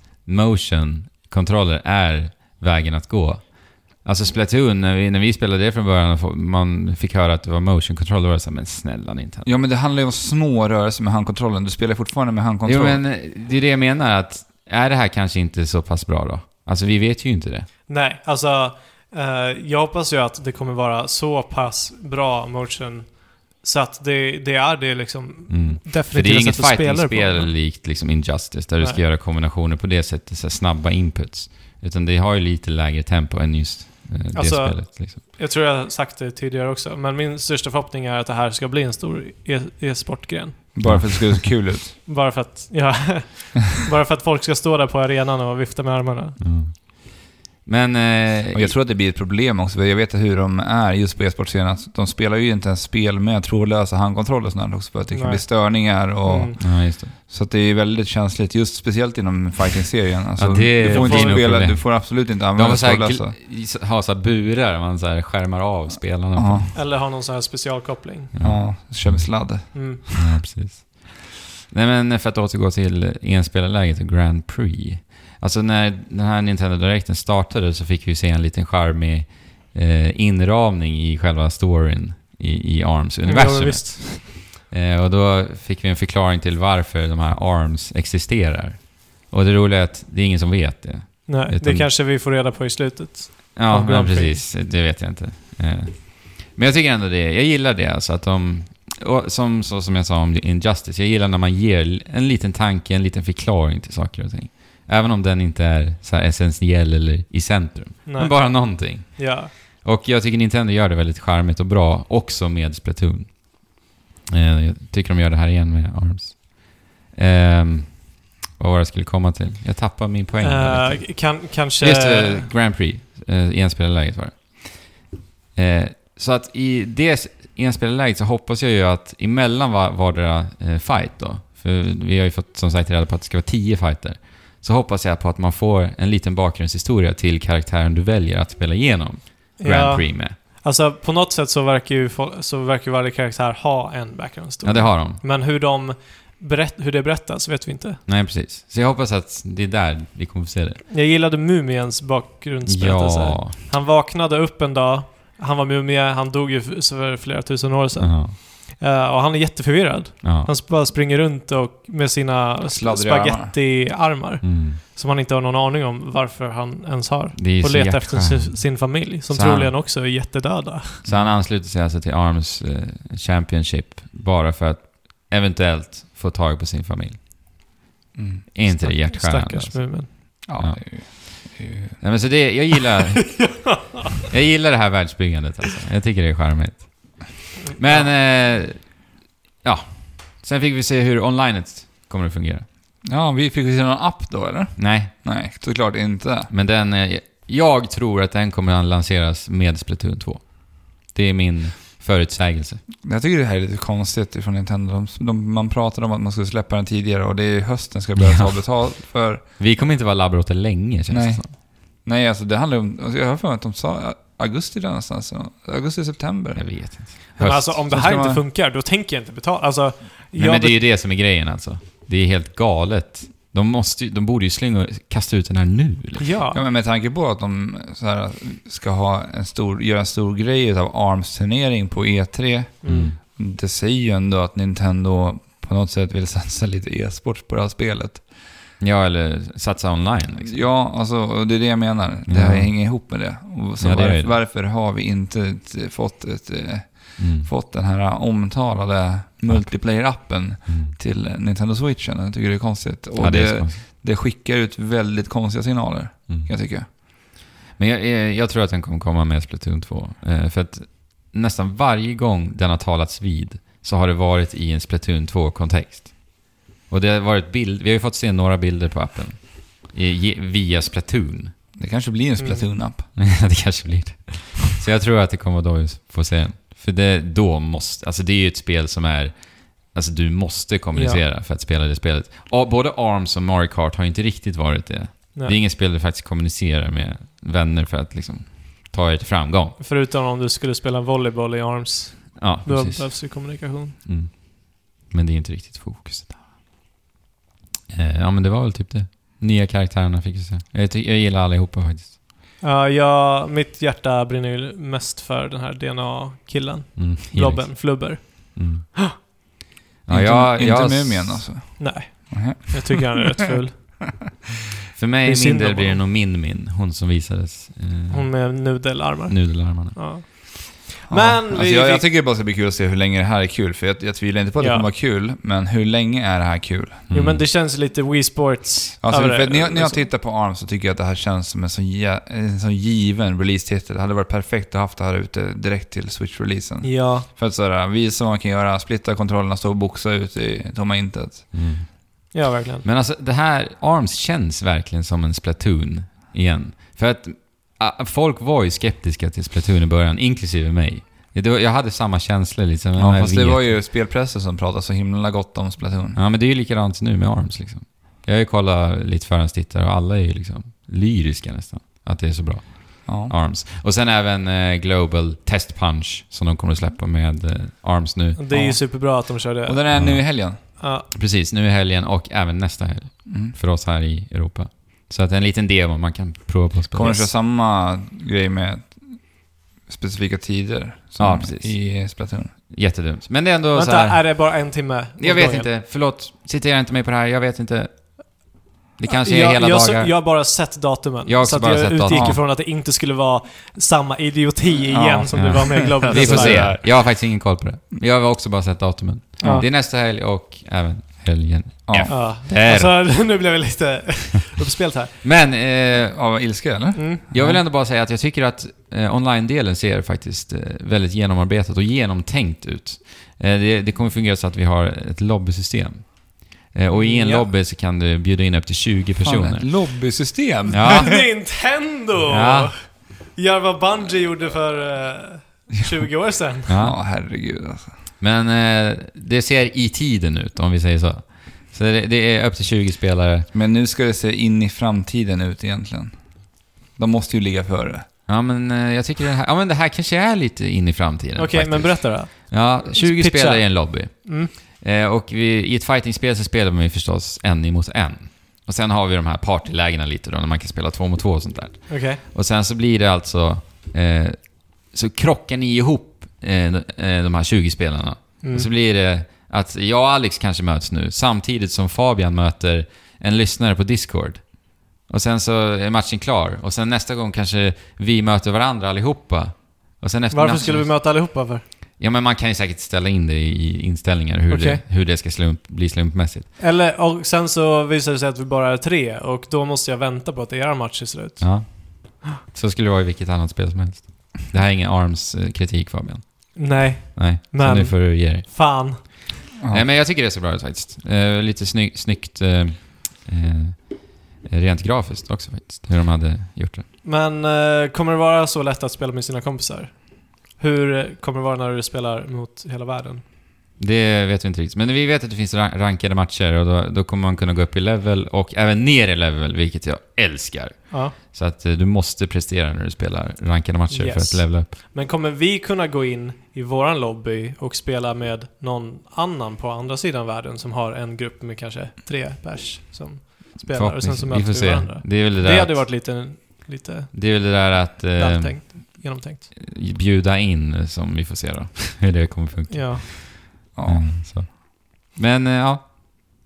C: motion-kontroller är vägen att gå. Alltså Splatoon, när vi, när vi spelade det från början och fo- man fick höra att det var motion-kontroller, då var det såhär, men snälla Nintendo.
B: Ja, men det handlar ju om små rörelser med handkontrollen. Du spelar fortfarande med handkontroll.
C: Jo men eh, det är det jag menar, att är det här kanske inte så pass bra då? Alltså vi vet ju inte det.
A: Nej, alltså eh, jag hoppas ju att det kommer vara så pass bra motion så att det, det är det liksom
C: Mm. För det
A: definitiva
C: är inget
A: sättet att spela det
C: fighting-spel
A: på.
C: likt liksom Injustice, där du ska
A: Nej.
C: göra kombinationer på det sättet, så här snabba inputs. Utan det har ju lite lägre tempo än just eh, det
A: Alltså,
C: spelet. Liksom.
A: Jag tror jag har sagt det tidigare också, men min största förhoppning är att det här ska bli en stor e- e-sportgren.
B: Bara för att det skulle se kul ut.
A: bara, för att, ja, bara för att folk ska stå där på arenan och vifta med armarna.
C: Men... Eh,
B: Och jag tror att det blir ett problem också, för jag vet hur de är just på e-sportscenen. att De spelar ju inte ens spel med trådlösa handkontroller och sånt där också, för att det kan
A: Nej.
B: bli störningar och...
A: Mm.
C: Ja, just det.
B: Så att det är väldigt känsligt, just speciellt inom fighting-serien. Alltså,
C: Ja, det-
B: du får
C: det
B: inte
C: är nog
B: spela,
C: problem.
B: du får absolut inte
C: De har
B: använda
C: så här,
B: trådlösa.
C: gl- har så här burar, man så här skärmar av spelarna.
B: Ja,
A: Eller ha någon sån här specialkoppling.
B: ja, kör med sladd.
A: Mm.
C: Ja, precis. Nej, men för att återgå till enspelarläget och Grand Prix. Alltså när den här Nintendo Directen startade så fick vi ju se en liten charmig eh, inramning i själva storyn i, i Arms
A: Ja,
C: universum.
A: men visst.
C: Eh, och då fick vi en förklaring till varför de här Arms existerar. Och det roliga är att det är ingen som vet det.
A: Nej,
C: Utan-
A: det kanske vi får reda på i slutet.
C: Ja,
A: av
C: men
A: Grand Prix.
C: precis. Det vet jag inte. Eh, Men jag tycker ändå det. Jag gillar det. Alltså att de, och som, så som jag sa om Injustice, jag gillar när man ger l- en liten tanke, en liten förklaring till saker och ting. Även om den inte är så här essentiell eller i centrum.
A: Nej.
C: Men bara någonting.
A: Ja.
C: Och jag tycker Nintendo gör det väldigt charmigt och bra, också med Splatoon. Eh, Jag tycker de gör det här igen med ARMS. Ehm, vad var det jag skulle komma till? Jag tappar min poäng. här lite.
A: Eh, kan, kanske...
C: Just det, Grand Prix. Eh, enspelarläget var det. Eh, så att i det enspelarläget så hoppas jag ju att emellan var, vardera eh, fight då, för vi har ju fått som sagt reda på att det ska vara tio fighter, så hoppas jag på att man får en liten bakgrundshistoria till karaktären du väljer att spela igenom Grand
A: ja.
C: Prix med.
A: Alltså på något sätt så verkar ju, fol- så verkar varje karaktär ha en background story.
C: Ja, det har de.
A: Men hur, de berätt, hur det berättas vet vi inte.
C: Nej, precis. Så jag hoppas att det är där vi kommer få se det.
A: Jag gillade Mumiens bakgrundsberättelse.
C: Ja.
A: Han vaknade upp en dag, han var mumie, han dog ju f- för flera tusen år sedan.
C: Ja.
A: Eh, och han är jätteförvirrad.
C: ja.
A: Han sp- bara springer runt och med sina
B: Sladdriga armar.
A: spagettiarmar.
C: Mm.
A: Som han inte har någon aning om varför han ens har.
C: Det är ju
A: Och
C: så
A: letar efter
C: hjärtskärande.
A: sin, sin familj, som
C: Så han-
A: troligen också är jättedöda.
C: Så han ansluter sig alltså till Arms eh, Championship bara för att eventuellt få tag på sin familj.
B: Mm.
C: Är inte det
A: Stack-
C: hjärtskärande?
A: Stackars
C: Alltså.
A: Mumin.
B: Ja,
C: Ja.
B: det är ju- det är ju-
C: Nej, men så det, jag gillar... jag gillar det här världsbyggandet alltså. Jag tycker det är charmigt. Men... Eh, ja. Sen fick vi se hur onlinet kommer att fungera.
B: Ja, vi fick ju se någon app då, eller?
C: Nej,
B: Nej, såklart inte.
C: men den... Eh, jag tror att den kommer att lanseras med Splatoon 2. Det är min förutsägelse.
B: Jag tycker det här är lite konstigt ifrån Nintendo. De, de, man pratade om att man skulle släppa den tidigare och det är hösten ska jag börja ta
C: Ja.
B: betalt för.
C: Vi kommer inte vara labbrotter länge känns
B: Nej.
C: det som.
B: Nej, alltså det handlar ju om... Alltså, jag har för mig att de sa augusti där någonstans. Augusti, september.
C: Jag vet inte.
A: Men
C: Höst.
A: alltså om det
B: Så
A: här
B: ska
A: inte
B: man-
A: funkar, då tänker jag inte betala. Alltså,
C: Nej,
A: jag
C: men det är ju det som är grejen alltså. Det är helt galet. De, måste, ju- de borde ju slänga, kasta ut den här nu.
A: bet-
C: Liksom.
A: Ja.
B: Ja, men med tanke på att de så här, ska ha en stor, göra en stor grej av ARMS-turnering på E3.
A: Mm.
B: Det säger ju ändå att Nintendo på något sätt vill satsa lite e-sport på det här spelet.
C: Ja, eller satsa online. Liksom.
B: Ja, alltså och det är det jag menar. Det här
C: Ja.
B: hänger ihop med det. Och så
C: Ja, det gör
B: varför,
C: det.
B: varför har vi inte ett, fått, ett, eh,
C: Mm.
B: fått den här omtalade multiplayer-appen
C: Mm.
B: till Nintendo Switchen? Jag tycker det är konstigt. Och
C: Ja, det är så
B: det,
C: konstigt.
B: det skickar ut väldigt konstiga signaler,
C: Mm.
B: kan jag tycka.
C: Men jag, jag, jag tror att den kommer komma med Splatoon 2. Eh, för att nästan varje gång den har talats vid så har det varit i en Splatoon 2-kontext. Och det har varit bild, vi har ju fått se några bilder på appen. I, ge- via Splatoon.
B: Det kanske blir en
A: Mm.
B: Splatoon-app.
C: det kanske blir det. Så jag tror att det kommer då vi får se den. För det, då måste, alltså det är ju ett spel som är, alltså du måste kommunicera för att spela det spelet. Och både ARMS och Mario Kart har ju inte riktigt varit det. Det är
A: Nej.
C: inget spel du faktiskt kommunicerar med vänner för att liksom ta er till framgång.
A: Förutom om du skulle spela volleyboll i ARMS.
C: Ja,
A: Då
C: precis.
A: behövs ju kommunikation.
C: Mm. Men det är inte riktigt fokuset. Eh, ja, men det var väl typ det. Nya karaktärerna fick vi se. Jag, ty- jag gillar allihopa faktiskt.
A: Ja, jag, mitt hjärta brinner ju mest för den här DNA-killen.
C: Mm,
A: Robben Flubber.
C: Mm.
B: inte
C: jag-
B: inte
C: jag-
B: Mumien alltså.
A: Nej,
B: Nej.
A: jag tycker han är rätt ful. Det är
C: För mig i min
A: synd om
C: del blir det
A: honom.
C: nog min min, hon som visades. Eh,
A: Hon med nudelarmar.
C: Nudelarmarna.
A: Ja.
B: Ja,
A: Men
B: alltså
A: vi
B: jag, jag
A: fick-
B: tycker det bara ska bli kul att se hur länge det här är kul, för jag, jag tvivlar inte på att det
A: Ja.
B: kommer vara kul, men hur länge är det här kul?
A: Jo,
C: Mm.
A: men det känns lite Wii Sports
B: Alltså,
A: över
B: för
A: det.
B: att när, jag, när jag
A: Liksom.
B: tittar på ARM så tycker jag att det här känns som en sån, jä- en sån given release-titel. Det hade varit perfekt att haft det här ute direkt till Switch-releasen.
A: Ja,
B: För att sådär, visa vad man kan göra, splitta kontrollerna, stå och boxa ut i tomma intet.
C: Mm.
A: ja verkligen.
C: Men alltså det här, ARMS känns verkligen som en Splatoon igen. För att ah, folk var ju skeptiska till Splatoon i början, inklusive mig. Det var, jag hade samma känsla liksom. men
B: Ja,
C: jag
B: fast det
C: vet
B: var ju spelpressen som pratade så himla gott om Splatoon.
C: Ja, men det är ju likadant nu med ARMS liksom. Jag har ju kollat lite förhandstittare och alla är ju liksom lyriska nästan. Att det är så bra.
B: Ja.
C: ARMS. Och sen även eh, Global Test Punch som de kommer att släppa med eh, ARMS nu.
A: Det är ju
B: Ja.
A: superbra att de kör
B: Och
A: det.
B: den är nu i helgen.
A: Ja,
C: Precis, nu i helgen och även nästa helg
B: Mm.
C: för oss här i Europa. Så att en liten demo man kan prova på att spela.
B: Kommer det köra samma grej med specifika tider som
C: Ja, precis.
B: i Splatoon?
C: Jättedumt. Men det är ändå så
A: vänta,
C: här.
A: är det bara en timme? åt
C: Jag vet
A: gången?
C: inte, förlåt. Citera inte mig på det här, jag vet inte. Det kanske är
A: jag,
C: hela
A: jag, så-
C: dagar.
A: Jag har bara sett datumen.
C: Jag har också
A: så att
C: bara
A: jag
C: sett
A: utgick
C: datumen.
A: ifrån att det inte skulle vara samma idioti igen
B: Ja,
A: som
C: ja.
A: det var med Global
C: Vi får
A: Design.
C: se. Jag har faktiskt ingen koll på det. Jag har också bara sett datumen.
A: Ja.
C: Det är nästa helg och även helgen.
B: Ja.
A: Ja.
C: Där.
A: Alltså, nu blev jag lite uppspelt här.
C: Men eh,
B: Av ilska eller?
A: Mm.
C: jag vill ändå bara säga att jag tycker att eh, online-delen ser faktiskt eh, väldigt genomarbetat och genomtänkt ut. Eh, det, det kommer fungera så att vi har ett lobbysystem. Eh, och i en
A: Ja.
C: lobby så kan du bjuda in upp till 20
B: Fan, ett
C: personer.
B: lobbysystem?
C: Ja.
A: Nintendo!
C: Ja.
A: Gör vad Bungie gjorde för eh, 20 år sedan.
C: Ja.
B: Ja, herregud alltså.
C: Men eh, det ser i tiden ut, om vi säger så. Så det, det är upp till 20 spelare.
B: Men nu ska det se in i framtiden ut egentligen. De måste ju ligga före.
C: Ja, men eh, jag tycker det här, ja, men det här kanske är lite in i framtiden
A: Okej, men
C: faktiskt.
A: berätta då.
C: Ja, 20
A: Pitcha.
C: spelare i en lobby.
A: Mm.
C: Eh, och vi, i ett fightingspel så spelar man ju förstås en emot en. Och sen har vi de här partylägena lite då, när man kan spela två mot två och sånt där.
A: Okej.
C: Och sen så blir det alltså... Eh, så krockar ni ihop eh, de- eh, de här 20 spelarna.
A: Mm.
C: Och så blir det att jag och Alex kanske möts nu, samtidigt som Fabian möter en lyssnare på Discord. Och sen så är matchen klar. Och sen nästa gång kanske vi möter varandra allihopa. Och sen efter
A: Varför
C: matchen-
A: skulle vi möta allihopa för?
C: Ja, men man kan ju säkert ställa in det i inställningar hur,
A: Okej.
C: det, hur det ska slump, bli slumpmässigt.
A: Eller, och sen så visar det sig att vi bara är tre och då måste jag vänta på att er match är slut.
C: Ja. Så skulle det vara i vilket annat spel som helst. Det här är ingen ARMS-kritik Fabian.
A: Nej,
C: Nej, så
A: Men-
C: nu får du ge dig.
A: fan.
B: Ja.
C: Nej, men jag tycker det ser bra ut faktiskt. Eh, lite sny- snyggt eh, eh, rent grafiskt också faktiskt, hur de hade gjort det.
A: Men eh, kommer det vara så lätt att spela med sina kompisar? Hur kommer det vara när du spelar mot hela världen?
C: Det vet vi inte riktigt. Men vi vet att det finns ra- rankade matcher och då, då kommer man kunna gå upp i level och även ner i level, vilket jag älskar.
A: Ja.
C: Så att eh, du måste prestera när du spelar rankade matcher för
A: Yes.
C: att levela upp.
A: Men kommer vi kunna gå in i våran lobby och spela med någon annan på andra sidan världen som har en grupp med kanske tre pers som spelar och sen så
C: Förhoppningsvis. Vi
A: möter
C: får
A: vi,
C: se.
A: varandra?
C: Det är väl det där
A: Det hade
C: att,
A: varit lite, lite
C: det är väl det där att eh,
A: vältänkt, genomtänkt.
C: bjuda in som vi får se då. Hur det kommer funka.
A: Ja.
B: Ja.
C: Mm, så. Men eh, ja,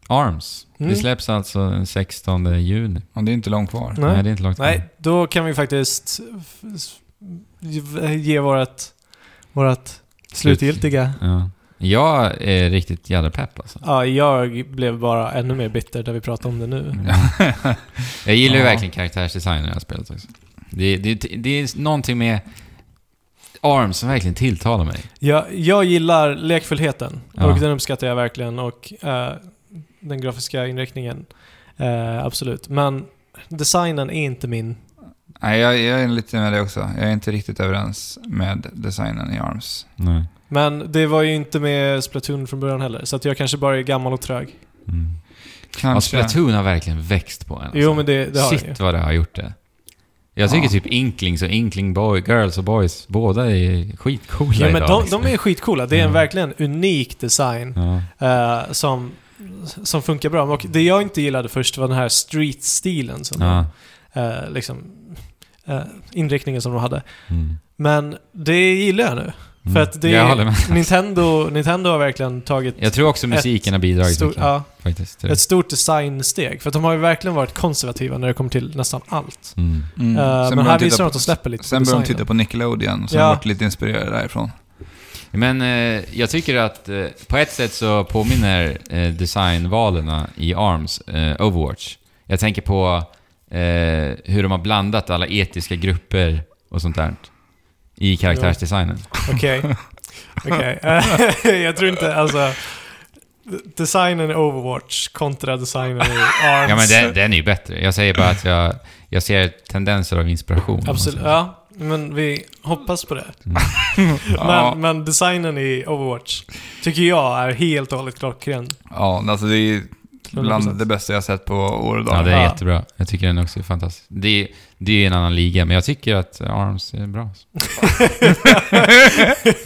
C: ARMS.
A: Mm.
C: Det släpps alltså den 16 juni.
B: Och det är inte långt kvar.
C: Nej,
A: Nej.
C: det är inte långt
A: Nej,
C: kvar.
A: då kan vi faktiskt f- s- ge vårat, vårat slutgiltiga...
C: Ja. Jag är riktigt jävla pepp alltså.
A: Ja, jag blev bara ännu mer bitter när vi pratade om det nu.
C: Jag gillar ju
B: Ja.
C: verkligen karaktärsdesignen i det här spelet också. Det, det, det är någonting med ARMS som verkligen tilltalar mig.
A: Jag, jag gillar lekfullheten
C: Ja.
A: och den uppskattar jag verkligen och eh, den grafiska inriktningen. eh, absolut. Men designen är inte min.
B: Nej, jag, jag är lite med det också. Jag är inte riktigt överens med designen i ARMS.
C: Nej.
A: Men det var ju inte med Splatoon från början heller, så att jag kanske bara är gammal och trög.
C: Mm. Ja,
B: Kanske...
C: Splatoon har verkligen växt på en. Alltså.
A: Jo men det, det har jag ju.
C: Shit vad det har gjort det. Jag tycker
B: Ja.
C: typ Inklings och Inkling boy, Girls och Boys, båda är skitcoola
A: Ja, men
C: idag.
A: de,
C: liksom.
A: de är skitcoola. Det är en
C: Ja.
A: verkligen unik design
C: Ja.
A: eh, som, som funkar bra. Och det jag inte gillade först var den här street-stilen, som
C: Ja.
A: eh, liksom, eh, inriktningen som de hade.
C: Mm.
A: Men det gillar jag nu.
C: Mm.
A: För att det
C: jag
A: är-
C: håller med.
A: Nintendo, Nintendo har verkligen tagit
C: Jag tror också musiken har bidragit
A: stor,
C: mycket,
A: ja,
C: faktiskt. till det.
A: ett stort designsteg. För att de har ju verkligen varit konservativa när det kommer till nästan allt.
C: Mm.
B: Mm.
A: Eh,
B: Sen
A: men
B: började
A: här
B: de titta
A: visar de
B: på-
A: att de släpper lite
B: Sen
A: på
B: började de
A: designen.
B: titta på Nickelodeon, så
A: Ja.
B: de varit lite inspirerade därifrån.
C: Men eh, jag tycker att eh, på ett sätt så påminner eh, designvalen i ARMS eh, Overwatch. Jag tänker på eh, hur de har blandat alla etiska grupper och sånt där i karaktärsdesignen.
A: Okej. Okej. Eh, jag tror inte, alltså... Designen i Overwatch kontra designen i ARMS.
C: Ja, men den, den är ju bättre. Jag säger bara att jag, jag ser tendenser av inspiration. om man
A: Absolut.
C: säger.
A: Ja, men vi hoppas på det.
B: Mm. Ja.
A: Men, men designen i Overwatch tycker jag är helt och hållet klockren.
B: Ja, alltså det är bland
A: 100%.
B: det bästa jag har sett på år och dag.
C: Ja, det är
A: Ja.
C: jättebra. Jag tycker den också är fantastisk. Det, är- det är ju en annan liga, men jag tycker att ARMS är bra.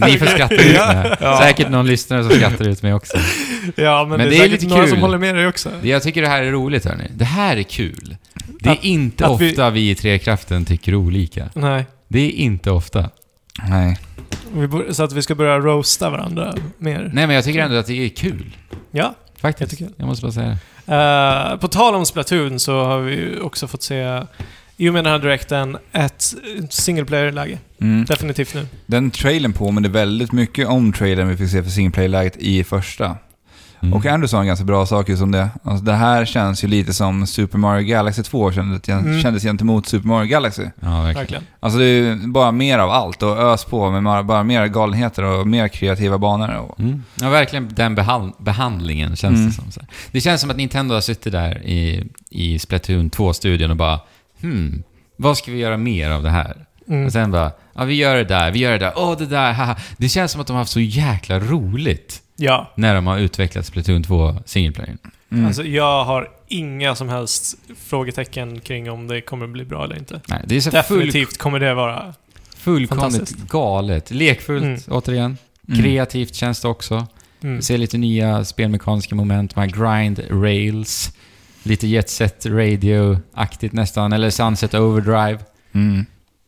C: Ni får skratta ut mig.
A: Ja.
C: Säkert någon lyssnare som skrattar ut mig också.
A: Ja, men, det är, säkert
C: lite
A: några
C: kul.
A: som håller med dig också.
C: Det- Jag tycker det här är roligt, hörni. Det här är kul. Det är
A: Att-
C: inte
A: att vi-
C: ofta vi... i Trekraften tycker olika.
A: Nej.
C: Det är inte ofta.
B: Nej.
A: Vi bor- så att vi ska börja roasta varandra mer.
C: Nej, men jag tycker ändå att det är kul.
A: Ja.
C: Faktiskt.
A: Jag
C: Jag,
A: tycker-
C: måste bara säga det.
A: Eh, på tal om Splatoon så har vi ju också fått se, i och med den här direkten, ett single player-läge.
B: Mm.
A: Definitivt nu.
B: Den trailern påminner väldigt mycket om trailern vi fick se för singleplay-läget i första.
C: Mm.
B: Och Andrew sa en ganska bra sak just om det. Alltså, det här känns ju lite som Super Mario Galaxy 2 kändes,
A: Mm.
B: kändes gentemot Super Mario Galaxy.
C: Ja, verkligen.
A: Verkligen.
B: Alltså det är ju bara mer av allt och ös på med bara, bara mer galenheter och mer kreativa banor. Och,
C: Mm. Ja, verkligen den behand behandlingen känns
B: Mm.
C: det som. Så här. Det känns som att Nintendo har suttit där i, i Splatoon 2-studion och bara hmm, vad ska vi göra mer av det här?
A: Mm.
C: Och sen bara, ja vi gör det där, vi gör det där, åh det där, haha. Det känns som att de har haft så jäkla roligt
A: Ja.
C: när de har utvecklat Splatoon 2 single player.
B: mm.
A: Alltså, jag har inga som helst frågetecken kring om det kommer bli bra eller inte.
C: Nej, det är så Alltså, full,
A: Definitivt kommer det vara...
C: fullkomligt
A: Fantastiskt.
C: galet. Lekfullt,
A: Mm.
C: återigen.
B: Mm.
C: Kreativt känns det också.
A: Mm.
C: Vi ser lite nya spelmekaniska moment, de här grind rails, lite jet set radio-aktigt nästan, eller sunset overdrive.
B: Mm.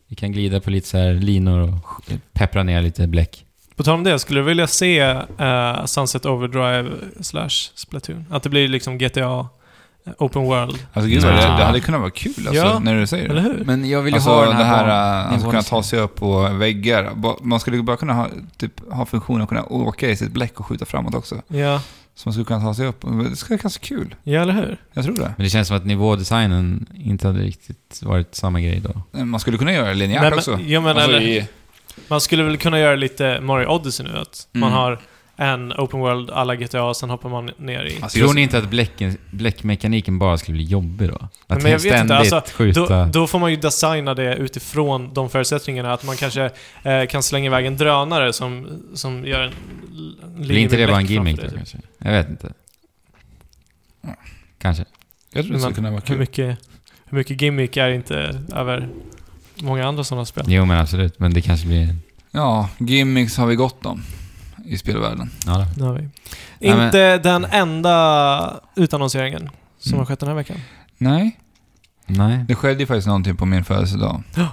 C: Vi kan glida på lite så här linor och peppra ner lite bläck.
A: På tal om det, skulle du vilja se eh, Sunset Overdrive slash Splatoon? Att det blir liksom GTA eh, Open World,
B: Alltså gud, vad det,
C: Ja.
B: det hade kunnat vara kul alltså,
A: Ja.
B: när du säger det.
A: eller hur?
C: Men jag vill ju
B: alltså
C: ha den
B: det
C: här...
B: här
C: banan-
B: att alltså, kunna
C: nivån-
B: ta sig upp på väggar. Ba- Man skulle bara kunna ha, typ, ha funktionen att kunna åka i sitt bläck och skjuta framåt också.
A: Ja. så
B: Så man skulle kunna ta sig upp. Det skulle vara ganska kul.
A: ja, eller hur?
B: Jag tror det.
C: Men det känns som att nivådesignen inte hade riktigt varit samma grej då.
B: Man skulle kunna göra det linjärt
A: Nej, men-
B: också.
A: ja, men
B: alltså,
A: eller-
B: i,
A: Man skulle väl kunna göra lite Mario Odyssey nu, att
B: Mm.
A: man har än Open World alla GTA och sen hoppar man ner i.
B: Alltså,
C: Tror
B: jag-
C: ni inte att bläcken, bläckmekaniken bara skulle bli jobbig då? Att
A: Men jag vet
C: ständigt
A: inte, alltså, Då,
C: skjuta...
A: då får man ju designa det utifrån de förutsättningarna. Att man kanske eh, kan slänga iväg en drönare som, som gör en... l-
C: blir
A: ligger
C: inte
A: med
C: det bara en
A: bläck framför
C: gimmick
A: dig, typ.
C: då kanske? Jag vet inte. Kanske.
B: Jag tror det skulle kunna vara
A: Hur
B: kul.
A: mycket, hur mycket gimmick är inte över många andra sådana spel?
C: Jo men absolut, men det kanske blir...
B: Ja, gimmicks har vi gott om i spelvärlden.
C: Ja, då.
A: Det har vi.
C: Nej, men-
A: inte den enda utannonseringen som
C: Mm.
A: har skett den här veckan.
B: Nej,
C: Nej.
B: det skedde ju faktiskt någonting på min födelsedag.
A: Ja.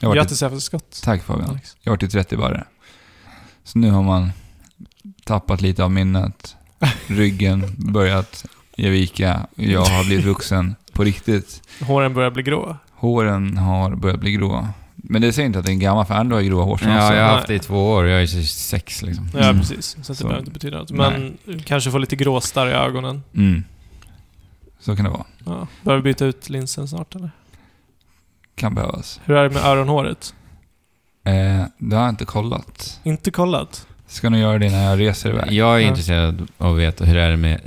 B: Jag har varit i,
A: Grattis Effer Scott.
B: tack Fabian.
A: Alex.
B: Jag har varit i 30 barre. Så nu har man tappat lite av minnet. Ryggen börjat ge vika. Jag har blivit vuxen på riktigt.
A: Håren börjar bli grå.
B: Håren har börjat bli grå. Men det säger inte att det är en gammal för andra har ju gråa hårstrån
C: Ja,
B: också.
C: jag har
A: Nej.
C: haft det i två år. Jag är 26 liksom.
A: Ja,
B: Mm.
A: precis. Så, att det
B: Så.
A: behöver inte betyda något. Men kanske få lite gråstarr i ögonen.
B: Mm. Så kan det vara.
A: Ja. Behöver byta ut linsen snart eller?
B: Kan behövas.
A: Hur är det med öronhåret?
B: Eh, det har jag inte kollat.
A: Inte kollat?
B: Ska nog göra det när jag reser iväg.
C: Jag är
A: Ja.
C: intresserad av att veta hur det är med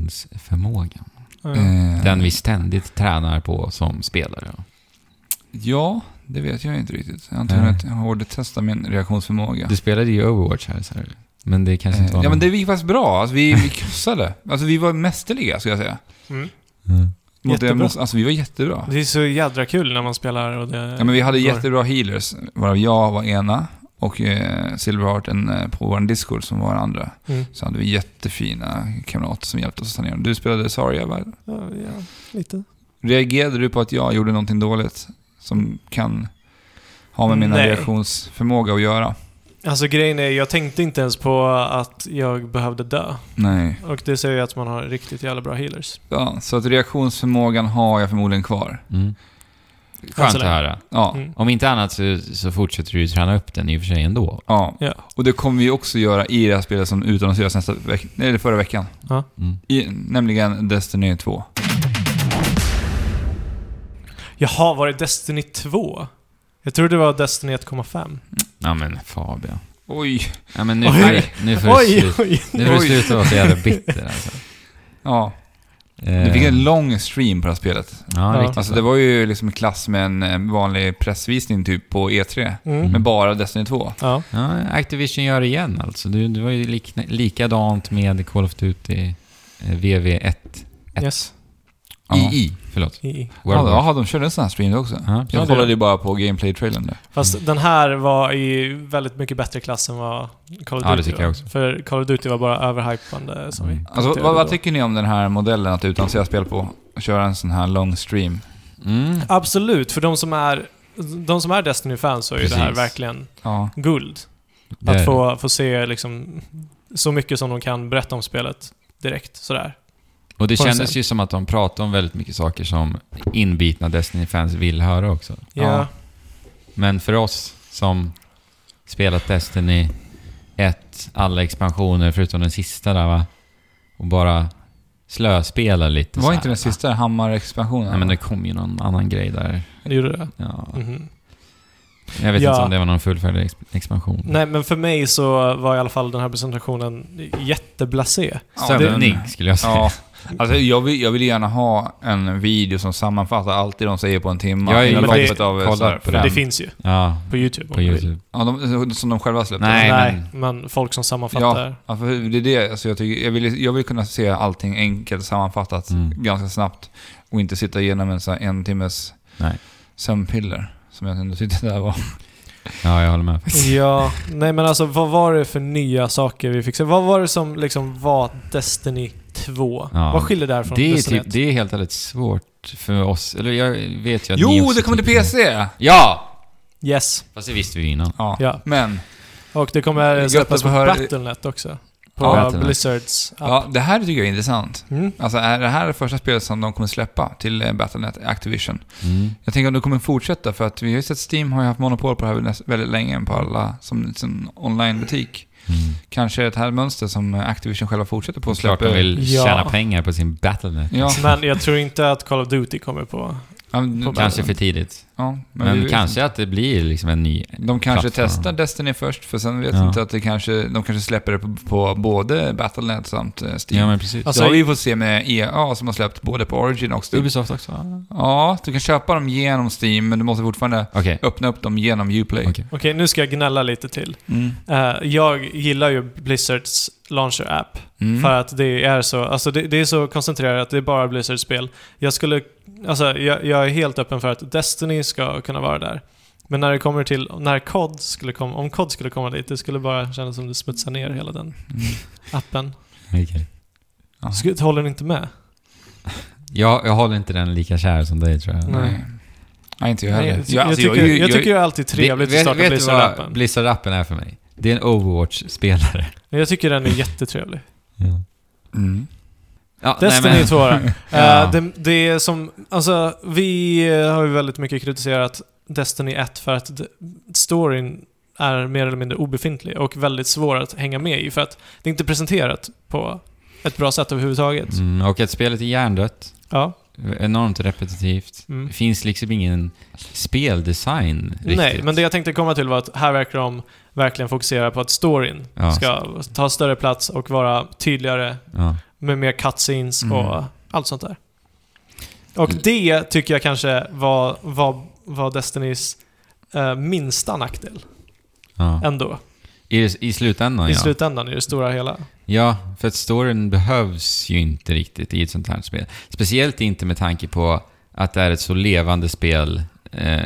C: reaktionsförmågan.
A: Ja.
B: Eh,
C: Den vi ständigt tränar på som spelare.
B: Ja, det vet jag inte riktigt. Jag har inte
C: Nej.
B: hunnit hårdtesta min reaktionsförmåga.
C: Du spelade ju Overwatch här, så här. men det kanske inte
B: Eh,
C: var
B: ja, men
C: någon-
B: det gick faktiskt bra. Alltså, vi, vi krossade. Alltså, vi var mästerliga, skulle jag säga.
A: Mm.
C: Mm.
B: Mot det,
A: Jättebra.
B: mot- alltså, vi var jättebra.
A: Det är så jädra kul när man spelar och det...
B: Ja, men vi hade
A: går.
B: jättebra healers, varav jag var ena och eh, Silverheart en, eh, på vår Discord som var den andra.
A: Mm.
B: Så hade vi jättefina kamrater som hjälpte oss att ta ner dem. Du spelade Zarya, va?
A: Ja, ja, lite.
B: Reagerade du på att jag gjorde någonting dåligt som kan ha med mina
A: Nej.
B: reaktionsförmåga att göra?
A: Alltså grejen är, jag tänkte inte ens på att jag behövde dö.
B: Nej.
A: Och det säger ju att man har riktigt jävla bra healers.
B: Ja, så att reaktionsförmågan har jag förmodligen kvar.
C: Mm. Skönt
A: Alltså,
C: att höra.
B: Ja.
A: Mm.
C: Om inte annat så, så fortsätter du ju träna upp den i och för sig ändå.
B: ja.
A: Ja.
B: Och det kommer vi också göra i det här spelet som utannonseras nästa veck eller förra veckan.
C: Mm.
B: I, nämligen Destiny 2.
A: Jaha, var det Destiny 2? Jag trodde det var Destiny 1,5.
C: Ja men Fabian.
B: Oj.
C: Ja, men nu,
A: Oj.
C: nu, nu får du
A: Oj,
C: sluta-
A: oj!
C: nu får du
B: Oj.
C: sluta vara så jävla bitter alltså.
B: Ja. Du
C: Eh,
B: fick en lång stream på det här spelet.
C: Ja,
A: Ja.
C: riktigt.
B: Alltså det var ju liksom i klass med en eh, vanlig pressvisning typ på E3.
A: Mm.
B: Men bara Destiny 2.
A: Ja.
C: Ja, Activision gör det igen alltså. Du, du var ju likna, likadant med Call of Duty eh, VV1. Ett.
A: Yes.
B: Ja.
C: II, förlåt.
A: I- I.
C: World
B: Ja,
C: War.
B: ja, de körde en sån här stream också.
C: Ja,
A: Ja,
B: Jag
A: det-
B: kollade ju bara på gameplay-trailern där.
A: Fast den här var i väldigt mycket bättre klass än vad Call of Duty
C: Ja, det tycker
A: var.
C: jag också.
A: För Call of Duty var bara överhypande som vi
B: Alltså, vad, vad tycker ni om den här modellen att utannonsera spel på? Och köra en sån här lång stream?
C: Mm.
A: Absolut, för de som är, de som är Destiny-fans så är ju det här
C: Precis.
A: verkligen
B: Ja.
A: guld.
C: Det
A: Att
C: är-
A: få, få se liksom så mycket som de kan berätta om spelet direkt sådär.
C: Och det
A: på en
C: kändes ju som att de pratade om väldigt mycket saker som inbitna Destiny-fans vill höra också.
A: Ja.
B: Ja.
C: Men för oss som spelat Destiny 1, alla expansioner förutom den sista där va? Och bara slöspelar lite
B: Var
C: så
B: inte
C: här,
B: den sista Hammar-expansionen?
C: Nej men det kom ju någon annan grej där.
A: Det gjorde det.
C: Ja.
A: Mhm.
C: Jag vet
A: Ja.
C: inte om det var någon fullfärdig exp- expansion.
A: Nej, men för mig så var i alla fall den här presentationen jätteblasé.
C: Sömnig skulle jag säga.
B: Ja. Alltså, jag, vill, jag vill gärna ha en video som sammanfattar allt det de säger på en timme.
C: Jag är
B: inom
A: ju- men det-
B: loppet av,
C: kollar
B: så här,
C: på
A: För det
C: den.
A: finns ju
C: Ja,
A: på YouTube. om
C: på
A: man vill.
C: YouTube.
B: ja, de, Som de själva släppte?
C: Nej,
A: Nej, men... folk som sammanfattar.
B: Ja, för det är det alltså, jag tycker. Jag vill, jag vill kunna se allting enkelt sammanfattat
C: Mm.
B: ganska snabbt. Och inte sitta igenom en, så här, en timmes
C: Nej.
B: sömnpiller. Som jag ändå tyckte det där var.
C: Ja, jag håller med faktiskt.
A: Ja, nej men alltså vad var det för nya saker vi fick se? Vad var det som liksom var Destiny 2?
C: Ja.
A: Vad skiljer det här från
C: Det är,
A: Destiny
C: typ,
A: 1?
C: det är helt ärligt svårt för oss. Eller jag vet ju att ni
B: Jo,
C: också
B: det kommer till
C: tycker
B: PC!
C: Ja!
A: Yes.
C: Fast det visste vi ju innan.
B: Ja.
A: Ja.
B: Men,
A: Och det kommer
B: Gött
A: släppas
B: att få
A: på
B: höra-
A: Battlenet också. På
C: Ja, Battlenet.
A: Blizzards app.
B: ja, det här tycker jag är intressant.
A: Mm.
B: Alltså, är det här det första spelet som de kommer släppa till eh, Battlenet Activision?
C: Mm.
B: Jag tänker om det kommer fortsätta, för att vi har ju sett Steam har ju haft monopol på det här näst- väldigt länge, på alla som sin onlinebutik.
C: Mm.
B: Kanske ett här mönster som eh, Activision själva fortsätter på att
C: Klart
B: släppa.
C: de vill
A: Ja.
C: tjäna pengar på sin Battlenet. Liksom.
B: Ja,
A: Men jag tror inte att Call of Duty kommer på...
B: ja, men-
A: På
C: Kanske för tidigt.
B: Ja,
C: Men,
B: vi vet
C: kanske att det blir liksom en ny...
B: inte. De kanske
C: plattform.
B: testar Destiny först, för sen vet
C: Ja.
B: inte att det kanske, de kanske släpper det på, på både Battlenet samt eh, Steam.
C: Ja, men precis.
A: Alltså,
B: det har vi ju fått se med EA som har släppt både på Origin och Steam.
C: Ubisoft också? Ah.
B: Ja, du kan köpa dem genom Steam, men du måste fortfarande
C: Okej.
B: öppna upp dem genom Uplay.
C: Okej.
A: Okej, nu ska jag gnälla lite till.
B: Mm.
A: Eh, jag gillar ju Blizzards Launcher App.
B: Mm.
A: För att det är så, alltså det, det är så koncentrerat, det är bara Blizzard-spel. Jag skulle, alltså jag, jag är helt öppen för att Destiny ska kunna vara där. Men när det kommer till, när COD skulle komma, om COD skulle komma dit, det skulle bara kännas som det smutsar ner hela den appen.
C: Okej.
B: Mm. Ja.
A: Sk- Håller ni inte med?
C: Jag, jag håller inte den lika kär som dig tror jag.
A: Nej.
B: Nej. Nej, inte jag heller.
A: jag, ty-
B: Ja,
A: jag,
B: alltså,
A: tycker,
B: är
A: jag,
B: ju-
A: tycker ju alltid trevligt
C: vet,
A: att starta
C: vet du vad
A: Blizzard-appen.
C: Blizzard-appen är för mig? Det är en Overwatch-spelare.
A: jag tycker den är jättetrevlig.
C: Ja.
B: Mm.
C: Ja,
A: Destiny
C: nej,
A: är svårare.
C: Ja.
A: Eh, det, det är som, alltså vi eh, har ju väldigt mycket kritiserat Destiny 1 för att d- storyn är mer eller mindre obefintlig och väldigt svår att hänga med i för att det är inte presenterat på ett bra sätt överhuvudtaget.
C: men, mm, och att spelet är hjärndött.
A: Ja.
C: Enormt repetitivt.
A: Mm.
C: Det finns liksom ingen speldesign riktigt.
A: Nej, men det jag tänkte komma till var att här verkar de verkligen fokusera på att storyn
C: Ja.
A: ska ta större plats och vara tydligare
C: Ja.
A: med mer cutscenes
B: Mm.
A: och allt sånt där. Och
C: Mm.
A: det tycker jag kanske var, var, var Destinys eh, minsta nackdel
C: Ja.
A: ändå.
C: I, I slutändan,
A: I
C: Ah, ja.
A: slutändan i det stora hela.
C: Ja, för att storyn behövs ju inte riktigt i ett sånt här spel. Speciellt inte med tanke på att det är ett så levande spel, eh,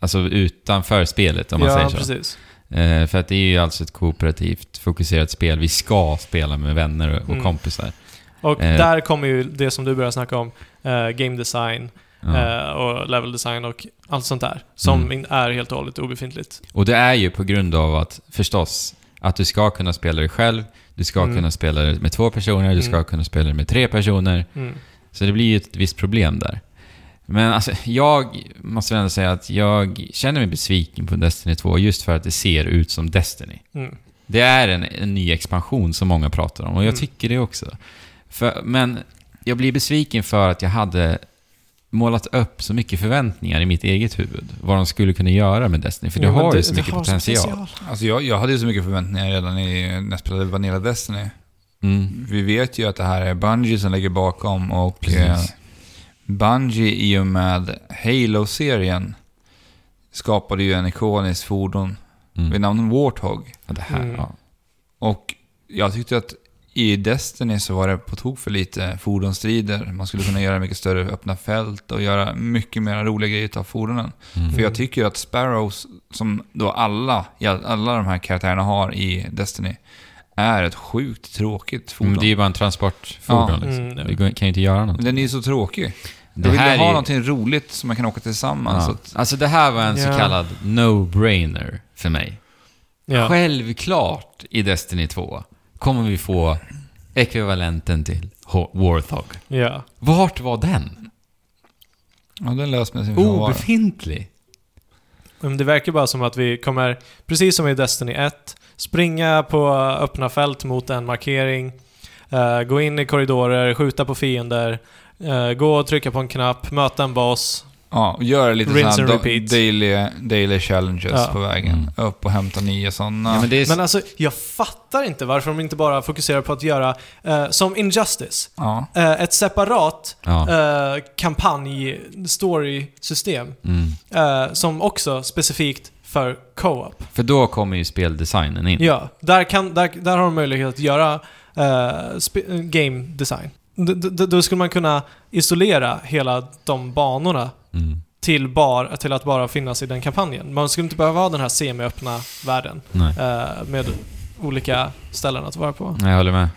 C: alltså utanför spelet om man
A: ja,
C: säger så.
A: precis.
C: Eh, för att det är ju alltså ett kooperativt, fokuserat spel. Vi ska spela med vänner och, och
A: Mm.
C: kompisar.
A: Och
C: Eh.
A: där kommer ju det som du började snacka om, eh, game design
C: Ja.
A: eh, och level design och allt sånt där. Som
C: Mm.
A: in- är helt och hållet obefintligt.
C: Och det är ju på grund av att, förstås, att du ska kunna spela det själv, du ska
A: Mm.
C: kunna spela det med två personer, du ska
A: Mm.
C: kunna spela det med tre personer.
A: Mm.
C: Så det blir ju ett visst problem där. Men alltså, jag måste väl ändå säga att jag känner mig besviken på Destiny 2 just för att det ser ut som Destiny.
A: Mm.
C: Det är en, en ny expansion som många pratar om och jag
A: Mm.
C: tycker det också. För, men jag blir besviken för att jag hade målat upp så mycket förväntningar i mitt eget huvud. Vad de skulle kunna göra med Destiny, för det
A: Jo, men
C: har ju
A: det-
C: så
A: det
C: mycket
A: har
C: potential.
B: Alltså jag, jag hade ju så mycket förväntningar redan i, när jag spelade Vanilla Destiny.
C: Mm.
B: Vi vet ju att det här är Bungie som ligger bakom och
C: Precis.
B: eh, Bungie i och med Halo-serien skapade ju en ikonisk fordon vid
C: Mm.
B: namn Warthog.
C: Ja, Det här,
A: Mm.
C: ja.
B: Och jag tyckte att i Destiny så var det på tok för lite fordonsstrider. Man skulle kunna göra mycket större öppna fält och göra mycket mer roliga grejer utav fordonen.
C: Mm.
B: För jag tycker ju att Sparrows, som då alla, alla de här karaktärerna har i Destiny, är ett sjukt tråkigt fordon.
C: Men det är ju bara en transportfordon
B: Ja.
C: liksom.
A: Mm, det-
C: Det går- kan ju inte göra något.
B: Men Den är ju så tråkig.
C: Det
B: jag vill ju
C: här
B: ha
C: är ju-
B: någonting roligt som man kan åka tillsammans. Så
C: Ja.
B: att,
C: Alltså det här var en så
A: Ja.
C: kallad no-brainer för mig.
A: Ja.
C: Självklart i Destiny 2 kommer vi få ekvivalenten till Ho- Warthog.
A: ja.
C: Vart var den?
B: ja, den löser
C: Oh,
B: med sin frånvaro.
C: Obefintlig.
A: Men det verkar bara som att vi kommer, precis som i Destiny 1, springa på öppna fält mot en markering, eh, gå in i korridorer, skjuta på fiender, eh, gå och trycka på en knapp, möta en boss.
B: Ja, och göra lite
A: Rinse
B: sådana
A: and repeat.
B: daily, daily challenges
A: Ja.
B: på vägen.
C: Mm.
B: Upp och hämta nya sådana.
C: Ja, men det är...
A: Men alltså, jag fattar inte varför de inte bara fokuserar på att göra, eh, som Injustice,
B: ja.
A: eh, ett separat
C: ja.
A: eh, kampanj-story-system
C: Mm.
A: eh, som också specifikt för co-op.
C: För då kommer ju speldesignen in.
A: Ja, där, kan, där, där har de möjlighet att göra eh, spe- eh, game design. D- d- då skulle man kunna isolera hela de banorna
C: Mm.
A: till, bar, till att bara finnas i den kampanjen. Man skulle inte behöva ha den här semiöppna världen
C: Nej.
A: eh, med olika ställen att vara på.
C: Nej, jag håller med.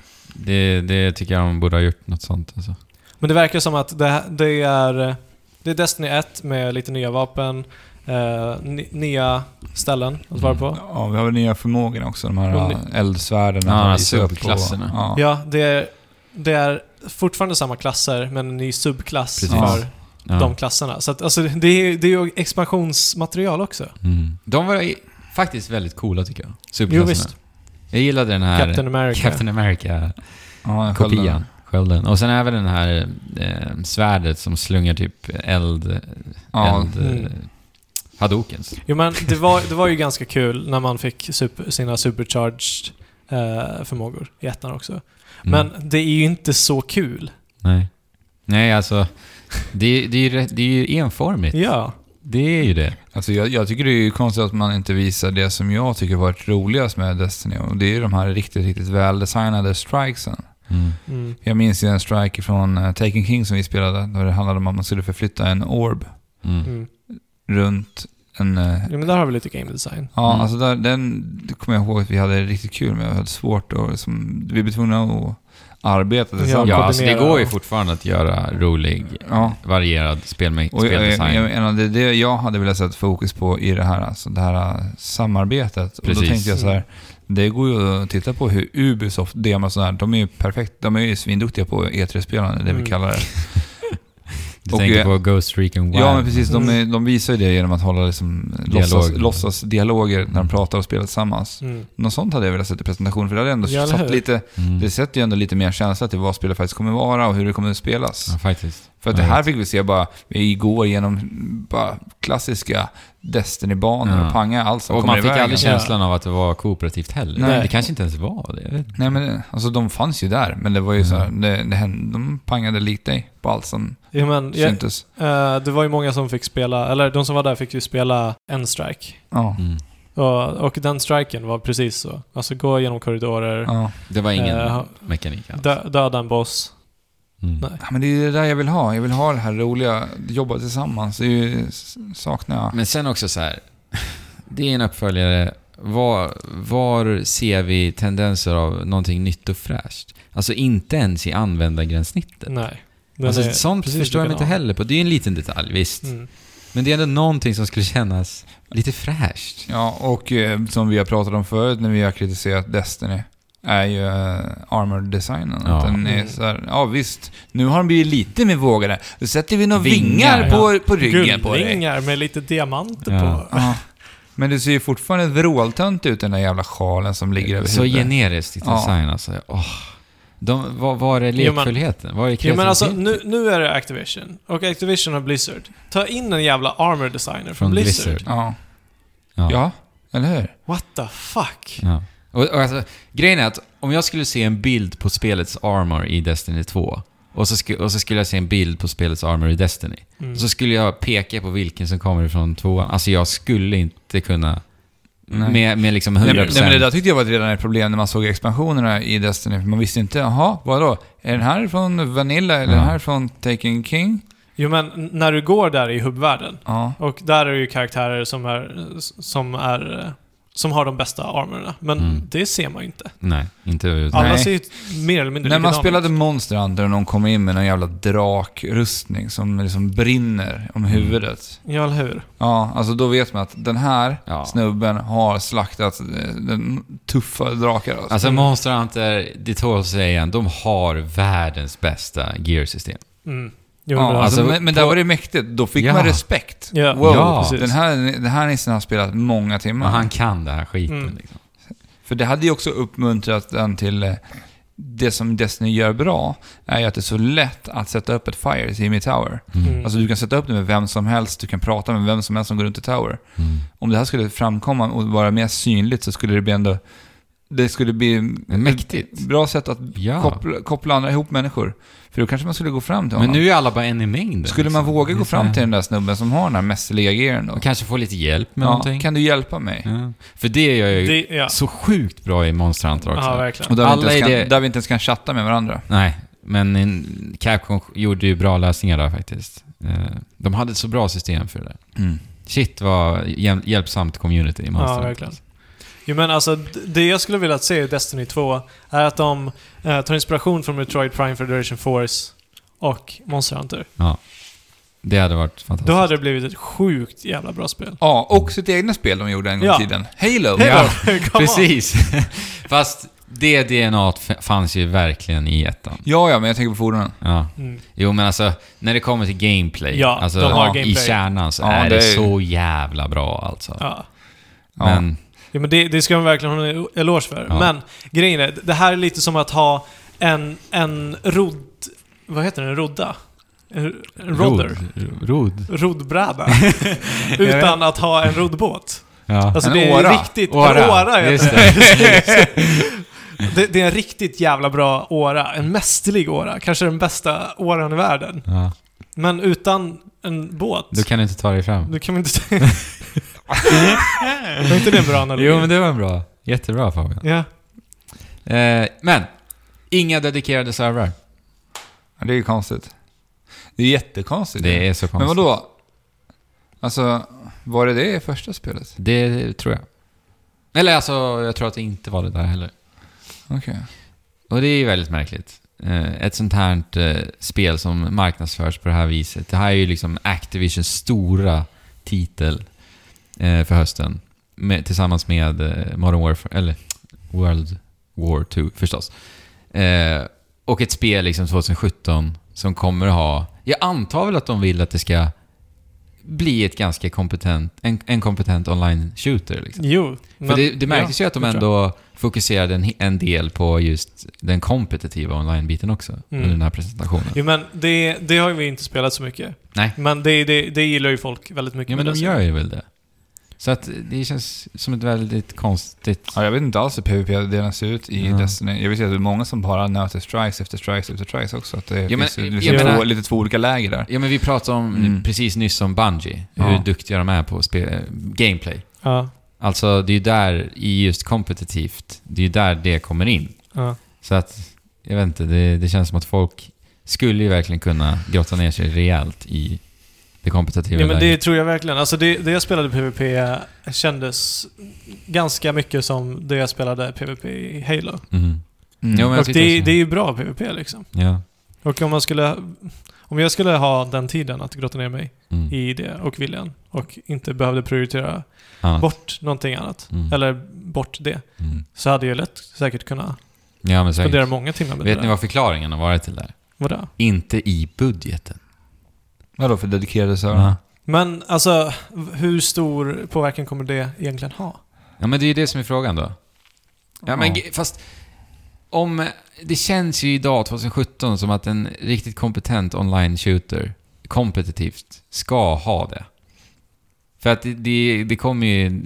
C: Det, det tycker jag de borde ha gjort något sånt. Alltså.
A: Men det verkar som att det, det, är, det är Destiny 1 med lite nya vapen, eh, ny- nya ställen att
C: Mm.
A: vara på.
B: ja, vi har väl nya förmågorna också. De här
A: Och ni-
B: ja, eldsvärden.
C: Ja, alltså
B: att visa upp och-
C: subklasserna.
B: Ja.
A: Ja, det är, det är fortfarande samma klasser men en ny subklass
C: Precis.
A: för
C: Ja.
A: de klasserna. Så att, alltså, det, är, det är ju expansionsmaterial också.
C: Mm. de var i- faktiskt väldigt coola tycker jag.
A: Jo,
C: Superklasserna.
A: visst.
C: Jag gillade den här
A: Captain America.
C: Captain America
B: Ja, jag sköljde
C: Kopian.
B: den.
C: Skölden. Och sen även den här eh, svärdet som slungar typ eld,
B: Ja,
C: eld eh,
A: Mm.
C: Hadokens.
A: Jo men det var, det var ju ganska kul när man fick super, sina supercharged eh, förmågor i ettan också.
C: Mm.
A: Men det är ju inte så kul.
C: Nej. Nej, alltså. Det, det, är ju rätt, det är ju enformigt.
A: Ja.
C: Det är ju det.
B: Alltså jag, jag tycker det är ju konstigt att man inte visar det som jag tycker varit roligast med Destiny. Och det är ju de här riktigt, riktigt väldesignade strikesen.
C: Mm.
A: Mm.
B: Jag minns ju en strike från eh, Taken King som vi spelade, där det handlade om att man skulle förflytta en orb
C: Mm.
A: Mm.
B: runt en... eh,
A: Ja, men där har vi lite game design.
B: Ja,
C: Mm.
B: alltså där, den det kommer jag ihåg att vi hade riktigt kul med. Vi hade svårt och liksom, vi blev tvungna att arbeta
A: Ja,
B: tillsammans.
C: Ja, alltså det
A: koordinera
C: går ju
A: och-
C: fortfarande att göra rolig,
B: Ja.
C: varierad spelme-
B: Och jag, jag,
C: speldesign.
B: jag menar, det är det jag hade velat sätta fokus på i det här, alltså det här eh, samarbetet. Och då
C: Precis.
B: tänkte jag så här, det går ju att titta på hur Ubisoft, Dema och sådär, de är ju perfekt, de är ju svinduktiga på E3-spelande, det
A: Mm.
B: vi kallar det.
C: du
B: och
C: tänker
B: jag-
C: på Ghost Recon Wild.
B: Ja, men precis. De, är, de visar ju det genom att hålla liksom, låtsas, låtsas dialoger när de pratar och spelar tillsammans.
A: Mm.
B: Något sånt hade jag velat sätta i presentationen, för det hade ändå
A: Ja, eller
B: satt
A: hur?
B: lite,
C: Mm.
B: det sätter ju ändå lite mer känsla till vad spelet faktiskt kommer vara och hur det kommer att spelas.
C: Ja, faktiskt.
B: För att det
C: Ja,
B: här
C: vet.
B: fick vi se bara, vi går igenom bara klassiska Destiny-banor
C: Ja.
B: och panga allt som
C: Och
B: kommer
C: man fick
B: i vägen.
C: aldrig
A: känna-
C: känslan av att det var kooperativt heller.
A: Nej.
C: Det kanske inte ens var det. Jag vet inte.
B: Nej men alltså de fanns ju där, men det var ju
C: Mm.
B: så här, det, det hände, de pangade lite på allt som
A: Ja, men, jag,
B: syntes.
A: eh, det var ju många som fick spela, eller de som var där fick ju spela en strike.
B: Ja.
C: Mm.
A: Och, och den striken var precis så. Alltså gå genom korridorer,
B: Ja.
C: Det var ingen
A: Eh,
C: mekanik alls.
A: dö, döda en boss.
C: Mm.
A: nej.
B: ja, men det är det där jag vill ha. Jag vill ha det här roliga, jobba tillsammans. Det är ju, s- saknar jag.
C: Men sen också så här. Det är en uppföljare. Var, var ser vi tendenser av någonting nytt och fräscht? Alltså inte ens i användargränssnittet.
A: Mm. Nej. Den
C: Alltså,
A: är
C: sånt
A: precis
C: förstår jag mig inte
A: likadan.
C: heller på. Det är ju en liten detalj, visst.
A: Mm.
C: Men det är ändå någonting som skulle kännas lite fräscht.
B: Ja, och eh, som vi har pratat om förut när vi har kritiserat Destiny är ju eh, armor-designen.
C: Ja.
B: Att Den är
A: Mm.
B: så här, ja visst, nu har de blivit lite mer vågade. Då sätter vi några vingar,
C: Vingar,
B: på, på ryggen på dig.
A: Guldringar med lite diamanter
C: Ja.
A: på.
B: Ja. Men det ser ju fortfarande vråltönt ut den där jävla sjalen som ligger över
C: Så
B: huvudet.
C: generiskt i
B: Ja.
C: design alltså. Åh. De, var, var är
A: Jo, men-
C: lekfullheten? Var är kreativiteten?
A: Ja, men alltså nu, nu är det Activision. Och Activision har Blizzard. Ta in en jävla armor designer från,
C: Från
A: Blizzard.
C: Blizzard.
B: Ja.
C: Ja.
B: ja, eller hur?
A: What the fuck?
C: Ja. Och, och alltså, grejen är att om jag skulle se en bild på spelets armor i Destiny 2 och så, sku, och så skulle jag se en bild på spelets armor i Destiny.
A: Mm.
C: Så skulle jag peka på vilken som kommer ifrån tvåan. Alltså jag skulle inte kunna...
B: Nej.
C: Med, med liksom 100%.
B: Nej, men- nej, men det där tyckte jag var redan ett problem när man såg expansionerna i Destiny. För man visste inte, jaha, vadå? Är den här från Vanilla eller är den
C: Ja.
B: här från Taken King?
A: Jo men n- när du går där i hubbvärlden.
B: Ja.
A: Och där är det ju karaktärer som är... Som är eh, som har de bästa armorna. Men
C: Mm. det
A: det ser man ju inte.
C: Nej, inte överhuvudtaget.
A: Alla
B: Nej.
A: ser ju mer eller mindre
B: När man
A: likadana ut.
B: spelade Monster Hunter och någon kom in med någon jävla drakrustning som liksom brinner om huvudet.
A: Ja, eller hur?
B: Ja, alltså då vet man att den här
C: Ja.
B: snubben har slaktat eh, den tuffa drakar. Alltså.
C: Alltså Monster Hunter, det tål att säga igen, de har världens bästa gearsystem.
A: Mm. Jo, men
B: ja,
A: bra.
B: alltså,
C: Alltså,
B: men, men där var det mäktigt. Då fick
C: Ja.
B: man respekt.
A: Ja.
B: Wow,
C: Ja.
A: precis.
B: den, här, den här nissen har spelat många timmar.
C: Men han kan den här skiten
A: Mm.
C: liksom.
B: För det hade ju också uppmuntrat den till... eh, Det som Destiny gör bra är ju att det är så lätt att sätta upp ett Fire i min Tower.
A: Mm.
B: Alltså du kan sätta upp det med vem som helst, du kan prata med vem som helst som går runt i Tower.
C: Mm.
B: Om det här skulle framkomma och vara mer synligt så skulle det bli ändå... Det skulle bli...
C: Men mäktigt.
B: ett Bra sätt att
C: Ja.
B: koppla, koppla andra, ihop människor. För då kanske man skulle gå fram till
C: Men
B: honom.
C: nu är alla bara en i mängden.
B: skulle man
C: liksom.
B: våga
C: Det är
B: gå
C: så
B: fram
C: här-
B: till den där snubben som har den här mästerliga gearen då?
C: Och kanske få lite hjälp med
B: Ja,
C: någonting.
B: kan du hjälpa mig?
C: Ja. För det gör jag ju
A: Det, ja.
C: så sjukt bra i Monster Hunter också.
A: ja, verkligen.
B: Och där, vi
C: Alla
B: inte ens
C: idéer-
B: kan, där vi inte ens kan chatta med varandra.
C: Nej, men en- Capcom gjorde ju bra lösningar där faktiskt. Eh, De hade ett så bra system för det där.
B: Mm.
C: Shit vad jäm- hjälpsamt community i Monster
A: Ja,
C: Hunter.
A: verkligen. Jo, men alltså, d- det jag skulle vilja se i Destiny 2 är att de eh, tar inspiration från Metroid Prime Federation Force och Monster Hunter.
C: Det hade varit fantastiskt.
A: Då hade det blivit ett sjukt jävla bra spel.
B: Ja, och sitt egna spel de gjorde en gång i
A: Ja.
B: tiden. Halo.
A: Hej
B: Ja.
A: då! Come on!
C: Precis. Fast det DNA t f- fanns ju verkligen i ettan.
B: ja, ja, men jag tänker på fordonen.
C: Ja.
A: Mm.
C: Jo, men alltså när det kommer till gameplay,
A: Ja,
C: alltså,
A: de
B: har
C: i
A: gameplay.
C: kärnan så
B: Ja,
C: är det,
B: det är-
C: så jävla bra alltså.
A: Ja.
B: Ja.
C: Men,
A: Ja, men det, det ska man verkligen ha en eloge för.
C: Ja.
A: Men grejen är, det här är lite som att ha en, en rodd... Vad heter den? En rodda? R- rodder.
C: Rod. Rod.
A: Rodbräda.
C: Jag vet.
A: utan att ha en roddbåt.
C: Ja.
A: Alltså
B: En
A: det är
B: åra.
A: riktigt... en åra heter
C: Just
A: det.
C: det.
A: Det, det är en riktigt jävla bra åra. En mästerlig åra. Kanske den bästa åran i världen.
C: ja.
A: Men utan en båt,
C: Du kan inte ta dig fram.
A: då kan man inte... Var inte det en bra analogi?
C: Jo, men det var en bra. Jättebra Fabian.
A: Ja.
C: Eh, men, inga dedikerade servrar.
B: Ja, Det är ju konstigt. Det är jättekonstigt.
C: Det är så
B: Men
C: konstigt.
B: vadå? Alltså, var det det i första spelet?
C: Det tror jag. Eller alltså, jag tror att det inte var det där heller.
B: Okej.
C: Och det är ju väldigt märkligt. Eh, Ett sånt här eh, spel som marknadsförs på det här viset. Det här är ju liksom Activisions stora titel eh, för hösten. Med, tillsammans med eh, Modern Warfare, eller World War 2 förstås. Eh, Och ett spel liksom 2017 som kommer att ha... Jag antar väl att de vill att det ska bli ett ganska kompetent, en, en kompetent online-shooter. Liksom.
A: Jo.
C: För det, det märktes ju att de
A: det tror jag.
C: ändå fokuserade en, en del på just den kompetitiva online-biten också under den här presentationen.
A: Mm. Jo, men det, det har ju vi inte spelat så mycket.
C: Nej.
A: Men det, det, det gillar ju folk väldigt mycket.
C: Ja, men
A: med
C: de
A: det.
C: gör ju väl det. Så att det känns som ett väldigt konstigt...
B: Ja, jag vet inte alls hur PVP-delen ser ut i
C: Ja.
B: Destiny. Jag vet ju att det är många som bara nöter strikes efter strikes efter strikes också. Att det
C: Ja, men-
B: finns ju liksom
A: jag
B: två,
C: menar-
B: lite två olika läger där.
C: Ja, men vi pratade om
B: Mm.
C: precis nyss om Bungie, hur
B: Ja.
C: duktiga de är på att spela, eh, gameplay.
A: Ja.
C: Alltså, det är ju där, i just kompetitivt, det är ju där det kommer in.
A: ja.
C: Så att, jag vet inte, det, det känns som att folk skulle ju verkligen kunna grotta ner sig rejält i det kompetitiva
A: ja men det
C: läget.
A: tror jag verkligen. Alltså det, det jag spelade PVP kändes ganska mycket som det jag spelade PVP i Halo.
C: Mm.
B: Mm.
C: Jo, men jag
A: Och
C: tyckte
A: det,
C: också-
A: det är ju bra PVP liksom.
C: Ja.
A: Och om man skulle... Om jag skulle ha den tiden att grotta ner mig
C: Mm.
A: i det och viljan och inte behövde prioritera
C: Annat.
A: bort någonting annat,
C: Mm.
A: eller bort det,
C: Mm.
A: så hade jag lätt säkert kunnat
C: Ja, men
A: spendera
C: säkert.
A: många timmar med det
C: Vet ni
A: där.
C: vad förklaringen har varit till det? här?
A: Vadå?
C: Inte i budgeten.
B: Vadå för dedikerade servrar?
C: Ja.
A: Men alltså, v- hur stor påverkan kommer det egentligen ha?
C: ja, men det är ju det som är frågan då. Ja, men
B: Ja.
C: ge- fast om... Det känns ju idag, 2017, som att en riktigt kompetent online-shooter, kompetitivt, ska ha det. För att det, det, det kommer ju...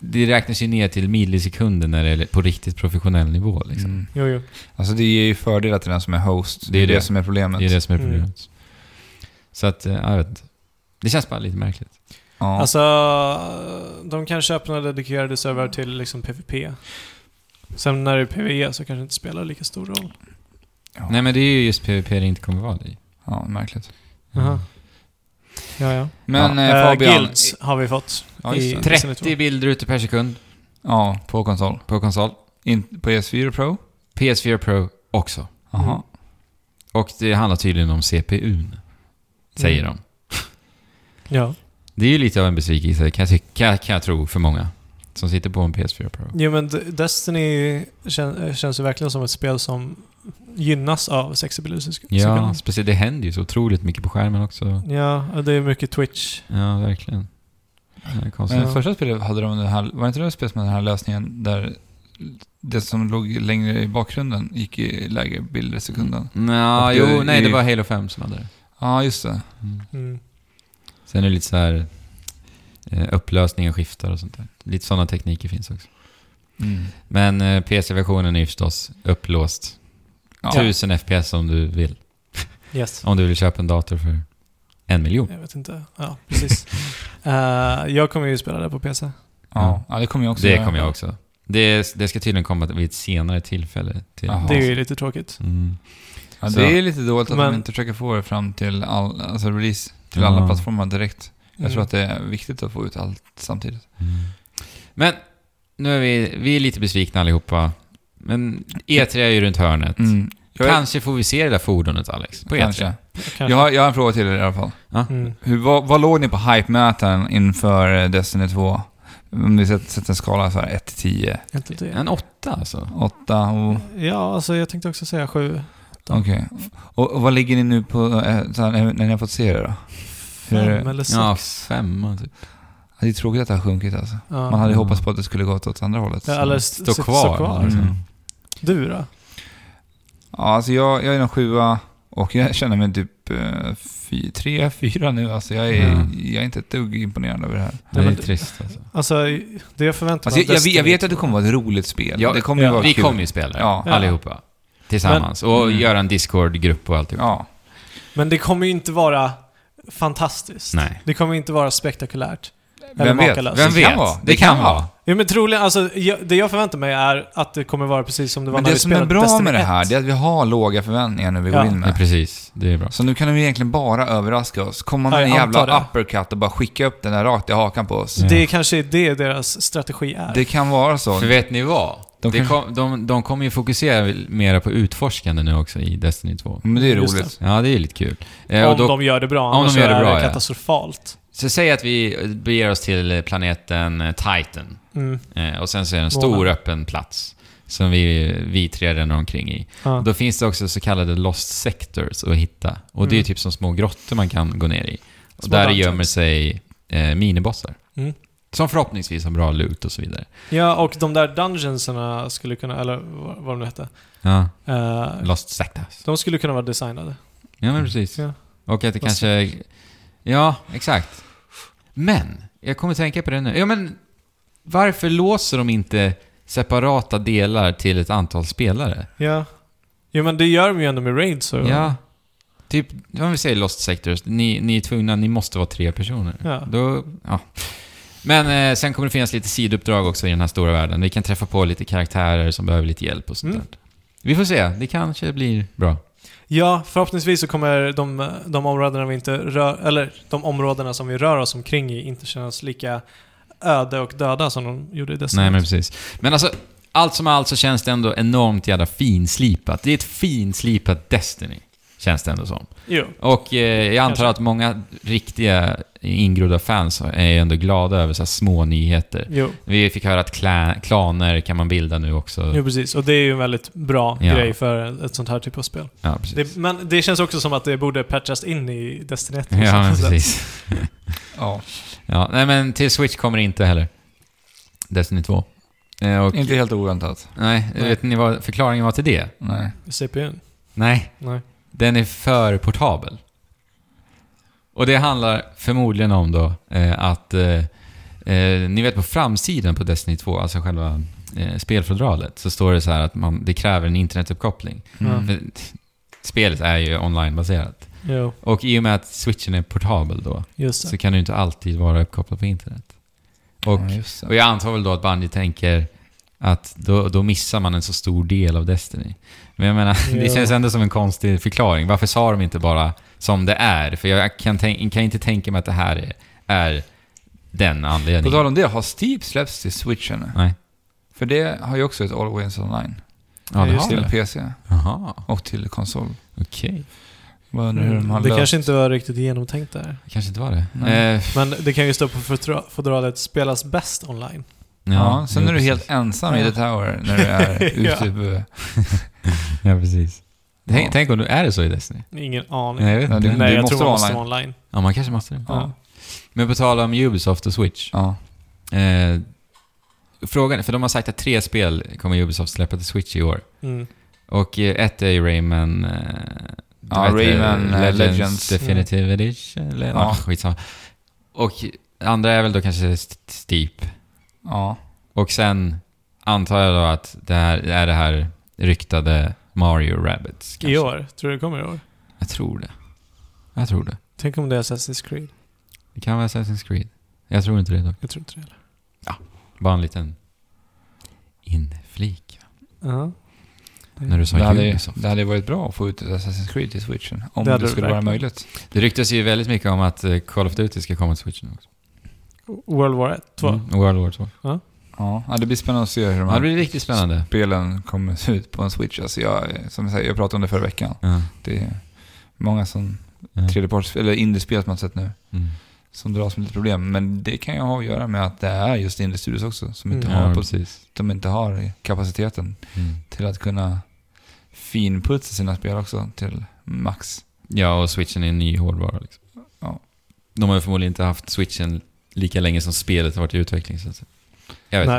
C: Det räknas ju ner till millisekunder när det är på riktigt professionell nivå. Liksom.
B: Mm.
A: Jo, jo.
B: Alltså det ger ju fördelar till den som är host. Det är det, som är problemet.
C: Det är det som är
A: Mm.
C: problemet. Så att, eh, jag vet inte. Det känns bara lite märkligt.
B: Ja.
A: Alltså, de kanske öppnar dedikerade servrar till liksom PVP. Sen när det är PVE så kanske det inte spelar lika stor roll.
B: Ja.
C: Nej, men det är ju just PVP det inte kommer vara i.
B: ja, märkligt.
A: Jaha. Ja, ja.
B: Men
C: Ja.
B: eh,
A: Eh,
B: Fabian...
A: Guilds har vi fått.
B: Ja, just det.
A: i-
C: 30 bilder ute per sekund
B: ja, på konsol.
C: på konsol.
B: In, på PS4 Pro?
C: PS4 Pro också.
B: Jaha.
A: Mm.
C: Och det handlar tydligen om CPUn, säger
A: Mm.
C: de.
A: Ja.
C: Det är ju lite av en besvikelse, kan jag, tycka, kan jag tro, för många som sitter på en PS4 Pro.
A: Jo, men D- Destiny kän- eh, känns ju verkligen som ett spel som gynnas av sexability.
C: Ja, speciellt det händer ju så otroligt mycket på skärmen också.
A: ja, det är mycket Twitch.
C: Ja, verkligen. Det är konstigt.
B: Men
A: Ja.
B: Eh, första spelet hade de den här, var det inte det spelet med den här lösningen där det som låg längre i bakgrunden gick i lägre bilder i sekunden?
C: Nja,
B: Och det
C: jo,
B: är-
C: nej, det var Halo 5 som hade det.
B: Ja, just det.
C: Mm.
A: Mm.
C: Sen är det lite så här eh, upplösningen skiftar och sånt där. Lite sådana tekniker finns också.
B: Mm.
C: Men eh, PC-versionen är ju förstås upplåst.
B: Ja.
C: 1000 FPS om du vill.
A: Yes.
C: Om du vill köpa en dator för en miljon.
A: Jag vet inte. Ja, precis. Eh, jag kommer ju spela det på PC.
B: Ja. ja, det kommer jag också
C: Det
B: göra.
C: kommer jag också. Det, det ska tydligen komma vid ett senare tillfälle. Till.
B: Jaha.
A: Det är ju lite tråkigt.
C: Mm.
B: Ja,
C: Så-
B: det är lite dåligt att
A: Men-
B: de inte försöker få det fram till all, alltså release till alla
C: Ja.
B: plattformar direkt. Jag tror
A: Mm.
B: att det är viktigt att få ut allt samtidigt.
C: Men nu är vi, vi är lite besvikna allihopa. Men E3 är ju runt hörnet.
B: Mm. Jag vet-
C: Kanske får vi se det där fordonet, Alex. På E E3.
B: Kanske.
A: Kanske.
B: Jag har, jag har en fråga till er i alla fall.
A: Mm.
B: Hur, vad, vad låg ni på hype-mätaren inför eh, Destiny 2? Om vi sätter sätter en skala så här 1 till 10.
A: Inte det.
C: En åtta alltså.
B: 8 och...
A: Ja, alltså jag tänkte också säga sju.
B: Okej. Och, och vad ligger ni nu på eh, så här, när när ni har fått se det då? Hur,
A: Fem eller sex.
C: Ja, femma typ.
B: det är tråkigt att det har sjunkit alltså.
A: Ja.
B: Man liksom hade ju
C: Mm.
B: hoppats på att det skulle gått åt andra hållet.
A: Ja,
B: Så-
A: eller s-
C: Stå
A: s-
C: kvar.
A: stå kvar.
C: liksom.
B: Mm.
A: Du då?
B: alltså Ja, alltså jag, jag är en sjua och jag känner mig typ typ eh, fy, tre, fyra nu. Alltså jag, är,
C: Mm.
B: jag är inte ett dugg imponerad över det här.
C: Det
A: Nej,
C: är
A: men-
C: trist alltså.
A: Alltså, det jag förväntar
B: Alltså
A: mig
B: jag, jag, vet- jag vet att det kommer vara ett roligt spel.
C: Ja,
B: det kommer ju
A: ja.
B: vara
C: Vi
B: kul.
C: kommer ju spela det,
B: Ja.
C: allihopa. Tillsammans. och
B: Mm.
C: göra en Discord-grupp och alltihop.
B: Ja.
A: Men det kommer ju inte vara fantastiskt.
C: Nej.
A: Det kommer inte vara spektakulärt. Eller
B: Vem vet?
A: makalöst.
C: Vem
B: Det
C: vet?
B: kan vara.
C: Det, kan vara.
A: Ja, men troligen, alltså, jag, det jag förväntar mig är att det kommer vara precis som det var
B: Men
A: när
B: det
A: vi
B: som är
A: spelade
B: bra
A: Destiny
B: med det här,
A: 1.
B: det är att vi har låga förväntningar nu vi
A: Ja.
B: går in
C: Nej,
B: med.
C: precis. Det är bra.
B: Så nu kan de egentligen bara överraska oss. Komma med
A: Ja,
B: en
A: jag antar
B: jävla
A: det.
B: uppercut och bara skicka upp den där rakt i hakan på oss.
C: Ja.
A: Det är kanske det deras strategi är.
B: Det kan vara så.
C: För vet ni vad?
B: De
C: De,
B: kanske-
C: kom, de, de kommer ju fokusera mera på utforskande nu också i Destiny 2.
B: Men det är
A: Just
B: roligt.
C: Ja, det är ju lite kul. Eh,
A: om
C: och då,
A: de gör det bra,
C: om de
A: annars
C: gör det
A: är
C: bra,
A: det
C: ja.
A: katastrofalt.
C: Så säg att vi beger oss till planeten eh, Titan.
A: Mm.
C: Eh, och sen så är det en stor
A: Månen.
C: öppen plats som vi, vi tre ränner omkring i.
A: Ja.
C: Då finns det också så kallade lost sectors att hitta. Och det är
A: Mm.
C: typ som små grottor man kan gå ner i. Och
A: Små
C: där
A: dungeons.
C: gömmer sig eh, minibossar.
A: Mm.
C: Som förhoppningsvis har bra loot och så vidare.
A: ja, och de där dungeonsarna skulle kunna, eller vad vad de nu hette,
C: Ja,
A: eh,
C: lost sectors.
A: de skulle kunna vara designade.
C: Ja, men precis.
A: Ja.
C: Och att det
A: Lost
C: kanske... Ja, exakt. Men, jag kommer tänka på det nu. Ja, men varför låser de inte separata delar till ett antal spelare?
A: Ja. Jo men det gör de ju ändå med Raid så.
C: Ja. Typ, om vi säger Lost Sectors, ni, ni är tvungna, ni måste vara tre personer.
A: Ja.
C: Då, ja. Men eh, sen kommer det finnas lite sidouppdrag också i den här stora världen. Vi kan träffa på lite karaktärer som behöver lite hjälp och sånt
A: Mm.
C: där. Vi får se, det kanske blir bra.
A: Ja, förhoppningsvis så kommer de, de områdena vi inte rör, eller de områdena som vi rör oss omkring i inte kännas lika öde och döda som de gjorde i Destiny.
C: Nej, men precis. Men alltså, allt som allt så känns det ändå enormt jävla finslipat. Det är ett finslipat Destiny, känns det ändå som.
A: Jo.
C: Och eh, jag antar att många riktiga ingrodda fans är ju ändå glada över så här små nyheter.
A: Jo.
C: Vi fick höra att kla- klaner kan man bilda nu
A: jo,
C: också.
A: precis. Och det är ju en väldigt bra
C: Ja.
A: grej för ett sånt här typ av spel.
C: Ja, precis.
A: Det, men det känns också som att det borde patchas in i Destiny liksom. 1. på
C: Ja,
A: samma
C: men
A: sätt.
C: precis.
B: Ja.
C: Ja, nej, men till Switch kommer det inte heller. Destiny 2. Eh, och,
B: Inte helt oväntat.
C: nej,
A: Nej.
C: vet ni vad förklaringen var till det?
B: Nej.
A: CPUn?
C: Nej,
A: Nej.
C: den är för portabel. Och det handlar förmodligen om då eh, att... Eh, eh, ni vet på framsidan på Destiny 2, alltså själva eh, spelfodralet, så står det så här att man, det kräver en internetuppkoppling.
A: Ja.
B: Mm.
C: För Spelet är ju onlinebaserat.
A: Jo,
C: Och i och med att switchen är portabel då,
A: just det.
C: så kan du inte alltid vara uppkopplad på internet. Och,
B: Ja, just
C: och
B: det.
C: jag antar väl då att Bungie tänker att då, då missar man en så stor del av Destiny. Men jag menar, det
A: Ja.
C: känns ändå som en konstig förklaring. Varför sa de inte bara som det är? För jag kan, tänk, kan inte tänka mig att det här är, är den
B: På
C: anledningen.
B: tal om det, har Steep släppts till Switch ännu?
C: Nej.
B: För det har ju också ett Always Online.
C: Ja,
A: Ja,
C: det
A: just
C: har
B: Till
C: det.
B: PC
C: Jaha,
B: och till konsol.
C: okej.
B: Jag undrar hur de har
A: Mm. Det
B: löst-
A: kanske inte var riktigt genomtänkt där.
C: Det kanske inte var det.
B: Nej.
C: Eh,
A: Men det kan ju stå på fotra- fodralet “Spelas bäst online”.
B: Ja, sen
C: jo,
B: är du
C: precis.
B: helt ensam i
A: Ja.
B: The Tower när du är
A: Ja.
B: ute.
C: Ja, precis.
B: Ja.
C: Tänk, tänk om du är det så i Destiny?
A: Ingen aning.
C: Nej, jag vet
B: Nej,
C: inte.
B: det-
A: Nej, jag
B: måste
A: tror man
B: vara
A: måste
B: online.
A: vara online.
C: Ja, man kanske måste det.
B: Ja.
C: Men på tal om Ubisoft och Switch.
B: ja.
C: Eh, frågan, för de har sagt att tre spel kommer Ubisoft släppa till Switch i år.
A: Mm.
C: Och eh, ett är ju Rayman... Eh,
B: Ja,
C: vad heter det?
B: Rayman, eh, Legends.
C: Definitive Edition. Eller,
B: Ja.
C: ja. skitsamma. Och andra är väl då kanske St- Steep.
B: ja.
C: Och sen antar jag då att det här är det här ryktade Mario Rabbids. kanske.
A: I år? Tror du det kommer i år?
C: Jag tror det. Jag tror det.
A: Tänk om det är Assassin's Creed?
C: Det kan vara Assassin's Creed. Jag tror inte det dock.
A: Jag tror inte det heller.
C: Bara en liten inflik.
A: Ja.
C: När du sa
B: Det hade, ju-
C: Ubisoft.
B: det hade ju varit bra att få ut ett Assassin's Creed till switchen. Om
A: Det
B: det,
A: hade det
B: skulle vara
A: verkligen.
B: möjligt.
C: Det ryktas ju väldigt mycket om att eh, Call of Duty ska komma till Switch nu också.
A: World War 1? 2?
C: Mm, World War 2.
B: Ja. ja, det blir spännande att se hur de
C: Ja, det
B: här
C: blir riktigt spännande.
B: spelen kommer se ut på en switch. Alltså jag, som jag, säger, jag pratade om det förra veckan.
C: Ja,
B: Det är många som
C: ja.
B: tredjeparts, eller indiespel som man sett nu,
C: Mm.
B: som dras med lite problem. Men det kan ju ha att göra med att det är just indie-studios också som inte,
A: Mm.
B: har
C: Ja,
B: på,
C: precis.
B: de inte har kapaciteten
C: Mm.
B: till att kunna finputsa sina spel också till max.
C: Ja, och Switchen är en ny hårdvara liksom.
B: Ja.
C: De har ju förmodligen inte haft Switchen lika länge som spelet har varit i utveckling. Så att säga. Jag vet
A: Nej.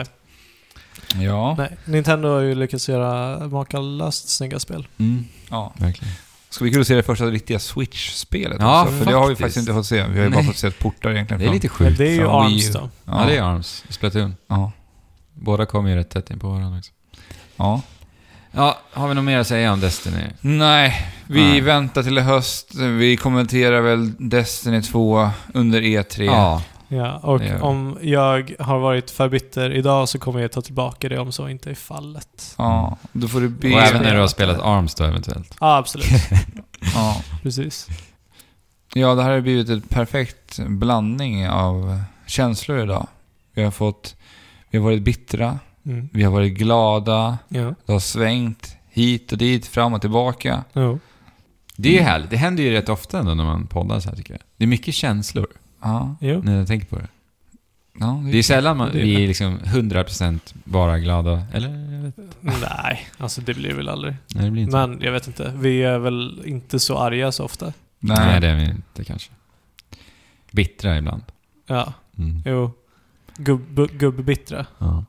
C: inte.
B: Ja.
A: Nej. Nintendo har ju lyckats göra makalöst snygga spel.
C: Mm.
B: ja.
C: Verkligen.
B: Ska vi kul att se det första riktiga Switch-spelet
C: Ja,
B: också? För det har vi
C: faktiskt.
B: faktiskt inte fått se. Vi har ju bara
C: Nej.
B: fått se portar egentligen.
C: Det är
B: från-
C: lite
A: Men
C: sjukt.
A: det är ju
B: Fan, vi-
A: Arms då.
C: Ja, det är Arms. Splatoon.
B: Ja.
C: Båda kom ju rätt tätt in på varandra också.
B: ja.
C: Ja, har vi något mer att säga om Destiny?
B: Nej, vi
C: Nej.
B: väntar till i höst. Vi kommenterar väl Destiny 2 under E E3.
C: Ja.
A: Ja, och
C: Det gör vi.
A: om jag har varit för bitter idag så kommer jag ta tillbaka det om så inte är fallet.
B: Ja, då får du be...
C: Och även när du har spelat Arms då eventuellt.
A: Ja, Ah, absolut.
B: Ja.
A: Precis.
B: ja, det här har blivit en perfekt blandning av känslor idag. Vi har fått... Vi har varit bittra,
A: Mm.
B: vi har varit glada,
A: Ja.
B: det har svängt hit och dit, fram och tillbaka.
A: Jo.
C: Det är ju härligt. Det händer ju rätt ofta ändå när man poddar så här tycker jag. Det är mycket känslor
B: Ja,
A: Jo.
C: när jag tänker på det.
B: ja
C: Det är sällan man,
A: Det är-
C: vi är liksom 100% bara glada. Eller? Jag vet inte.
A: Nej, alltså det blir väl aldrig.
C: Nej, det blir inte.
A: Men jag vet inte. Vi är väl inte så arga så ofta.
C: Nej.
B: Nej,
C: det är vi inte kanske. Bittra ibland.
A: Ja,
C: Mm.
A: jo. Gubb- Gubbbittra.
C: Ja.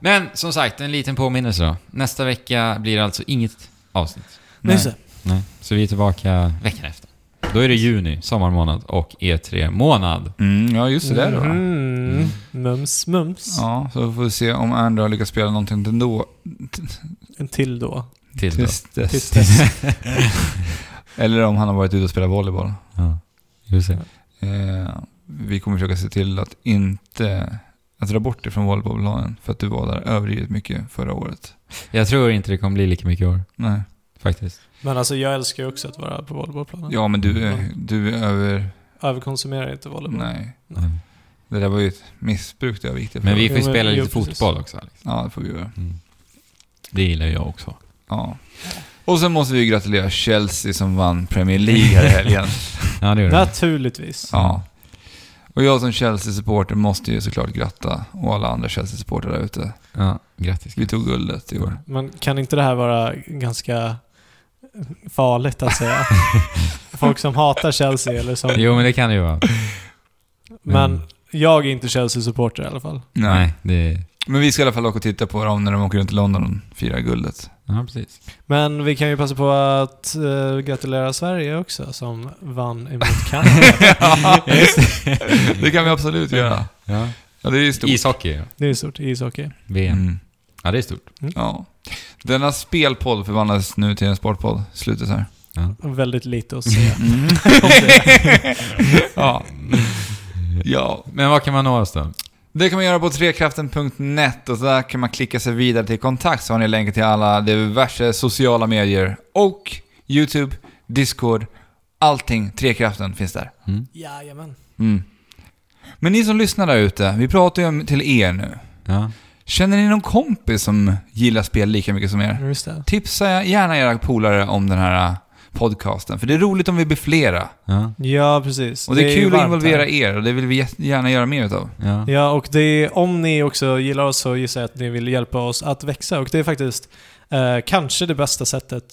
C: Men som sagt, en liten påminnelse då. Nästa vecka blir det alltså inget avsnitt.
A: Nej.
B: Nej.
A: så.
C: Nej. Så vi är tillbaka veckan efter. Då är det juni, sommarmånad och E E3-månad.
B: Mm, ja, just det där då.
A: Mm. Mums, mums.
B: Ja, så får vi se om Andra har lyckats spela någonting ändå.
A: En till då.
C: Till då.
B: Tills dess.
A: Tills dess.
B: Eller om han har varit ute och spelat volleyboll.
C: Ja. Just det.
B: Eh, vi kommer försöka se till att inte att dra bort det från volleybollplanen för att du var där överdrivet mycket förra året.
C: Jag tror inte det kommer bli lika mycket i år,
B: Nej.
C: faktiskt.
A: Men alltså jag älskar ju också att vara på volleybollplanen.
B: Ja, men du, är- du är över...
A: Överkonsumerar inte volleyboll.
B: Nej.
C: Mm.
B: Det där var ju ett missbruk det jag gick till
C: Men Mm. vi får ju
A: Jo, men-
C: spela
A: jo,
C: lite
A: precis.
C: fotboll också. liksom. Alex.
B: Ja, det får vi göra.
C: Det gillar jag också.
B: Ja. Och sen måste vi ju gratulera Chelsea som vann Premier League här i helgen.
C: Ja, det gör det.
A: Naturligtvis.
B: Ja. Och jag som Chelsea-supporter måste ju såklart gratta och alla andra Chelsea-supportrar där ute.
C: Ja, grattis.
B: Vi tog guldet i år.
A: Men kan inte det här vara ganska farligt att säga? Folk som hatar Chelsea eller som...
C: Jo, men det kan det ju vara.
A: Men
C: Mm.
A: jag är inte Chelsea-supporter i alla fall.
C: Nej, det...
B: Men vi ska i alla fall åka och titta på dem när de åker runt i London och firar guldet.
C: Ja, precis.
A: Men vi kan ju passa på att eh, gratulera Sverige också som vann emot Kanada.
B: det kan vi absolut göra.
C: Ja.
B: Ja, det är ju stort.
C: Ishockey, ja.
A: Det är stort, ishockey.
C: VM.
B: Mm.
C: Ja, det är stort.
B: Ja. Denna spelpodd förvandlas nu till en sportpodd. Slutet här.
A: Väldigt lite att säga.
B: ja. ja.
C: Men vad kan man nå oss då?
B: Det kan man göra på trekraften.net och där kan man klicka sig vidare till kontakt så har ni länkar till alla diverse sociala medier och YouTube, Discord, allting. Trekraften finns där.
A: Jajamän.
B: Mm. Men ni som lyssnar där ute, vi pratar ju om- till er nu.
C: Ja.
B: Känner ni någon kompis som gillar spel lika mycket som er?
A: Just det.
B: Tipsa gärna era polare om den här äh, podcasten, för det är roligt om vi blir flera.
C: Ja.
A: Ja, precis.
B: Och det är,
A: ju
B: kul att
A: varmt
B: involvera
A: här.
B: er och det vill vi jätte- gärna göra mer utav.
C: Ja.
A: Ja, och det är, om ni också gillar oss så gissar jag att ni vill hjälpa oss att växa. Och det är faktiskt eh, kanske det bästa sättet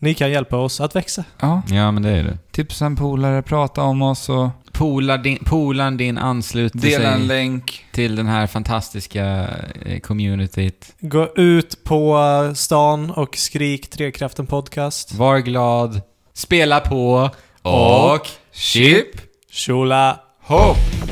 A: ni kan hjälpa oss att växa.
B: Ja,
C: ja, men det är det.
B: tipsa en polare, prata om oss och
C: Polar din, polaren din ansluter
B: dela en
C: sig
B: länk.
C: till den här fantastiska eh, communityt.
A: Gå ut på stan och skrik Trekraften Podcast.
C: Var glad, spela på
A: Och
C: chip
A: Shula!
C: hopp!